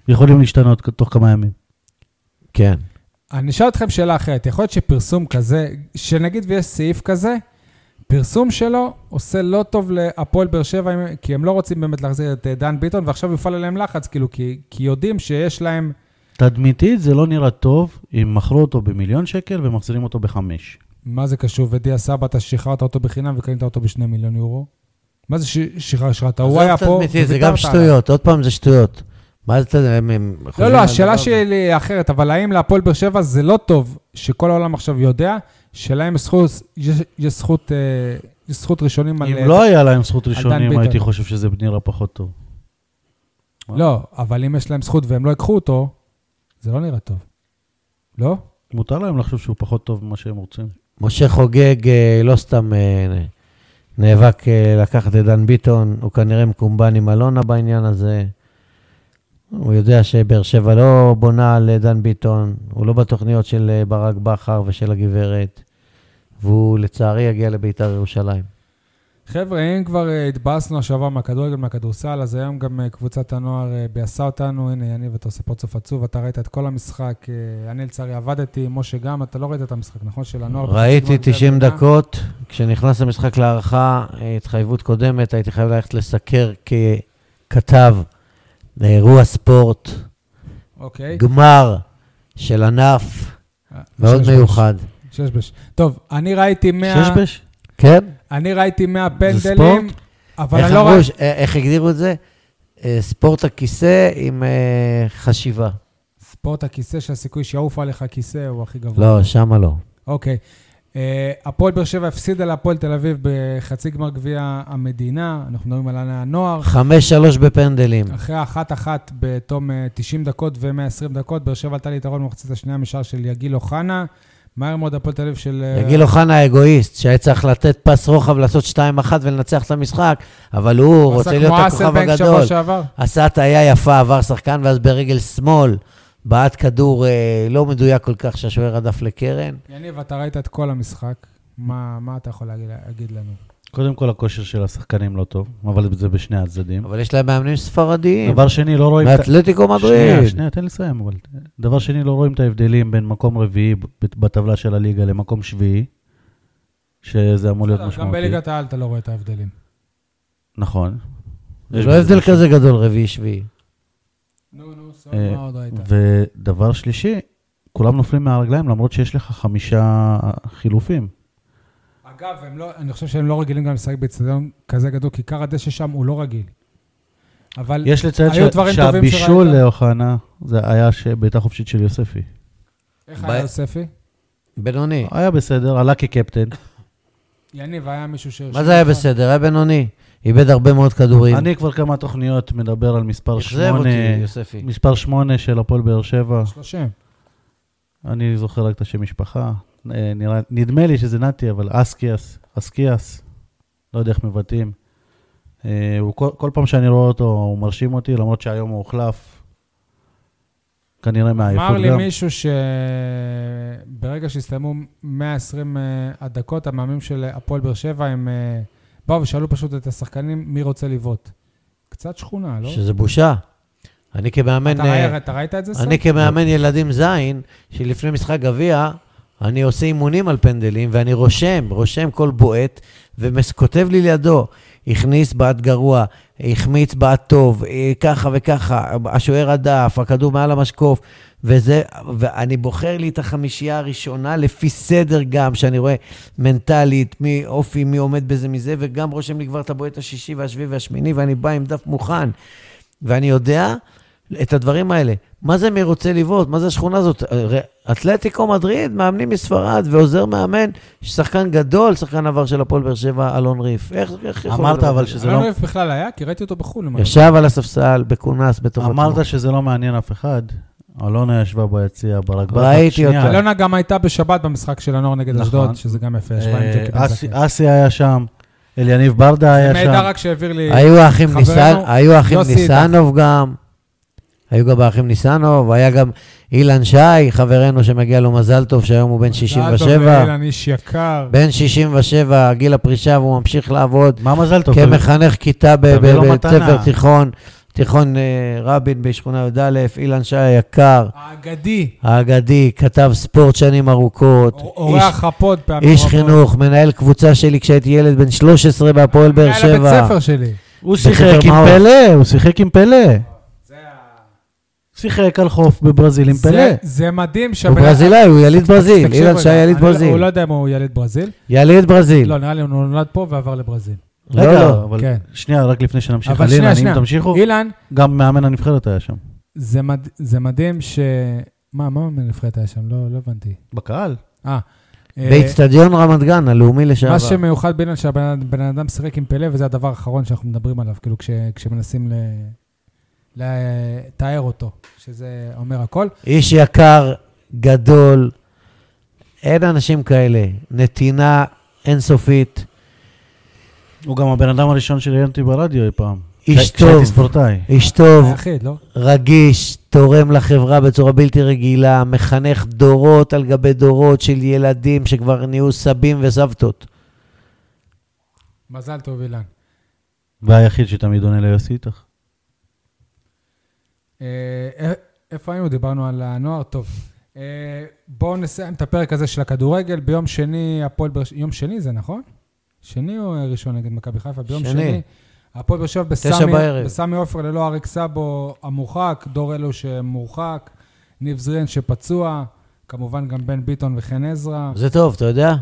B: יכולים להשתנות כ- תוך כמה ימים.
C: כן.
A: אני אשאל אתכם שאלה אחרת. יכול להיות שפרסום כזה, שנגיד ויש סעיף כזה, פרסום שלו עושה לא טוב להפועל באר שבע, אם- כי הם לא רוצים באמת להחזיר את אה, דן ביטון, ועכשיו יופעל עליהם לחץ, כאילו, כי, כי יודעים שיש להם...
B: תדמיתית זה לא נראה טוב אם מכרו אותו במיליון שקל ומחזירים אותו בחמש.
A: מה זה קשור? ודיה סבא, אתה שחררת אותו בחינם וקנית אותו בשני מיליון יורו? מה זה ש- שחרר- שחררת? הוא היה פה...
C: עזוב תדמיתי, זה גם
A: וויתרת עליו.
C: שטויות, עוד פעם זה שטויות. מה זה, הם- הם
A: לא,
C: חוזרים
A: לא,
C: על
A: השאלה
C: דבר הזה.
A: שלי היא אחרת, אבל האם להפועל באר שבע זה לא טוב שכל העולם עכשיו יודע שלהם יש זכות, יש- יש זכות, אה, יש זכות ראשונים על... אה,
B: אם לא היה להם זכות
A: דן
B: ראשונים,
A: ביטון.
B: הייתי חושב שזה נראה פחות טוב.
A: לא, אבל אם יש להם זכות והם לא ייקחו אותו, זה לא נראה טוב. לא?
B: מותר להם לחשוב שהוא פחות טוב ממה שהם רוצים.
C: משה חוגג אה, לא סתם אה, נ- נאבק אה, לקחת את דן ביטון, הוא כנראה מקומבן עם אלונה בעניין הזה. הוא יודע שבאר שבע לא בונה על אה, דן ביטון, הוא לא בתוכניות של אה, ברק בכר ושל הגברת, והוא לצערי יגיע לביתר ירושלים.
A: חבר'ה, אם כבר אה, התבאסנו השבוע מהכדורגל, מהכדורסל, אז היום גם אה, קבוצת הנוער אה, ביאסה אותנו. הנה, יניב, אתה עושה פרצוף עצוב, אתה ראית את כל המשחק. אה, אני לצערי עבדתי, משה גם, אתה לא ראית את המשחק, נכון? של הנוער.
C: ראיתי
A: בני
C: 90
A: ברירה.
C: דקות, כשנכנס המשחק להערכה, אה, התחייבות קודמת, הייתי חייב ללכת לסקר ככתב לאירוע ספורט,
A: אוקיי.
C: גמר של ענף
A: אה,
C: מאוד
A: שש בש.
C: מיוחד.
A: ששבש. טוב, אני ראיתי 100...
B: ששבש?
C: כן?
A: אני ראיתי 100
B: זה
A: פנדלים,
B: ספורט?
A: אבל
C: איך
A: אני לא
C: אמרו,
A: ראיתי...
C: ש- אה, איך הגדירו את זה? אה, ספורט הכיסא עם אה, חשיבה.
A: ספורט הכיסא, שהסיכוי שיעוף עליך הכיסא הוא הכי גבוה.
C: לא, שמה לא.
A: אוקיי. אה, הפועל באר שבע הפסידה להפועל תל אביב בחצי גמר גביע המדינה, אנחנו מדברים על הנוער.
C: 5-3 בפנדלים.
A: אחרי האחת-אחת בתום אה, 90 דקות ו-120 דקות, באר שבע עלתה ליתרון במחצית השנייה משער של יגיל אוחנה. מהר מאוד הפועל תל אביב של... אה,
C: יגיל אוחנה האגואיסט, שהיה צריך לתת פס רוחב, לעשות 2-1 ולנצח את המשחק, אבל הוא
A: הוא עשה
C: רוצה להיות
A: כמו
C: הכוכב
A: אסלבנק
C: הגדול.
A: שבוע שעבר.
C: עשה הטעיה יפה, עבר שחקן, ואז ברגל שמאל בעט כדור אה, לא מדויק כל כך שהשוער הדף לקרן.
A: יניב, אתה ראית את כל המשחק, מה מה אתה יכול להגיד- להגיד לנו?
B: קודם כל, הכושר של השחקנים לא טוב, אבל זה בשני הצדדים.
C: אבל יש להם מאמנים ספרדיים.
B: דבר שני, לא רואים... את ה-
C: מאתלטיקו
B: שנייה,
C: מדריד.
B: שנייה, תן לי לסיים, אבל... דבר שני, לא רואים את ההבדלים בין מקום רביעי ב- בטבלה של הליגה למקום שביעי, שזה אמור להיות
A: גם
B: משמעותי. אה,
A: בליגת העל אתה לא רואה את ההבדלים.
B: נכון.
C: זה
B: יש
C: לא
B: בזה
C: הבדל
B: משהו.
C: כזה גדול, רביעי-שביעי.
A: נו, נו, סבבה,
B: אה,
A: מה עוד ראית?
B: ודבר שלישי, כולם נופלים מהרגליים למרות שיש לך חמישה חילופים.
A: אגב, הם לא, אני חושב שהם לא רגילים גם לשחק באצטדיון כזה גדול, כי כר הדשא שם הוא לא רגיל. אבל
B: יש לציין
A: היו
B: ש-
A: דברים טובים
B: שהבישול
A: שראית?
B: לאוחנה, זה היה ש- בעיטה חופשית של יוספי.
A: איך
C: ב-
A: היה יוספי?
C: בינוני.
B: היה בסדר, עלה כקפטן.
A: יניב, היה מישהו ש...
C: מה זה היה בסדר? היה בינוני. איבד הרבה מאוד כדורים.
B: אני כבר כמה תוכניות מדבר על מספר
C: אכזב
B: שמונה,
C: אותי, יוספי.
B: מספר שמונה של הפועל באר שבע.
A: 30.
B: אני זוכר רק את השם משפחה. אה, נראה- נדמה לי שזה נתי, אבל אסקיאס, אסקיאס, לא יודע איך מבטאים. אה, הוא כל, כל פעם שאני רואה אותו, הוא מרשים אותי, למרות שהיום הוא הוחלף. כנראה
A: אמר
C: אה,
B: מהעייפות
A: לי
C: לא?
B: גם.
A: מישהו שברגע שהסתיימו 120 אה, הדקות, המאמנים של הפועל באר שבע, הם אה, באו ושאלו פשוט את השחקנים מי רוצה לבעוט. קצת שכונה, לא?
C: שזה בושה. אני כמאמן...
A: אתה
C: אה,
A: ראי- אתה ראית את זה? סם?
C: אני כמאמן ילדים זין, שלפני משחק גביע, אני עושה אימונים על פנדלים, ואני רושם, רושם כל בועט, וכותב לי לידו, הכניס בעט גרוע, החמיץ בעט טוב, אה, ככה וככה, השוער הדף, הכדור מעל המשקוף, וזה, ואני בוחר לי את החמישייה הראשונה לפי סדר גם, שאני רואה מנטלית, מי אופי, מי עומד בזה מזה, וגם רושם לי כבר את הבועט השישי והשביעי והשמיני, ואני בא עם דף מוכן. ואני יודע את הדברים האלה. מה זה מי רוצה לבעוט? מה זה השכונה הזאת? הרי אתלטיקו מדריד, מאמנים מספרד ועוזר מאמן, שחקן גדול, שחקן עבר של הפועל באר שבע, אלון ריף. איך, איך יכול
B: אמרת
C: לדבר
B: אבל
C: כזה?
B: שזה
A: אני לא
B: לא...
A: יודע איפה בכלל היה, כי ראיתי אותו בחו"ל. אם אני לא
C: ישב על הספסל, בכונס, בתוך עצמו.
B: אמרת שזה לא מעניין אף אחד, אלונה ישבה ביציע ברק בכר.
C: ראיתי
B: שנייה.
C: אותה.
A: אלונה גם הייתה בשבת במשחק של הנוער נגד
B: נכון.
A: אשדוד, שזה גם יפה, ישבה עם
B: אה,
A: ג'קי בן
B: אסי-
A: זקן.
B: אסי היה שם, אליניב ברדה היה
A: מידע
B: שם.
A: רק שהעביר לי...
C: היו האחים
A: חברנו
C: ניסן- היו האחים
A: יוסי
C: ניסנוב גם, היו גם האחים ניסנוב, היה גם אילן שי, חברנו שמגיע לו מזל טוב, שהיום הוא בן
A: אדם
C: 67.
A: ואילן איש יקר.
C: בן 67, גיל הפרישה, והוא ממשיך לעבוד
B: מה מזל טוב?
C: כמחנך כיתה ב-
B: תביא לו
C: בבית
B: מתנה.
C: ספר תיכון, תיכון אה, רבין בשכונה י"א, אילן שי היקר,
A: האגדי,
C: האגדי, כתב ספורט שנים ארוכות, איש-
A: אורח הפוד פעמים
C: איש
A: רבות.
C: חינוך, מנהל קבוצה שלי כשהייתי ילד בן 13 בהפועל באר
A: מנהל הבית
C: שבע.
A: ספר שלי.
B: הוא
C: בספר
B: שיחק עם
C: מעוז.
B: פלא, הוא שיחק עם פלא. שיחק על חוף בברזיל עם
A: זה-
B: פלא.
A: זה מדהים
C: הוא
A: שהבן-
C: ברזילאי, הוא יליד ברזיל,
A: תקשיב
C: אילן
A: רגע,
C: שי יליד
A: אני לא-
C: ברזיל.
A: הוא לא יודע אם הוא יליד ברזיל.
C: יליד ברזיל.
A: לא, נראה לי הוא נולד פה ועבר לברזיל.
C: לא,
B: רגע,
C: לא.
B: אבל
A: כן.
B: שנייה, רק לפני שנמשיך,
A: אבל
B: אלינה,
A: שנייה,
B: אם
A: שנייה.
B: תמשיכו,
A: אילן,
B: גם מאמן הנבחרת היה שם.
A: זה מד- זה מדהים ש... מה, מה מנבחרת היה שם? לא לא הבנתי.
B: בקהל?
A: אה. אה,
C: באיצטדיון רמת גן, הלאומי
A: מה
C: לשעבר.
A: שמיוחד באילן, שהבן אדם שיחק עם פלא, וזה הדבר האחרון שאנחנו מדברים עליו, כאילו כש- כשמנסים ל- לתאר אותו, שזה אומר הכל.
C: איש יקר, גדול, אין אנשים כאלה. נתינה אינסופית,
B: הוא גם הבן אדם הראשון שראיין אותי ברדיו אי פעם.
C: איש
B: כש- כשהייתי
C: טוב.
B: ספורטאי.
C: איש טוב,
A: היחיד, לא?
C: רגיש, תורם לחברה בצורה בלתי רגילה, מחנך דורות על גבי דורות של ילדים שכבר נהיו סבים וסבתות.
A: מזל טוב, אילן.
B: והיחיד שתמיד עונה ליוסי איתך.
A: אה, אה, איפה היינו? דיברנו על הנוער? טוב. אה, בואו נסיים את הפרק הזה של הכדורגל. ביום שני, הפועל באר שבע... יום שני זה, נכון? שני או ראשון נגד מכבי חיפה? ביום
C: שני.
A: שני. הפועל באר שבע
C: תשע
A: בסמי-
C: בערב.
A: בסמי עופר ללא אריק סאבו המורחק, דור אלו שמורחק, ניב זרין שפצוע, כמובן גם בן ביטון וחן עזרא.
C: זה טוב, אתה יודע?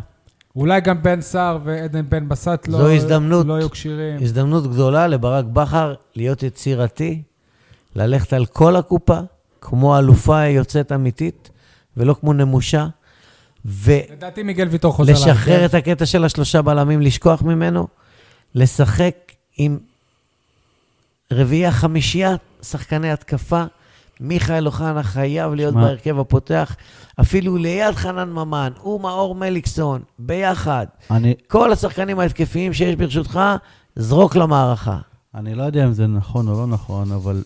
A: אולי גם בן סער ועדן בן בסט לא
C: זו הזדמנות.
A: לא יהיו כשירים.
C: הזדמנות גדולה לברק בכר להיות יצירתי, ללכת על כל הקופה, כמו אלופה יוצאת אמיתית, ולא כמו נמושה, ולשחרר
A: לדעתי מיגל ויטור חוזר. להרכב.
C: את הקטע של השלושה בלמים, לשכוח ממנו, לשחק עם רביעייה, חמישייה, שחקני התקפה. מיכאל אוחנה חייב להיות
B: שמע.
C: בהרכב הפותח, אפילו ליד חנן ממן, הוא מאור מליקסון, ביחד.
B: אני,
C: כל השחקנים ההתקפיים שיש ברשותך, זרוק למערכה.
B: אני לא יודע אם זה נכון או לא נכון, אבל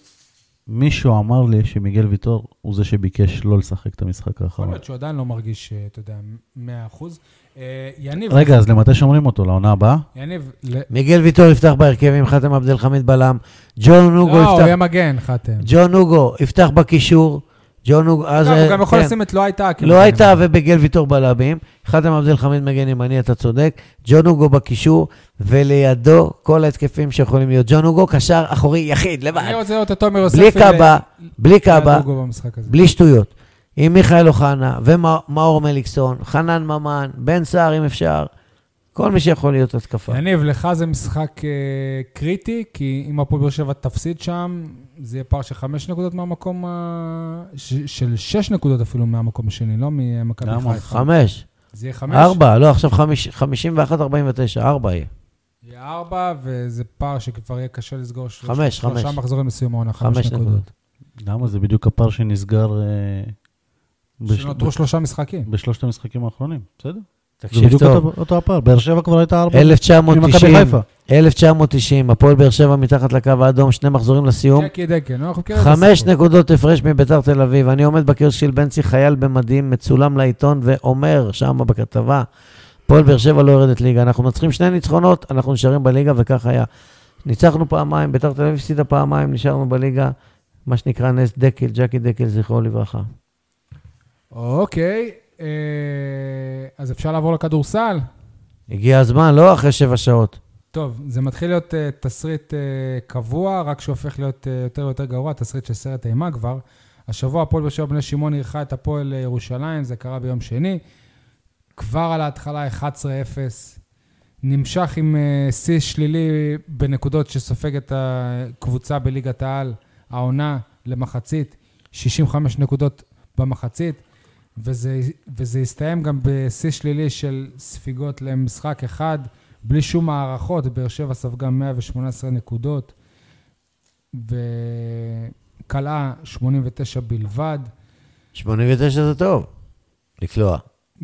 B: מישהו אמר לי שמיגל ויטור הוא זה שביקש לא לשחק את המשחק
A: יכול
C: נכון.
B: האחרון.
A: להיות שהוא עדיין לא מרגיש, אה, אתה יודע, 100 אחוז. אה, יניב,
B: רגע, אז למתי שומרים אותו? לעונה הבאה?
A: יניב, ל-
C: מיגל ויטור יפתח בהרכב עם חתם עבד אל חמיד בלם, ג'ון
A: לא,
C: נוגו
A: הוא
C: יפתח,
A: יהיה מגן, חתם.
C: ג'ון נוגו יפתח בקישור, ג'ון נוגו, אז...
A: לא, הוא
C: אה,
A: גם יכול
C: כן.
A: לשים את לא הייתה. כאילו,
C: לא
A: מגן.
C: הייתה ומיגל ויטור בלמים, חתם עבד אל חמיד מגן ימני, אתה צודק, ג'ון נוגו בקישור, ולידו כל ההתקפים שיכולים להיות. ג'ון נוגו קשר אחורי יחיד,
A: אני
C: לבד,
A: רוצה לראות את תומר יוספי.
C: בלי
A: ל-
C: קאבה, בלי קאבה,
A: לדוגו במשחק הזה.
C: בלי שטויות. עם מיכאל אוחנה ומאור מליקסון, חנן ממן, בן סער אם אפשר, כל מי שיכול להיות התקפה.
A: יניב, לך זה משחק אה, קריטי, כי אם הפועל באר שבע תפסיד שם, זה יהיה פער של חמש נקודות מהמקום ה... ש- של שש נקודות אפילו מהמקום השני, לא ממכבי
B: למה?
A: חיפה.
C: חמש,
A: זה יהיה חמש.
C: ארבע, לא, עכשיו חמיש- חמישים ואחת, ארבעים ותשע, ארבע יהיה.
A: יהיה ארבע, וזה פער שכבר יהיה קשה לסגור שלוש-
C: חמש,
A: שלושה
C: חמש.
A: מחזורים לסיום העונה,
C: חמש
A: חמש נקודות.
C: נקודות.
B: למה? זה בדיוק הפער שנסגר אה, בש-
A: שנותרו שלושה משחקים.
B: בשלושת המשחקים האחרונים, בסדר? זה
C: תקשיב
B: בדיוק
C: טוב,
B: אותו- אותו הפער. באר שבע כבר הייתה ארבע. עם מכבי
C: 1990,
B: חיפה.
C: 1990, הפועל באר שבע מתחת לקו האדום, שני מחזורים לסיום.
A: ג'קי דקן, אנחנו מכירים את
C: חמש
A: הסיפור.
C: נקודות הפרש מביתר תל אביב. אני עומד בקיוסק של בנצי, חייל במדים, מצולם לעיתון, ואומר שם בכתבה, הפועל באר שבע לא יורדת ליגה. אנחנו מנצחים שני ניצחונות, אנחנו נשארים בליגה, וכך היה. ניצחנו פעמיים, ביתר תל אביב הפסידה פעמיים, נשארנו בליגה, מה שנקרא נס דקל, ג'קי דקל, זכרו לברכה.
A: אוקיי, אה, אז אפשר לעבור לכדורסל?
C: הגיע הזמן, לא אחרי שבע שעות.
A: טוב, זה מתחיל להיות אה, תסריט אה, קבוע, רק שהופך להיות אה, יותר ויותר גרוע, תסריט של סרט אימה כבר. השבוע הפועל באר שבע בני שמעון אירחה את הפועל אה, ירושלים, זה קרה ביום שני. כבר על ההתחלה 11-0, נמשך עם אה, שיא שלילי בנקודות שסופגת הקבוצה בליגת העל, העונה למחצית, 65 נקודות במחצית, וזה, וזה הסתיים גם בשיא שלילי של ספיגות למשחק אחד, בלי שום הערכות, באר שבע ספגה 118 נקודות, וכלאה 89 בלבד.
C: 89 זה טוב, לקלוע.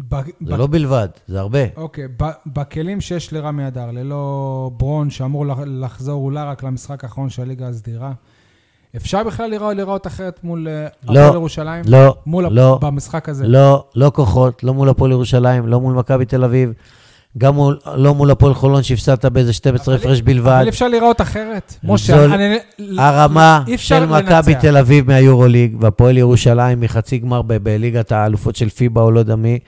A: ב-
C: זה
A: ב-
C: לא בלבד, זה הרבה.
A: אוקיי, ב- בכלים שיש לרמי אדר, ללא ברון שאמור לח- לחזור אולי רק למשחק האחרון של הליגה הסדירה, אפשר בכלל לראות, לראות אחרת מול אה,
C: לא,
A: הפועל ירושלים?
C: לא,
A: מול הפ-
C: לא,
A: במשחק הזה?
C: לא, לא כוחות, לא מול הפועל ירושלים, לא מול מכבי תל אביב, גם מול, לא מול הפועל חולון שהפסדת באיזה 12 הפרש בלבד.
A: אבל אפשר לראות אחרת.
C: זול.
A: משה, אני...
C: הרמה
A: אי אפשר
C: של מכבי
A: לנצח.
C: תל אביב מהיורוליג והפועל ירושלים מחצי גמר ב- בליגת האלופות של פיבה או לא יודע מי,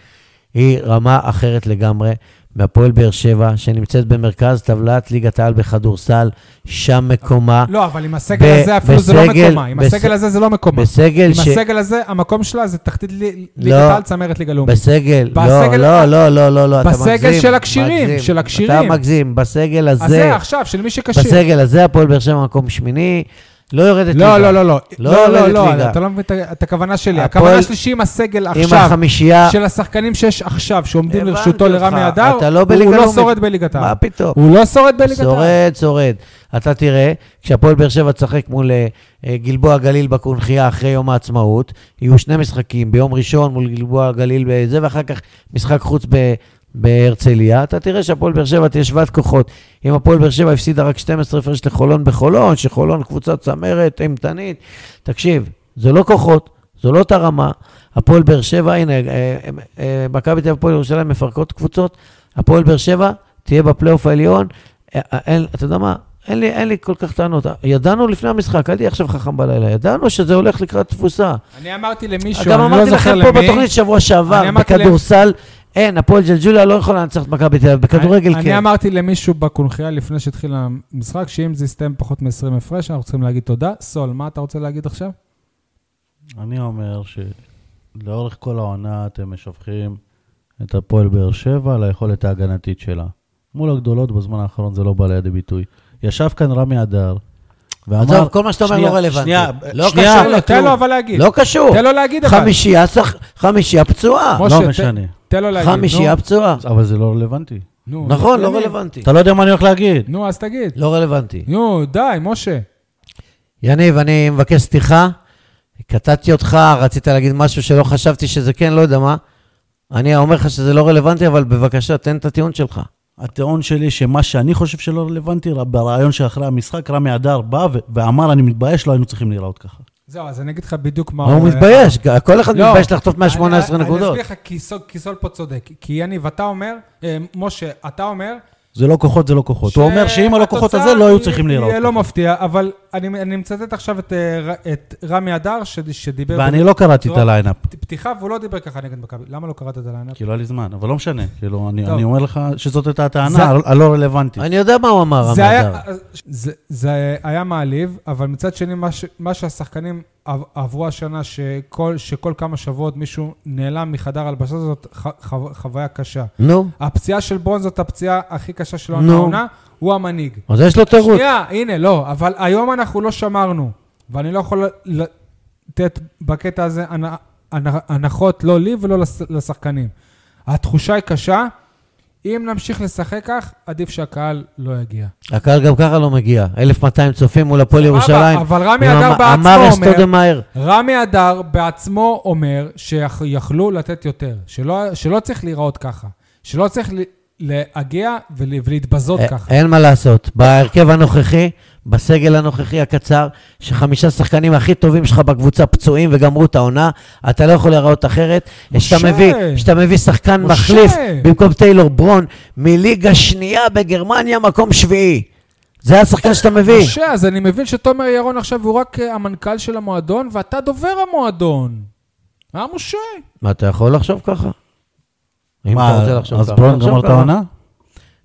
C: היא רמה אחרת לגמרי מהפועל באר שבע, שנמצאת במרכז טבלת ליגת העל בכדורסל, שם מקומה.
A: לא, אבל עם הסגל
C: ב-
A: הזה אפילו זה לא
C: בסגל-
A: מקומה. עם
C: בס-
A: הסגל הזה זה לא מקומה.
C: בסגל
A: עם
C: ש...
A: הסגל הזה, המקום שלה זה תחתית לי-
C: לא.
A: ליגת העל, צמרת ליגה לאומית.
C: בסגל,
A: בסגל-
C: לא, לא, לא, לא, לא, לא, אתה מגזים.
A: בסגל של הכשירים,
C: מגזים.
A: של הכשירים.
C: אתה מגזים, בסגל הזה,
A: אז זה עכשיו, של מי שקשה.
C: בסגל הזה הפועל באר שבע מקום שמיני, לא יורדת
A: לא,
C: ליגה.
A: לא, לא, לא.
C: לא
A: לא, לא,
C: יורדת
A: לא,
C: ליגה.
A: אתה לא מבין את- את הכוונה שלי.
C: הפועל-
A: הכוונה שלי שעם הסגל
C: עם
A: עכשיו,
C: החמישייה,
A: של השחקנים שיש עכשיו, שעומדים
C: הבנתי
A: לרשותו
C: אותך.
A: לרמי אדר,
C: אתה לא
A: הוא-
C: בליגה
A: הוא לא
C: לאומית.
A: שורד בליגת העל.
C: מה פתאום?
A: הוא לא שורד בליגת העל.
C: שורד, שורד. אתה תראה, כשהפועל באר שבע תשחק מול אה, אה, גלבוע גליל בקונכייה אחרי יום העצמאות, יהיו שני משחקים, ביום ראשון מול גלבוע גליל וזה, ואחר כך משחק חוץ ב... בהרצליה, אתה תראה שהפועל באר שבע תהיה שוות כוחות. אם הפועל באר שבע הפסידה רק 12 הפרש לחולון בחולון, שחולון קבוצה צמרת, אימתנית, תקשיב, זה לא כוחות, זו לא אותה רמה. הפועל באר שבע, הנה, אה, אה, אה, מכבי תל אביב הפועל ירושלים מפרקות קבוצות, הפועל באר שבע תהיה בפלייאוף העליון, אה, אה, אין, אתה יודע מה, אין לי, אין לי כל כך טענות. ידענו לפני המשחק, אל תהיה עכשיו חכם בלילה, ידענו שזה הולך לקראת תבוסה.
A: אני אמרתי למישהו,
C: גם
A: אני לא
C: אמרתי
A: זוכר
C: לכם פה
A: למי,
C: בתוכנית שבוע
A: אני
C: שעבר,
A: אמרתי
C: בכדורסל, אין, הפועל ג'לג'וליה לא יכולה לנצח את מכבי תל אביב, בכדורגל
A: אני, אני
C: כן.
A: אמרתי למישהו בקונחייה לפני שהתחיל המשחק, שאם זה יסתיים פחות מ-20 הפרש, אנחנו צריכים להגיד תודה. סול, מה אתה רוצה להגיד עכשיו?
B: אני אומר שלאורך כל העונה אתם משבחים את הפועל באר שבע על היכולת ההגנתית שלה. מול הגדולות בזמן האחרון זה לא בא לידי ביטוי. ישב כאן רמי אדר, ואמר...
C: עזוב, כל מה שאתה אומר
B: שנייה,
C: לא רלוונטי.
B: שנייה,
C: לא
B: שנייה.
C: קשור
A: תן לו, תן לו
C: לכלום.
A: אבל להגיד.
C: לא קשור.
A: תן לו להגיד אבל.
C: חמישייה שח- חמישייה פצועה.
A: משה,
B: לא
A: ת-
B: משנה.
A: תן לו להגיד. נו,
C: חמישייה פצועה.
B: אבל זה לא רלוונטי.
A: נו,
C: נכון,
A: נו,
C: לא רלוונטי.
B: אתה לא יודע מה אני הולך להגיד.
A: נו, אז תגיד.
C: לא רלוונטי.
A: נו, די, משה.
C: יניב, אני מבקש סליחה. קטעתי אותך, רצית להגיד משהו שלא חשבתי שזה כן, לא יודע מה. אני אומר לך שזה לא רלוונטי, אבל בבקשה, תן את הטיעון שלך.
B: הטיעון שלי שמה שאני חושב שלא רלוונטי, ברעיון שאחרי המשחק, רמי אדר בא ו- ואמר, אני מתבייש, לא היינו צריכים להיראות ככה.
A: זהו, אז אני אגיד לך בדיוק מה
C: מה הוא מתבייש? כל אחד
A: לא.
C: מתבייש לחטוף
A: אני-
C: 118
A: אני
C: נקודות.
A: אסביר לך, כי סול- כי סול פה צודק. כי יניב, אתה אומר, אה, משה, אתה אומר,
B: זה לא כוחות, זה לא כוחות. הוא אומר שאם על הכוחות
A: שהתוצאה
B: הזה, לא היו
A: היא-
B: צריכים להיראות.
A: יהיה לא מפתיע, אבל אני אני מצטט עכשיו את, אה, ר- את רמי אדר, ש- שדיבר...
B: ואני לא קראתי את
A: בצורה-
B: הליינאפ.
A: פתיחה, והוא לא דיבר ככה נגד מכבי. למה לא קראת את הליינאפ?
B: כי לא היה לי זמן, אבל לא משנה. כאילו, אני
A: טוב.
B: אני אומר לך שזאת הייתה
A: זה-
B: הטענה הלא רלוונטית.
C: אני יודע מה הוא אמר,
A: זה היה,
C: המדר.
A: זה, זה היה מעליב, אבל מצד שני, מה, ש, מה שהשחקנים עב- עברו השנה, שכל, שכל כמה שבועות מישהו נעלם מחדר הלבשה, זאת ח, חו, חוויה קשה.
C: נו,
A: הפציעה של ברון זאת הפציעה הכי קשה שלו
C: נו.
A: העונה, הוא המנהיג.
C: אז יש לו תירוץ.
A: שנייה, הנה, לא, אבל היום אנחנו לא שמרנו, ואני לא יכול לתת בקטע הזה הנ- הנ- הנחות לא לי ולא לש- לשחקנים. התחושה היא קשה, אם נמשיך לשחק כך, עדיף שהקהל לא יגיע.
C: הקהל גם ככה לא מגיע. 1,200 צופים מול הפועל
A: סבבה,
C: ירושלים.
A: אבל רמי
C: עם
A: אדר
C: המ-
A: בעצמו
C: אמר
A: אומר-
C: אסטודמאייר.
A: רמי אדר בעצמו אומר שיכלו לתת יותר, שלא, שלא צריך להיראות ככה, שלא צריך ל- להגיע ול- ולהתבזות
C: אה,
A: ככה.
C: אין מה לעשות. בהרכב הנוכחי, בסגל הנוכחי הקצר, שחמישה שחקנים הכי טובים שלך בקבוצה פצועים וגמרו את העונה, אתה לא יכול להיראות אחרת.
A: משה.
C: כשאתה מביא, כשאתה מביא שחקן
A: משה.
C: מחליף במקום טיילור ברון מליגה שנייה בגרמניה, מקום שביעי. זה השחקן שאתה מביא.
A: משה, אז אני מבין שתומר ירון עכשיו הוא רק אה, המנכ"ל של המועדון, ואתה דובר המועדון. אה, משה?
C: מה, אתה יכול לחשוב ככה? אם אתה
B: מה,
C: רוצה לחשוב
B: אז
C: ככה,
B: ברון
C: תחשוב
B: גמר את
C: ככה.
B: העונה?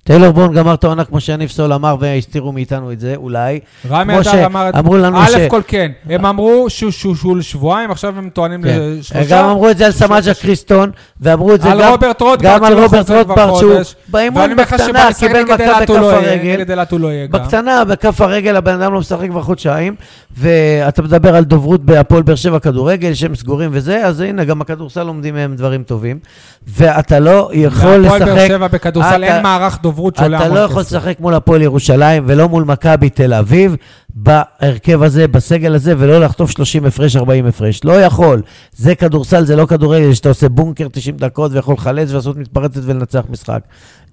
C: טיילור בון גמר את העונה, כמו שיניב סול אמר, והסתירו מאיתנו את זה, אולי.
A: רמי
C: כמו
A: אדר אמר...
C: שאמרו לנו ש...
A: א' כל כן, הם אמרו שהוא- שהוא שהוא לשבועיים, עכשיו הם טוענים
C: כן.
A: לשלושה.
C: הם גם אמרו את זה על סמג'ה קריסטון, ואמרו את זה
A: על
C: גם-
A: רוברט רוטברט,
C: גם על
A: שלא
C: רוברט
A: חוזר כבר
C: רוטברט, שהוא
A: חודש. ואני
C: באימון
A: אומר לך
C: בקטנה
A: שבמשחק
C: קיבל
A: נגד
C: מכה
A: אילת
C: בכף
A: הוא לא יהיה,
C: הרגל.
A: נגד אילת הוא לא יהיה גם.
C: בקטנה, בכף הרגל, הבן אדם לא משחק כבר חודשיים, ואתה מדבר על דוברות בהפועל באר שבע כדורגל, שהם סגורים וזה, אז הנה, גם הכדורסל לומדים מהם דברים טובים, ואתה לא יכול
A: בהפועל באר
C: לשחק...
A: שבע בכדורסל
C: אתה-
A: אין מערך דוברות שעולה המון
C: אתה
A: כסף.
C: לא יכול לשחק מול הפועל ירושלים ולא מול מכבי תל אביב בהרכב הזה, בסגל הזה, ולא לחטוף 30 הפרש, 40 הפרש. לא יכול. זה כדורסל, זה לא כדורגל, שאתה עושה בונקר 90 דקות ויכול לחלץ ולעשות מתפרצת ולנצח משחק.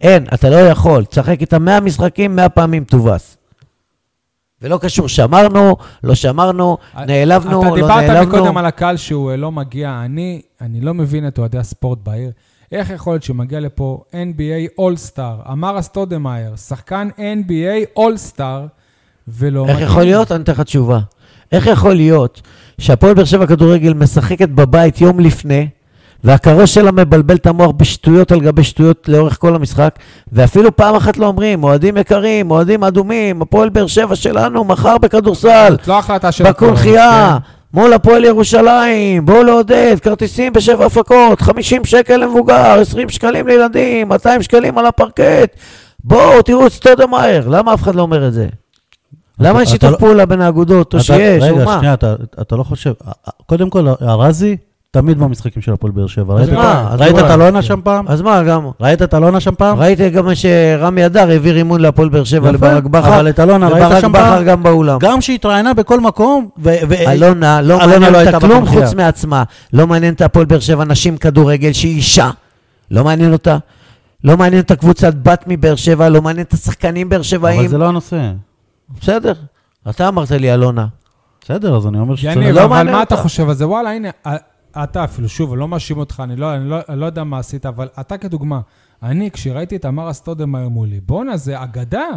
C: אין, אתה לא יכול. תשחק איתם 100 משחקים, 100 פעמים תובס. ולא קשור, שמרנו, לא שמרנו, נעלבנו, לא נעלבנו.
A: אה, אתה דיברת מקודם על הקהל שהוא אה, לא מגיע. אני, אני לא מבין את אוהדי הספורט בעיר. איך יכול להיות שמגיע לפה NBA אולסטאר, אמר סטודמאייר, שחקן NBA אולסטאר, ולא
C: איך יכול להיות? אני אתן לך תשובה. איך יכול להיות שהפועל באר שבע כדורגל משחקת בבית יום לפני, והקרוש שלה מבלבל את המוח בשטויות על גבי שטויות לאורך כל המשחק, ואפילו פעם אחת לא אומרים, אוהדים יקרים, אוהדים אדומים, הפועל באר שבע שלנו, מחר בכדורסל,
A: זאת לא החלטה של... כן.
C: בקונחייה,
A: הקהל,
B: כן.
C: מול הפועל ירושלים, בואו לעודד, כרטיסים בשבע הפקות, 50 שקל למבוגר, 20 שקלים לילדים, 200 שקלים על הפרקט. בואו, תראו את סטודמאייר, למה אף אחד לא אומר את זה? למה אין
B: אתה
C: שיתוף
B: לא-
C: פעולה בין האגודות, או
B: אתה-
C: שיש, או
B: רגע,
C: מה?
B: שנייה, אתה- אתה לא חושב... קודם כל, הרזי תמיד במשחקים של הפועל באר שבע. ראית-
C: מה? אז
B: ראית
C: מה?
B: את אלונה שם פעם?
C: אז מה, גם...
B: ראית את אלונה שם פעם?
C: ראית גם שרמי אדר הביא רימון להפועל באר שבע
B: יפה,
C: לברק בכר,
B: אבל את אלונה ראית
C: וברק
B: שם
C: בכר
B: פעם?
C: גם באולם.
B: גם שהתראיינה בכל מקום, ו... ו-
C: אלונה, לא
B: אלונה
C: מעניין
B: לא
C: אותה
B: הייתה
C: כלום
B: בקונחייה.
C: חוץ מעצמה. לא מעניין את הפועל באר שבע נשים כדורגל שהיא אישה. לא מעניין אותה. לא מעניין את הקבוצת בת מבאר שבע, לא מעניין את השחקנים באר שבעים.
B: אבל זה לא הנושא.
C: בסדר. אתה אמרת לי, אלונה.
B: בסדר, אז אני אומר
A: כן.
B: שצריך...
A: יניב,
C: לא
A: אבל
C: מעניין
A: מה אתה
C: אותה.
A: חושב על זה? וואלה, הנה, אה, אתה אפילו, שוב, אני לא מאשים אותך, אני לא- אני לא- אני לא יודע מה עשית, אבל אתה כדוגמה, אני, כשראיתי את אמר סטודמאייר מולי, בואנה, זה אגדה.
C: אה,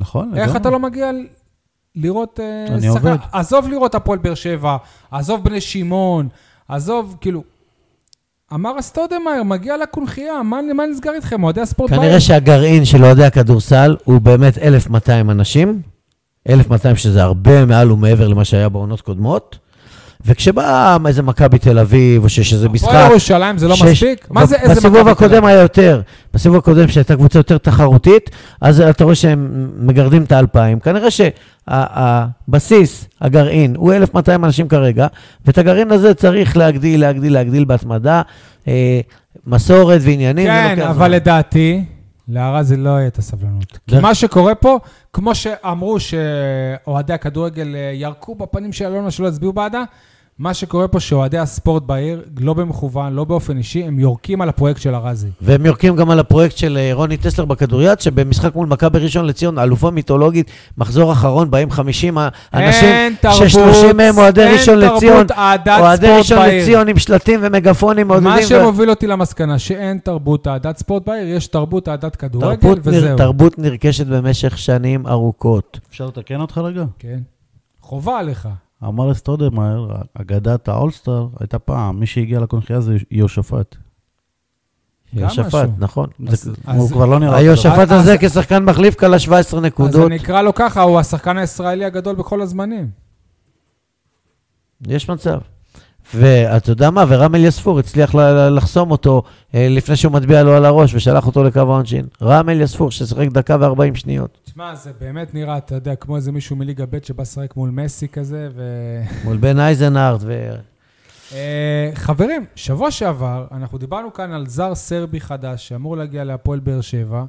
B: נכון,
A: איך
B: לגמרי.
A: אתה לא מגיע ל- לראות... אה,
B: אני
A: שחקן?
B: עובד.
A: עזוב לראות הפועל באר שבע, עזוב בני שמעון, עזוב, כאילו... אמר סטודמאייר, מגיע לקונכייה, מה מה נסגר איתכם? אוהדי הספורט
C: כנראה שהגרעין של אוהדי הכדורסל הוא באמת 1,200 אנשים, 1,200 שזה הרבה מעל ומעבר למה שהיה בעונות קודמות, וכשבא איזה מכבי תל אביב, או שיש איזה משחק...
A: הפועל ירושלים זה לא
C: שיש-
A: מספיק? מה
C: ב-
A: זה איזה...
C: בסיבוב
A: מכבי תל אביב?
C: הקודם היה יותר. בסיבוב הקודם, שהייתה קבוצה יותר תחרותית, אז אתה רואה שהם מגרדים את האלפיים. כנראה שהבסיס, הגרעין, הוא 1,200 אנשים כרגע, ואת הגרעין הזה צריך להגדיל, להגדיל, להגדיל בהתמדה, אה, מסורת ועניינים. זה
A: כן,
C: לוקח
A: אבל
C: זמן.
A: לדעתי, לארזי לא יהיה את הסבלנות. כי
B: דרך-
A: מה שקורה פה, כמו שאמרו שאוהדי הכדורגל אה, ירקו בפנים של אלונה שלא הצביעו בעדה, מה שקורה פה שאוהדי הספורט בעיר, לא במכוון, לא באופן אישי, הם יורקים על הפרויקט של ארזי.
C: והם יורקים גם על הפרויקט של אה, רוני טסלר בכדוריד, שבמשחק מול מכבי ראשון לציון, אלופה מיתולוגית, מחזור אחרון, באים 50 ה- אנשים,
A: אין תרבות,
C: ש-30 מהם אוהדי
A: אין
C: ראשון
A: תרבות
C: לציון,
A: אהדת
C: אוהדי
A: ספורט
C: ראשון
A: בעיר.
C: לציון עם שלטים ומגפונים,
A: מה
C: מעודדים, ו-
A: שמוביל אותי למסקנה, שאין תרבות אהדת ספורט בעיר, יש תרבות אהדת כדורגל,
C: תרבות, נר,
A: וזהו.
C: תרבות נרכשת במשך שנים ארוכות.
B: אפשר לתקן אותך רגע?
A: כן. חובה עליך.
B: אמר סטודמאייר, אגדת האולסטאר הייתה פעם, מי שהגיע לקונחייה זה יהושפט.
A: גם
C: יהושפט,
A: משהו.
C: נכון.
B: זה-
A: אז-
B: הוא כבר לא נראה...
C: היהושפת
A: אה, אז-
C: הזה כשחקן מחליף כלה 17
A: אז
C: נקודות.
A: אני אקרא לו ככה, הוא השחקן הישראלי הגדול בכל הזמנים.
C: יש מצב. ואתה יודע מה, ורם אליספור הצליח ל- ל- לחסום אותו אה, לפני שהוא מטביע לו על הראש ושלח אותו לקו העונשין. רם אליספור ששיחק דקה וארבעים שניות
A: תשמע, זה באמת נראה, אתה יודע, כמו איזה מישהו מליגה ב' שבא לשחק מול מסי כזה, ו...
C: מול בן אייזנארט. ו...
A: אה, חברים, שבוע שעבר אנחנו דיברנו כאן על זר סרבי חדש שאמור להגיע להפועל באר שבע.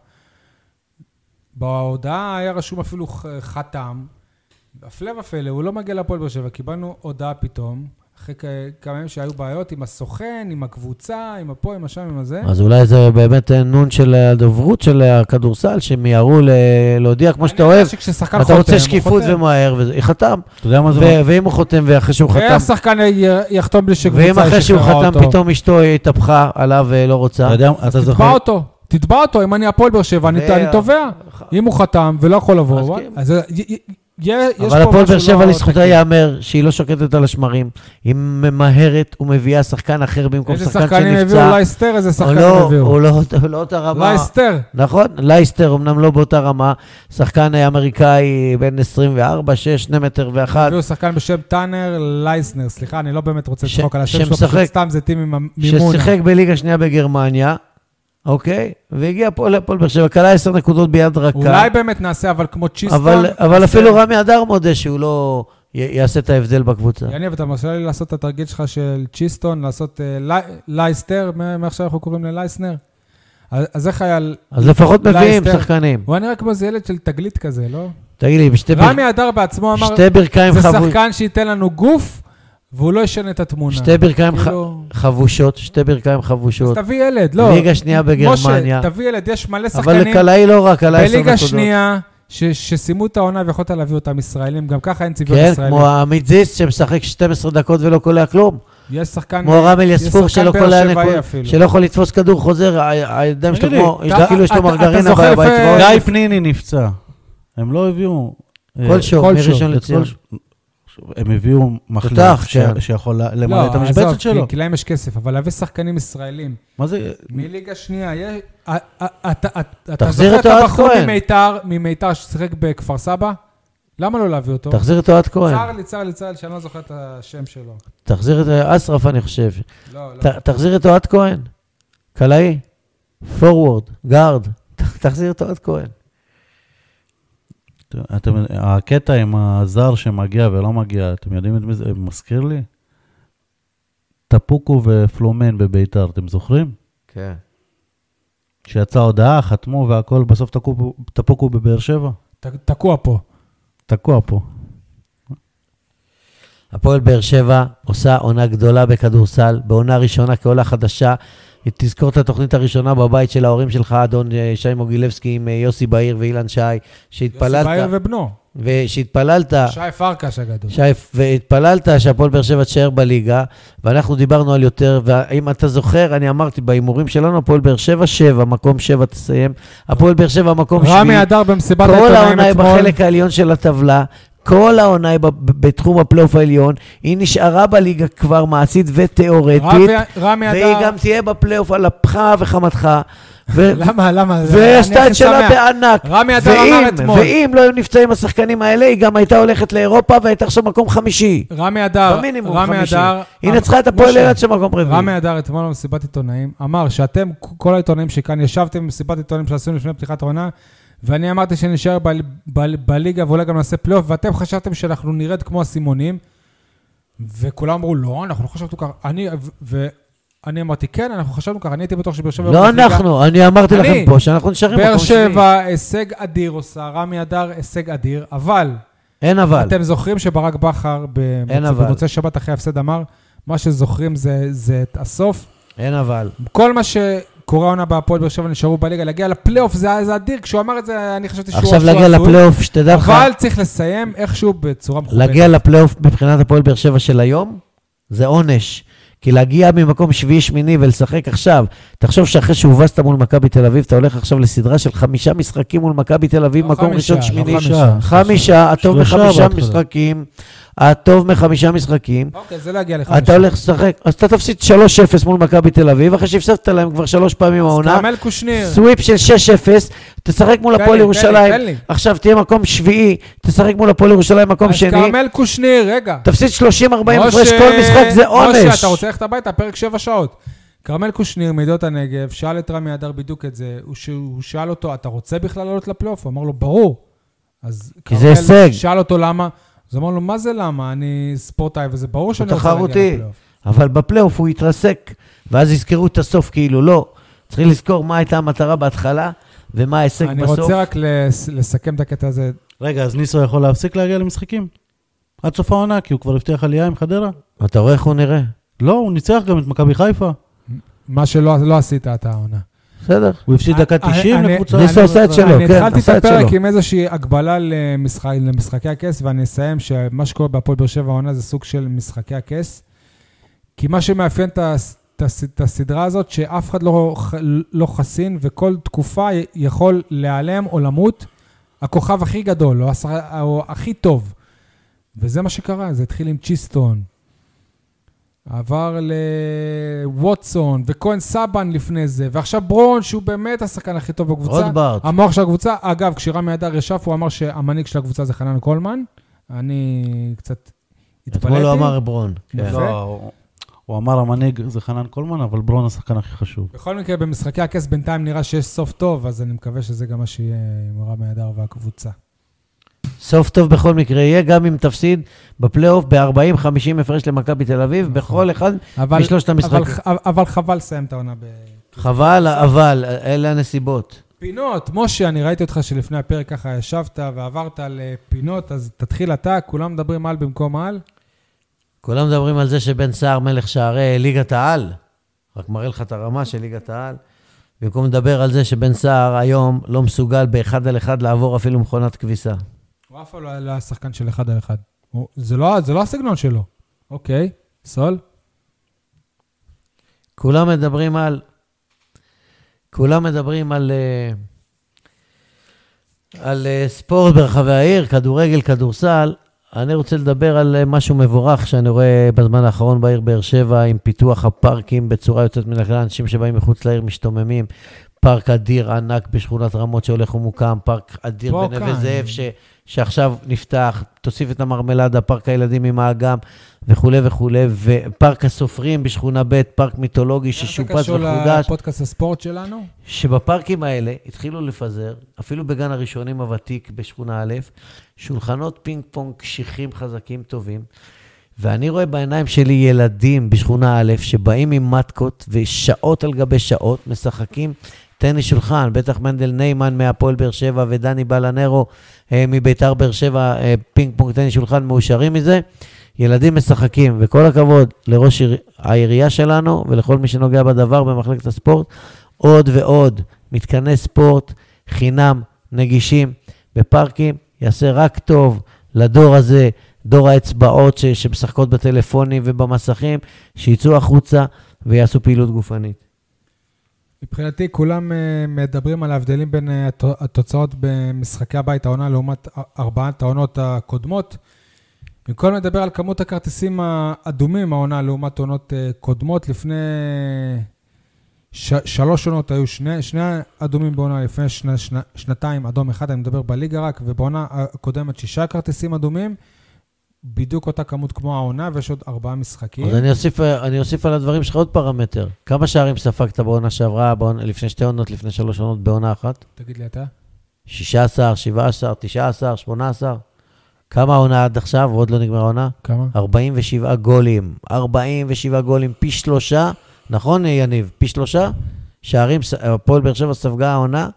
A: בהודעה היה רשום אפילו ח- חתם. הפלא ופלא, הוא לא מגיע להפועל באר שבע. קיבלנו הודעה פתאום, אחרי כ- כמה ימים שהיו בעיות עם הסוכן, עם הקבוצה, עם הפה, עם השם, עם הזה.
C: אז אולי זה באמת אה, נון של הדוברות של הכדורסל, שמיהרו ל... להודיע כמו שאתה אוהב.
A: שכששחקן
C: אתה
A: חותם,
C: רוצה
A: הוא
C: שקיפות
A: חותם.
C: ומהר, וחתם.
B: אתה יודע מה זה...
C: ו- ואם הוא חותם ואחרי שהוא חתם,
A: והשחקן י- יחתום בלי שקבוצה
C: ואם אחרי שהוא
A: שחררה
C: חתם
A: אותו.
C: פתאום אשתו התהפכה עליו ולא רוצה,
B: אתה יודע, אתה
A: תתבע
B: זוכר...
A: אותו, תתבע אותו, אם אני הפועל באר שבע, אני
C: זה-
A: אני תובע. אם הוא חתם ולא יכול לבוא,
C: אז
A: וואי,
C: כן.
A: אז זה- י- י- יה- יש פה משהו
C: אבל הפועל באר שבע
A: לא
C: לזכותה
A: תקין.
C: ייאמר שהיא לא שוקטת על השמרים, היא ממהרת ומביאה שחקן אחר במקום
A: איזה
C: שחקן
A: שחקנים הביאו?
C: שנפצע.
A: לייסטר, איזה
C: הוא
A: שחקנים
C: לא-
A: הביאו?
C: הוא לא הוא לא אותה רמה.
A: לייסטר.
C: נכון, לייסטר אמנם לא באותה רמה, שחקן אמריקאי בן 24, 6, 2 מטר ואחת,
A: הביאו שחקן בשם טאנר לייסנר, סליחה, אני לא באמת רוצה
C: ש-
A: לצחוק על השם שלו,
C: שמשחק-
A: פשוט סתם זה טים עם המימונה.
C: ששיחק בליגה שנייה בגרמניה, אוקיי? והגיע פה להפועל באר שבע, כלה 10 נקודות ביד רכה.
A: אולי באמת נעשה, אבל כמו צ'יסטון.
C: אבל, אבל
A: נעשה-
C: אפילו רמי אדר מודה שהוא לא י- יעשה את ההבדל בקבוצה.
A: יניב, אתה מרשה לי לעשות את התרגיל שלך של צ'יסטון, לעשות אה, לי- לייסטר, מה- מעכשיו אנחנו קוראים ללייסנר? אז אז איך היה... ל-
C: אז לפחות
A: לייסטר-
C: מביאים שחקנים.
A: הוא היה נראה כמו איזה ילד של תגלית כזה, לא?
C: תגיד לי, בשתי בר-
A: רמי אדר בעצמו אמר,
C: שתי ברכיים
A: זה
C: חבו-
A: שחקן שייתן לנו גוף, והוא לא ישנה את התמונה.
C: שתי ברכיים ח-
A: כאילו,
C: חבושות, שתי ברכיים
A: אז
C: חבושות.
A: תביא ילד, לא.
C: ליגה שנייה בגרמניה.
A: משה, תביא ילד, יש מלא
C: אבל
A: שחקנים
C: לקלעי לא רק, קלעי עשר
A: בליגה
C: נקודות.
A: שנייה, ש- שסיימו את העונה ויכולת להביא אותם ישראלים, גם ככה אין צביון
C: כן,
A: ישראלי.
C: כמו העמית זיס שמשחק 12 דקות ולא קולע כלום.
A: יש שחקן...
C: כמו רם אליספור
A: יש שחקן
C: שלא
A: באר
C: קולע
A: שבעי
C: נקודות,
A: אפילו.
C: שלא יכול לתפוס כדור חוזר, ה- הידיים שלו
B: תגיד לי,
C: כמו, יש
A: אתה-
C: לו- כאילו יש לו
A: אתה- אתה
C: מרגרינה
A: זוכר
C: ב-
A: איפה-
C: באצבעות.
B: גיא פניני נפצע. הם לא הביאו... אה,
C: כל שור,
A: כל שור,
C: מראשון
B: את
C: לציון.
B: כל ש- הם הביאו מחליף
C: תותח,
B: ש-
C: כן.
B: שיכול ל- למלא
A: לא,
B: את
A: עזוב,
B: המשבצת
A: כי-
B: שלו.
A: כי להם יש כסף, אבל להביא שחקנים ישראלים
B: מה זה?
A: מליגה שנייה, יש... אה, אה, אה, אתה- אתה- אתה
C: תחזיר
A: זוכר את
C: את אוהד
A: הבחור
C: כהן.
A: ממיתר- ממיתר ששיחק בכפר סבא? למה לא להביא אותו?
C: תחזיר את אוהד כהן,
A: צר לי, צר לי, צר לי שאני לא זוכר את השם שלו.
C: תחזיר את אה, אסרף אני חושב.
A: לא, לא.
C: ת- תחזיר את אוהד כהן, קלעי, פורוורד, גארד, ת- תחזיר את אוהד כהן.
B: אתם, הקטע עם הזר שמגיע ולא מגיע, אתם יודעים את מי זה? מזכיר לי? טפוקו ופלומן בביתר, אתם זוכרים?
C: כן.
B: שיצאה הודעה, חתמו והכל, בסוף טפוקו- טפוקו בבאר שבע?
A: ת- תקוע פה.
B: תקוע פה.
C: הפועל באר שבע עושה עונה גדולה בכדורסל, בעונה ראשונה כעולה חדשה. תזכור את התוכנית הראשונה בבית של ההורים שלך, אדון אה, שי מוגילבסקי עם אה, יוסי בהיר ואילן שי,
A: יוסי
C: שהתפללת,
A: באייר ובנו.
C: ושהתפללת,
A: שי פרקש הגדול.
C: אה. שי, והתפללת שהפועל באר שבע תישאר בליגה, ואנחנו דיברנו על יותר, ואם אתה זוכר, אני אמרתי בהימורים שלנו, הפועל באר שבע, שבע, מקום שבע תסיים, הפועל באר שבע, מקום שביעי.
A: רמי אדר במסיבת
C: כל
A: העיתונאים
C: העונה היא
A: אתמול.
C: בחלק העליון של הטבלה, כל העונה היא ב- ב- בתחום הפלייאוף העליון, היא נשארה בליגה כבר מעשית ותיאורטית,
A: רמי- רמי
C: והיא
A: אדר...
C: גם תהיה בפלייאוף על אפך וחמתך, ו-
A: למה, למה?
C: והיא
A: לא, אני
C: עשתה
A: הכי
C: את
A: שמח.
C: שלה בענק.
A: רמי אדר אמר
C: ואם,
A: אתמול.
C: ואם לא היו נפצעים השחקנים האלה, היא גם הייתה הולכת לאירופה והייתה עכשיו מקום חמישי.
A: רמי אדר,
C: במינימום
A: רמי
C: חמישי.
A: אדר,
C: היא
A: אמ-
C: נצחה את הפועל
A: משה,
C: אילת של מקום רביעי.
A: רמי אדר אתמול במסיבת עיתונאים אמר שאתם, כל העיתונאים שכאן, ישבתם במסיבת עיתונאים שעשינו לפני פתיחת העונה, ואני אמרתי שנשאר בל- בל- בליגה ואולי גם נעשה פלייאוף, ואתם חשבתם שאנחנו נרד כמו אסימונים, וכולם אמרו, לא, אנחנו לא חשבנו ככה. אני, ו- ואני אמרתי, כן, אנחנו חשבנו ככה, אני הייתי בטוח שבאר שבע...
C: לא
A: בליגה.
C: אנחנו, אני אמרתי
A: אני.
C: לכם פה שאנחנו נשארים
A: באר
C: מקום שביעי.
A: שבע, הישג אדיר עושה, רמי אדר, הישג אדיר, אבל
C: אין אבל.
A: אתם זוכרים שברק בכר
C: אין
A: במוצא-
C: אבל.
A: במוצאי שבת אחרי ההפסד אמר, מה שזוכרים זה, זה את הסוף.
C: אין אבל.
A: כל מה שקורה העונה בהפועל באר שבע נשארו בליגה, להגיע לפלייאוף זה היה- זה אדיר, כשהוא אמר את זה אני חשבתי שהוא
C: עכשיו
A: שהוא
C: להגיע
A: הזוי.
C: לפלייאוף, שתדע לך,
A: אבל צריך לסיים איכשהו בצורה מכובדת.
C: להגיע לפלייאוף מבחינת הפועל באר שבע של היום, זה עונש. כי להגיע ממקום שביעי-שמיני ולשחק עכשיו, תחשוב שאחרי שהובסת מול מכבי תל אביב, אתה הולך עכשיו לסדרה של חמישה משחקים מול מכבי תל אביב,
A: לא
C: מקום
A: חמישה, לא
C: ראשון-שמיני.
A: חמישה.
C: חמישה, הטוב
B: שלושה
C: מחמישה
B: בהתחלה.
C: משחקים, הטוב מחמישה משחקים,
A: אוקיי, זה לא יגיע לך.
C: אתה הולך לשחק, אז אתה תפסיד 3-0 מול מכבי תל אביב, אחרי שהפסדת להם כבר שלוש פעמים העונה,
A: כרמל קושניר.
C: סוויפ של 6-0, תשחק מול
A: תן לי, תן
C: הפועל
A: לי,
C: ירושלים,
A: תן לי.
C: עכשיו תהיה מקום שביעי, תשחק מול הפועל ירושלים מקום
A: אז
C: שני,
A: כרמל קושניר, רגע.
C: תפסיד 30-40 הפרש,
A: משה-
C: כל משחק זה
A: משה,
C: עונש.
A: אתה רוצה ללכת הביתה, פרק שבע שעות. כרמל קושניר מידיעות הנגב, שאל את רמי אדר בדיוק את זה, הוא ש- הוא שאל אותו, אתה רוצה בכלל לעלות לפלייאוף? הוא אמר לו, ברור. אז
C: כי זה הישג.
A: שאל אותו למה, אז הוא אמר לו, מה זה למה? אני ספורטאי, וזה ברור שאני רוצה להגיע
C: תחרותי.
A: לפלייאוף.
C: אבל בפלייאוף הוא יתרסק, ואז יזכרו את הסוף כאילו, לא. צריכים לזכור מה הייתה המטרה בהתחלה, ומה ההישג
A: אני
C: בסוף.
A: רוצה רק לס- לסכם את הקטע הזה.
B: רגע, אז ניסו יכול להפסיק להגיע למשחקים? עד סוף העונה, כי הוא כבר הבטיח עלייה עם חדרה.
C: אתה רואה איך הוא נראה?
B: לא, הוא ניצח גם את מכבי חיפה.
A: מה שלא לא עשית אתה העונה.
C: בסדר.
B: הוא הפסיד
A: אה,
B: דקה
A: אה,
B: 90
A: אני-
B: לקבוצה.
C: ניסו עשה את שלו,
A: אני
C: כן,
A: התחלתי את
C: עשה את
A: הפרק
C: שלו.
A: עם איזושהי הגבלה למשחק, למשחקי הכס, ואני אסיים שמה שקורה בהפועל באר שבע העונה זה סוג של משחקי הכס. כי מה שמאפיין את הס- את הס- את הסדרה הזאת, שאף אחד לא ח- לא חסין, וכל תקופה י- יכול להיעלם או למות. הכוכב הכי גדול, או, השח- או הכי טוב. וזה מה שקרה, זה התחיל עם צ'יסטון. עבר לווטסון, וכהן סבן לפני זה, ועכשיו ברון, שהוא באמת השחקן הכי טוב בקבוצה.
C: רוטברט.
A: המוח של הקבוצה, אגב, כשרמי אדר ישב, הוא אמר שהמנהיג של הקבוצה זה חנן קולמן. אני קצת התפלאתי.
C: אתמול הוא אמר ברון.
A: כן.
B: לא, הוא- הוא אמר המנהיג זה חנן קולמן, אבל ברון השחקן הכי חשוב.
A: בכל מקרה, במשחקי הכס בינתיים נראה שיש סוף טוב, אז אני מקווה שזה גם מה שיהיה עם רמי אדר והקבוצה.
C: סוף טוב בכל מקרה יהיה, גם אם תפסיד בפלייאוף ב-40-50 הפרש למכבי תל אביב, בכל אחד
A: נכון. אבל-
C: משלושת המשחקים.
A: אבל, ח- אבל חבל לסיים את העונה ב...
C: חבל, אבל, אלה הנסיבות.
A: פינות, משה, אני ראיתי אותך שלפני הפרק ככה ישבת ועברת על אה, פינות, אז תתחיל אתה, כולם מדברים על במקום על.
C: כולם מדברים על זה שבן סער מלך שערי ליגת העל, רק מראה לך את הרמה של ליגת העל, במקום לדבר על זה שבן סער היום לא מסוגל באחד על אחד לעבור אפילו מכונת כביסה.
A: הוא אף פעם לא היה שחקן של אחד על אחד. הוא- זה לא זה לא הסגנון שלו. אוקיי, סול.
C: כולם מדברים על... כולם מדברים על... אה, על אה, ספורט ברחבי העיר, כדורגל, כדורסל. אני רוצה לדבר על אה, משהו מבורך שאני רואה בזמן האחרון בעיר באר שבע, עם פיתוח הפארקים בצורה יוצאת מן הכלל. אנשים שבאים מחוץ לעיר משתוממים. פארק אדיר ענק בשכונת רמות שהולך ומוקם, פארק אדיר
A: פה,
C: בנווה
A: כאן.
C: זאב ש, שעכשיו נפתח, תוסיף את המרמלדה, פארק הילדים עם האגם וכולי וכולי, ופארק הסופרים בשכונה ב', פארק מיתולוגי ששופץ
A: איך זה קשור
C: וחודש.
A: לפודקאסט הספורט שלנו?
C: שבפארקים האלה התחילו לפזר, אפילו בגן הראשונים הוותיק בשכונה א', שולחנות פינג פונג קשיחים חזקים טובים, ואני רואה בעיניים שלי ילדים בשכונה א', שבאים עם מתקות ושעות על גבי שעות משחקים טניס שולחן, בטח מנדל ניימן מהפועל באר שבע ודני בלנרו אה, מביתר באר שבע, אה, פינג פונג טניס שולחן מאושרים מזה. ילדים משחקים, וכל הכבוד לראש עיר- העירייה שלנו ולכל מי שנוגע בדבר במחלקת הספורט, עוד ועוד מתקני ספורט חינם, נגישים, בפארקים, יעשה רק טוב לדור הזה, דור האצבעות ש- שמשחקות בטלפונים ובמסכים, שיצאו החוצה ויעשו פעילות גופנית.
A: מבחינתי, כולם אה, מדברים על ההבדלים בין אה, התו- התוצאות במשחקי הבית העונה לעומת א- ארבעת העונות הקודמות. במקום לדבר על כמות הכרטיסים האדומים העונה לעומת עונות אה, קודמות, לפני ש- שלוש עונות היו שני, שני אדומים בעונה, לפני שני, שני, שנתיים אדום אחד, אני מדבר בליגה רק, ובעונה הקודמת שישה כרטיסים אדומים, בדיוק אותה כמות כמו העונה, ויש עוד ארבעה משחקים.
C: אז אני אוסיף, אני אוסיף על הדברים שלך עוד פרמטר. כמה שערים ספגת בעונה שעברה, בעונה, לפני שתי עונות, לפני שלוש עונות, בעונה אחת?
A: תגיד לי אתה.
C: 16, 17, 19, 18? כמה העונה עד עכשיו, ועוד לא נגמרה העונה?
A: כמה?
C: 47 גולים. 47 גולים, פי שלושה, נכון, יניב? פי שלושה שערים, ס- הפועל באר שבע ספגה העונה,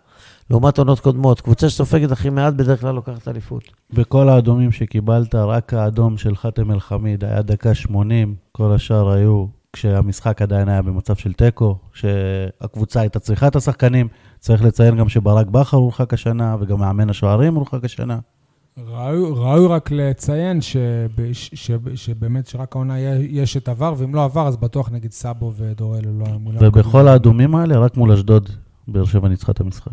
C: לעומת עונות קודמות. קבוצה שסופגת הכי מעט, בדרך כלל לוקחת אליפות.
B: בכל האדומים שקיבלת, רק האדום של חאתם אל-חמיד היה דקה 80, כל השאר היו כשהמשחק עדיין היה במצב של תיקו, שהקבוצה הייתה צריכה את השחקנים. צריך לציין גם שברק בכר הורחק השנה, וגם מאמן השוערים הורחק השנה.
A: ראוי, ראוי רק לציין שבש, שב, שבאמת שרק העונה יה- יש את עבר, ואם לא עבר, אז בטוח נגיד סאבו ודור אלו לא אמור
B: ובכל האדומים האלה, רק מול אשדוד, באר שבע ניצחה את המשחק.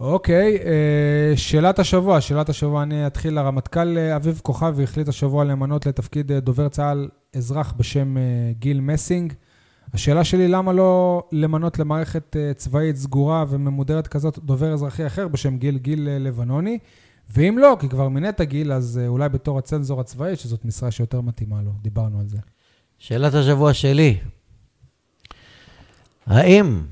A: אוקיי, אה, שאלת השבוע, שאלת השבוע, אני אתחיל. הרמטכ"ל אה, אביב כוכבי החליט השבוע למנות לתפקיד אה, דובר צה"ל אזרח בשם אה, גיל מסינג. השאלה שלי, למה לא למנות למערכת אה, צבאית סגורה וממודרת כזאת דובר אזרחי אחר בשם גיל, גיל אה, לבנוני? ואם לא, כי כבר מינית גיל, אז אה, אולי בתור הצנזור הצבאי, שזאת משרה שיותר מתאימה לו, דיברנו על זה.
C: שאלת השבוע שלי, האם,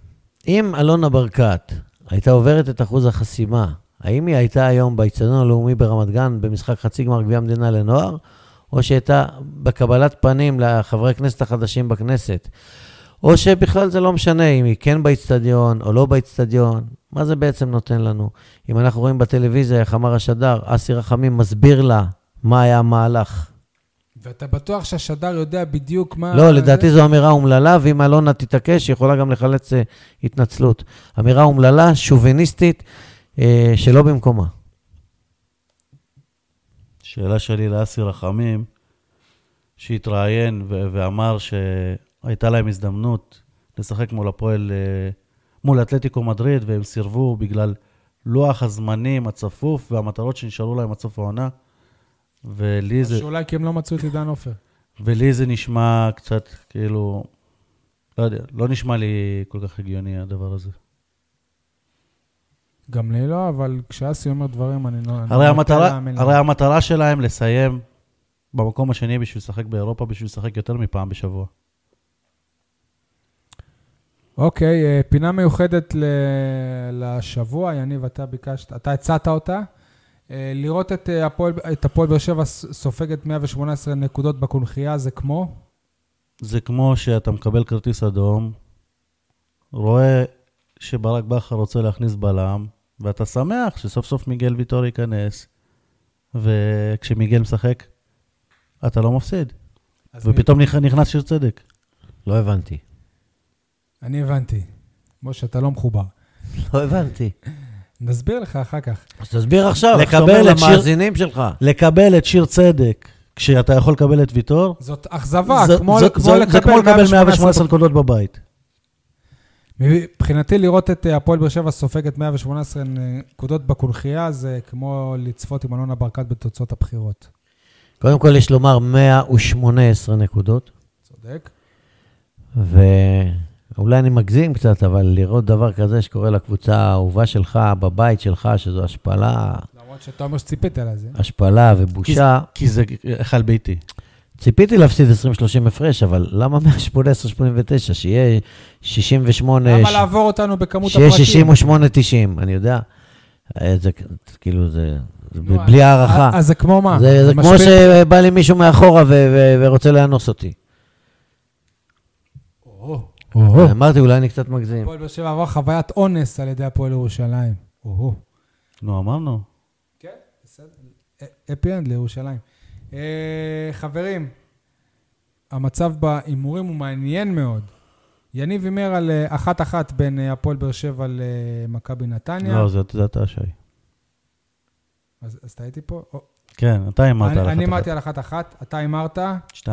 C: אם אלונה ברקת הייתה עוברת את אחוז החסימה, האם היא הייתה היום באיצטדיון הלאומי ברמת גן במשחק חצי גמר גביע המדינה לנוער, או שהייתה בקבלת פנים לחברי הכנסת החדשים בכנסת? או שבכלל זה לא משנה אם היא כן באיצטדיון או לא באיצטדיון, מה זה בעצם נותן לנו? אם אנחנו רואים בטלוויזיה איך אמר השדר, אסי רחמים מסביר לה מה היה המהלך.
A: ואתה בטוח שהשדר יודע בדיוק מה...
C: לא, לדעתי זו אמירה אומללה, ואם אלונה תתעקש, היא יכולה גם לחלץ אה, התנצלות. אמירה אומללה, שוביניסטית, אה, שלא במקומה.
B: שאלה שלי לאסי רחמים, שהתראיין ו- ואמר שהייתה להם הזדמנות לשחק מול הפועל, אה, מול אתלטיקו מדריד, והם סירבו בגלל לוח הזמנים הצפוף והמטרות שנשארו להם עד סוף העונה. ולי
A: זה...
B: זה,
A: שאולי כי הם לא מצאו את עידן עופר.
B: ולי זה נשמע קצת כאילו, לא יודע, לא נשמע לי כל כך הגיוני הדבר הזה.
A: גם לי לא, אבל כשאסי אומר דברים, אני לא... אני
B: הרי
A: נוטה
B: המטרה,
A: להאמין לו.
B: הרי המטרה שלהם לסיים במקום השני בשביל לשחק באירופה, בשביל לשחק יותר מפעם בשבוע.
A: אוקיי, אה, פינה מיוחדת ל... לשבוע, יניב, אתה ביקשת, אתה הצעת אותה. אה, לראות את אה, הפועל את הפועל באר שבע ס- סופגת 118 נקודות בקונכייה, זה כמו?
B: זה כמו שאתה מקבל כרטיס אדום, רואה שברק בכר רוצה להכניס בלם, ואתה שמח שסוף סוף מיגל ויטור ייכנס, וכשמיגל משחק, אתה לא מפסיד.
A: אז מי-
B: ופתאום נכ- נכנס שיר צדק.
C: לא הבנתי.
A: אני הבנתי. משה, אתה לא מחובר.
C: לא הבנתי.
A: נסביר לך אחר כך.
C: אז תסביר עכשיו, איך אתה
B: לקבל
C: אומר
B: את שיר-
C: למאזינים שלך.
B: לקבל את שיר צדק, כשאתה יכול לקבל את ויטור,
A: זאת אכזבה,
B: זה-
A: כמו,
B: זה-
A: כמו
B: זה-
A: לקבל
B: זה כמו לקבל
A: נקודות.
B: 118 נקודות בבית.
A: מבחינתי לראות את אה, הפועל באר שבע סופגת 118 נקודות בקונכייה, זה כמו לצפות עם אלונה ברקת בתוצאות הבחירות.
C: קודם כל, יש לומר 118 נקודות,
A: צודק.
C: ואולי אני מגזים קצת, אבל לראות דבר כזה שקורה לקבוצה האהובה שלך, בבית שלך, שזו השפלה,
A: למרות שאתה אומר שציפית לזה.
C: השפלה
B: כי זה-
C: ובושה.
B: כי זה היכל ביתי.
C: ציפיתי להפסיד 20-30 הפרש, אבל למה 118-89? שיהיה 68...
A: למה
C: אה, ש-
A: לעבור אותנו בכמות
C: שיהיה
A: הפרטים?
C: 68-90, אני יודע. אה, זה כאילו, זה זה
A: נו, אה,
C: בלי הערכה.
A: אז זה כמו מה?
C: זה, זה כמו
A: משפיל-
C: שבא לי מישהו מאחורה ו- ו- ורוצה לאנוס אותי.
A: או-הו.
C: אמרתי, אולי אני קצת מגזים.
A: הפועל באר שבע עבר חוויית אונס על ידי הפועל ירושלים. או-הו.
B: נו, אמרנו.
A: כן, בסדר. אפי אנד אה, לירושלים. אה, חברים, המצב בהימורים הוא מעניין מאוד. יניב הימר על אה, אחת-אחת בין אה, הפועל באר שבע למכבי נתניה.
B: לא, זה זה אתה, שי.
A: אז אז אתה הייתי פה? או,
B: כן, אתה הימרת
A: אני-
B: על
A: אני
B: אחת
A: אמרתי על אחת-אחת, אתה הימרת.
B: 2-0.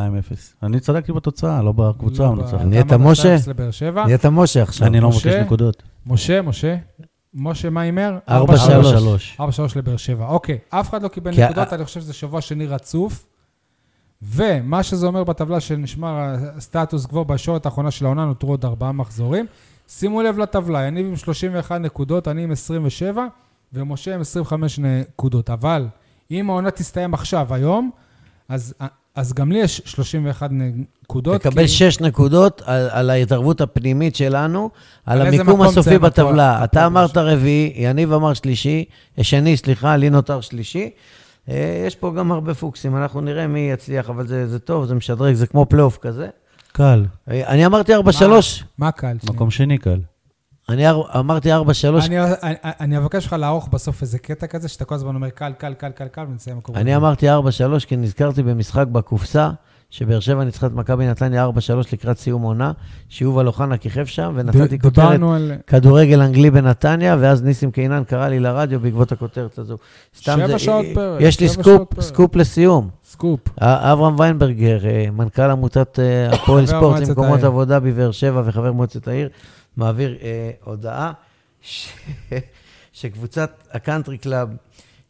B: אני צדקתי בתוצאה, לא בקבוצה
A: לא,
B: המנצחת.
A: אתה
C: נהיית
A: אמרת
C: משה?
A: 2-0 לבאר שבע.
C: נהיית משה עכשיו.
B: אני לא
A: משה?
B: מבקש נקודות.
A: משה, משה. משה, מה הימר?
C: ארבע,
A: ארבע, שלוש.
C: שלוש.
A: 4-3
B: 4-3.
A: לבאר שבע. אוקיי, אף אחד לא קיבל
C: כי ה-
A: נקודות, אני חושב שזה שבוע שני רצוף. ומה שזה אומר בטבלה שנשמר הסטטוס קוו בשעות האחרונה של העונה, נותרו עוד ארבעה מחזורים. שימו לב לטבלה, יניב עם 31 נקודות, אני עם 27, ומשה עם 25 נקודות. אבל אם העונה תסתיים עכשיו, היום, אז, אז גם לי יש 31 נקודות.
C: תקבל שש נקודות על, על ההתערבות הפנימית שלנו, על,
A: על איזה
C: המיקום
A: מקום
C: הסופי
A: תסיים הפועל-
C: בטבלה.
A: הפועל
C: אתה אמרת
A: באר
C: רביעי, יניב אמר שלישי, אה, שני, סליחה, לי נותר שלישי. אה, יש פה גם הרבה פוקסים, אנחנו נראה מי יצליח, אבל זה, זה טוב, זה משדרג, זה כמו פלייאוף כזה.
B: קל.
C: אה, אני אמרתי 4-3,
A: מה קל?
B: מקום שני קל.
C: אני אר- אמרתי 4-3,
A: אני, אני, אני אבקש ממך לערוך בסוף איזה קטע כזה, שאתה כל הזמן אומר קל, קל, קל, קל, קל, ונסיים מקום.
C: אני
A: ראשון.
C: אמרתי 4-3 כי נזכרתי במשחק בקופסה, שבאר שבע ניצחה את מכבי נתניה 4-3 לקראת סיום עונה, שיובל אוחנה כיכב שם, ונתתי
A: ד-
C: כותרת
A: דיברנו על...
C: כדורגל אנגלי בנתניה, ואז ניסים קינן קרא לי לרדיו בעקבות הכותרת הזו. סתם
A: שבע
C: זה-
A: שעות פרק,
C: יש לי
A: שבע
C: סקופ,
A: שעות פרק.
C: סקופ לסיום.
A: סקופ.
C: אה, אברהם ויינברגר, אה, מנכ"ל עמותת אה, הפועל
A: חבר
C: ספורט
A: מועצת
C: למקומות
A: העיר.
C: עבודה בבאר שבע וחבר מועצת העיר, מעביר אה, הודעה ש- שקבוצת הקאנטרי קלאב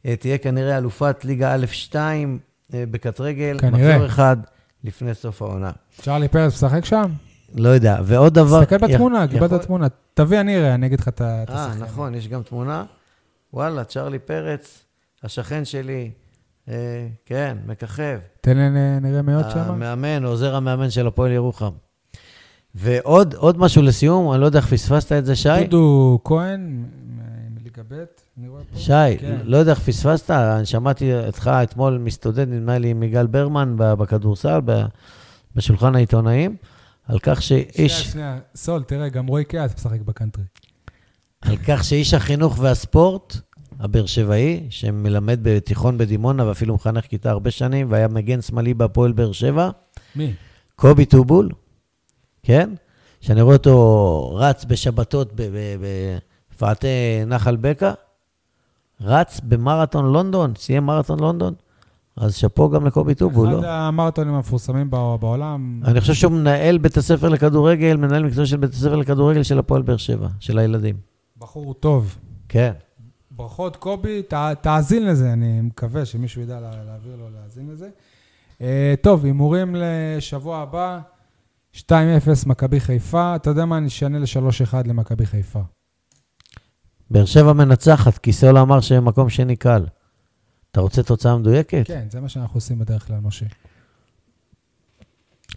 C: אה, תהיה כנראה אלופת ליגה א'2 אה, בקט רגל,
A: כנראה.
C: מחזור אחד לפני סוף העונה.
A: צ'רלי פרס משחק שם?
C: לא יודע, ועוד דבר...
A: תסתכל
C: יכ-
A: בתמונה,
C: יכול-
A: קיבלת תמונה. תביא, אני אראה, אני אגיד לך את ה- את
C: אה,
A: השחקן.
C: נכון, יש גם תמונה. וואלה, צ'רלי פרץ, השכן שלי, אה, כן, מככב.
A: תן לי נ- נראה
C: אה,
A: מאות שם.
C: המאמן, עוזר המאמן של הפועל ירוחם. ועוד עוד משהו לסיום, אני לא יודע איך פספסת את זה, שי.
A: דודו כהן, מ- מ- מליגה ב', אני רואה פה.
C: שי,
A: כן.
C: לא יודע איך פספסת, אני שמעתי אותך אתמול מסטודנט, נדמה לי, מיגל ברמן ב- בכדורסל, ב- בשולחן העיתונאים, על כך
A: שנייה,
C: שאיש,
A: שנייה, סול, תראה, גם רועי קיאט משחק בקאנטרי.
C: על כך שאיש החינוך והספורט הבאר שבעי, שמלמד בתיכון בדימונה ואפילו מחנך כיתה הרבה שנים, והיה מגן שמאלי בהפועל באר שבע,
A: מי?
C: קובי טובול, כן? שאני רואה אותו רץ בשבתות בפאתי נחל בקע, רץ במרתון לונדון, סיים מרתון לונדון, אז שאפו גם לקובי טובול, לא?
A: אחד המרתונים המפורסמים בע- בעולם.
C: אני חושב שהוא מנהל בית הספר לכדורגל, מנהל מקצוע של בית הספר לכדורגל של הפועל באר שבע, של הילדים.
A: בחור טוב.
C: כן.
A: ברכות, קובי, ת, תאזין לזה, אני מקווה שמישהו ידע לה, להעביר לו להאזין לזה. Uh, טוב, הימורים לשבוע הבא, 2-0 מכבי חיפה, אתה יודע מה, אני אשנה ל-3-1 למכבי חיפה.
C: באר שבע מנצחת, כי סולה אמר שמקום שני קל. אתה רוצה תוצאה מדויקת?
A: כן, זה מה שאנחנו עושים בדרך כלל, משה.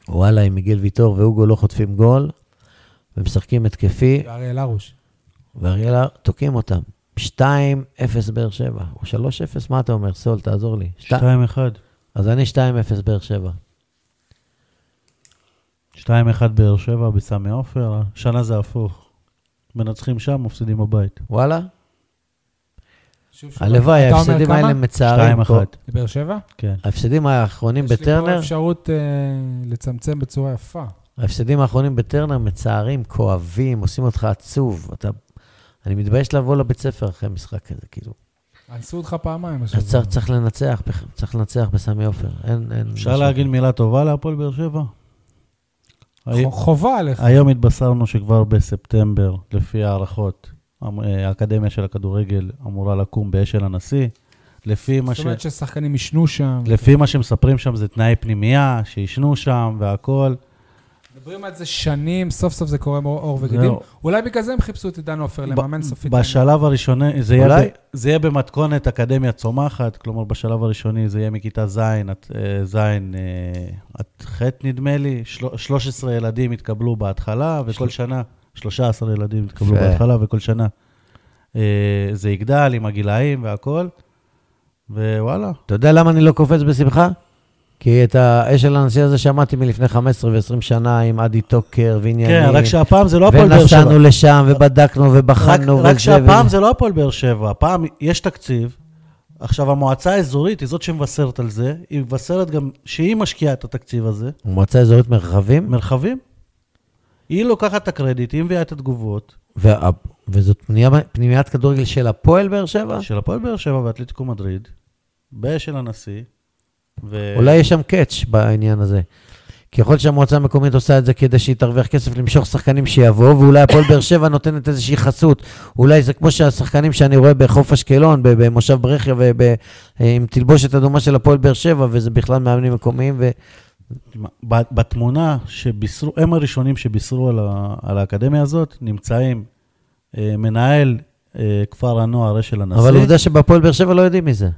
C: וואלה, אם מיגל ויטור והוגו לא חוטפים גול, ומשחקים התקפי,
A: אריאל הרוש.
C: ואריאלה, תוקעים אותם. 2-0 באר שבע, או 3-0, מה אתה אומר? סול, תעזור לי. שת...
B: 2-1.
C: אז אני 2-0 באר שבע.
B: 2-1 באר שבע בסמי עופר, השנה זה הפוך. מנצחים שם, מפסידים בבית.
C: וואלה,
A: שוב, שוב,
C: הלוואי,
A: אתה אומר
C: ההפסדים
A: כמה?
C: האלה מצערים פה.
B: 2-1,
A: לבאר שבע?
B: כן.
C: ההפסדים האחרונים
A: יש לי פה
C: בטרנר,
A: אפשרות אה, לצמצם בצורה יפה.
C: ההפסדים האחרונים בטרנר מצערים, כואבים, עושים אותך עצוב. אתה... אני מתבייש לבוא לבית ספר אחרי משחק כזה, כאילו.
A: אנסו אותך פעמיים
C: אז
A: השבוע.
C: צריך, צריך לנצח, בח- צריך לנצח בסמי עופר. אין, אין...
B: אפשר
C: משהו.
B: להגיד מילה טובה להפועל באר שבע? הי-
A: חו- חובה
C: אה,
A: עליך.
B: היום התבשרנו שכבר בספטמבר, לפי הערכות, המ- אה, האקדמיה של הכדורגל אמורה לקום באשל הנשיא. לפי מה,
A: זאת
B: ש...
A: אומרת ששחקנים ישנו שם.
B: לפי מה שמספרים שם זה תנאי פנימייה, שעישנו שם והכול.
A: מדברים על זה שנים, סוף סוף זה קורה מאור אור וגידים.
C: לא.
B: זהו.
A: אולי בגלל זה הם חיפשו את עידן עופר, למאמן סופית.
B: בשלב הראשוני, זה יהיה,
C: אולי-
B: ב, זה יהיה במתכונת אקדמיה צומחת, כלומר בשלב הראשוני זה יהיה מכיתה ז' עד אה, ז' אה, עד ח' נדמה לי, של, 13 ילדים יתקבלו בהתחלה, וכל שנה, 13 ילדים יתקבלו
C: יפה.
B: בהתחלה, וכל שנה אה, זה יגדל עם הגילאים והכול, ווואלה,
C: אתה יודע למה אני לא קופץ בשמחה? כי את האש של הנשיא הזה שמעתי מלפני 15 ו-20 שנה עם עדי טוקר ועניינים.
B: כן, רק שהפעם זה לא הפועל באר שבע.
C: ונסענו לשם ובדקנו
B: רק,
C: ובחנו
B: רק
C: וזה,
B: שהפעם
C: ו-
B: זה לא הפועל באר שבע, הפעם יש תקציב. עכשיו, המועצה האזורית היא זאת שמבשרת על זה, היא מבשרת גם שהיא משקיעה את התקציב הזה.
C: מועצה אזורית מרחבים,
B: מרחבים. היא לוקחת את הקרדיט, היא מביאה את התגובות
C: וה- וזאת פנימיה- פנימיית כדורגל של הפועל באר שבע?
B: של הפועל באר שבע ואתלטיקו מדריד, באשל הנשיא, ו...
C: אולי יש שם קאץ' בעניין הזה. ככל שהמועצה המקומית עושה את זה כדי שהיא תרוויח כסף למשוך שחקנים שיבואו, ואולי הפועל באר שבע נותנת איזושהי חסות. אולי זה כמו שהשחקנים שאני רואה בחוף אשקלון, ב- במושב ברכיה, וב- אה, עם תלבושת אדומה של הפועל באר שבע, וזה בכלל מאמנים מקומיים, ו...
B: ב- בתמונה שבישרו, הם הראשונים שבישרו על, ה... על האקדמיה הזאת, נמצאים אה, מנהל אה, כפר הנוער אשל הנשיא,
C: אבל עובדה שבהפועל באר שבע לא יודעים מזה.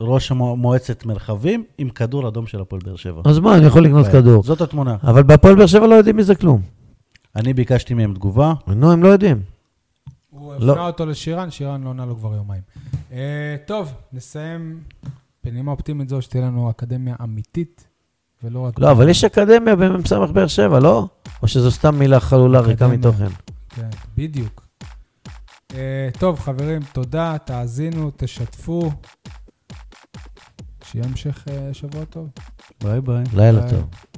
B: ראש המוע- מועצת מרחבים עם כדור אדום של הפועל באר שבע.
C: אז מה, אני יכול לקנות כדור.
B: זאת התמונה.
C: כן. אבל בהפועל באר שבע לא יודעים מזה כלום.
B: אני ביקשתי מהם תגובה,
C: נו, הם לא יודעים.
A: הוא
C: לא.
A: הפנה אותו לשירן, שירן לא עונה לו כבר יומיים. אה, טוב, נסיים בנימה אופטימית זו, שתהיה לנו אקדמיה אמיתית, ולא רק...
C: לא, אבל יש אקדמיה במ"ס באר שבע, לא? או שזו סתם מילה חלולה ריקה
A: אקדמיה.
C: מתוכן.
A: כן, בדיוק. אה, טוב, חברים, תודה, תאזינו, תשתפו. שיהיה המשך אה, שבוע טוב.
B: ביי ביי.
C: לילה
A: ביי.
C: טוב.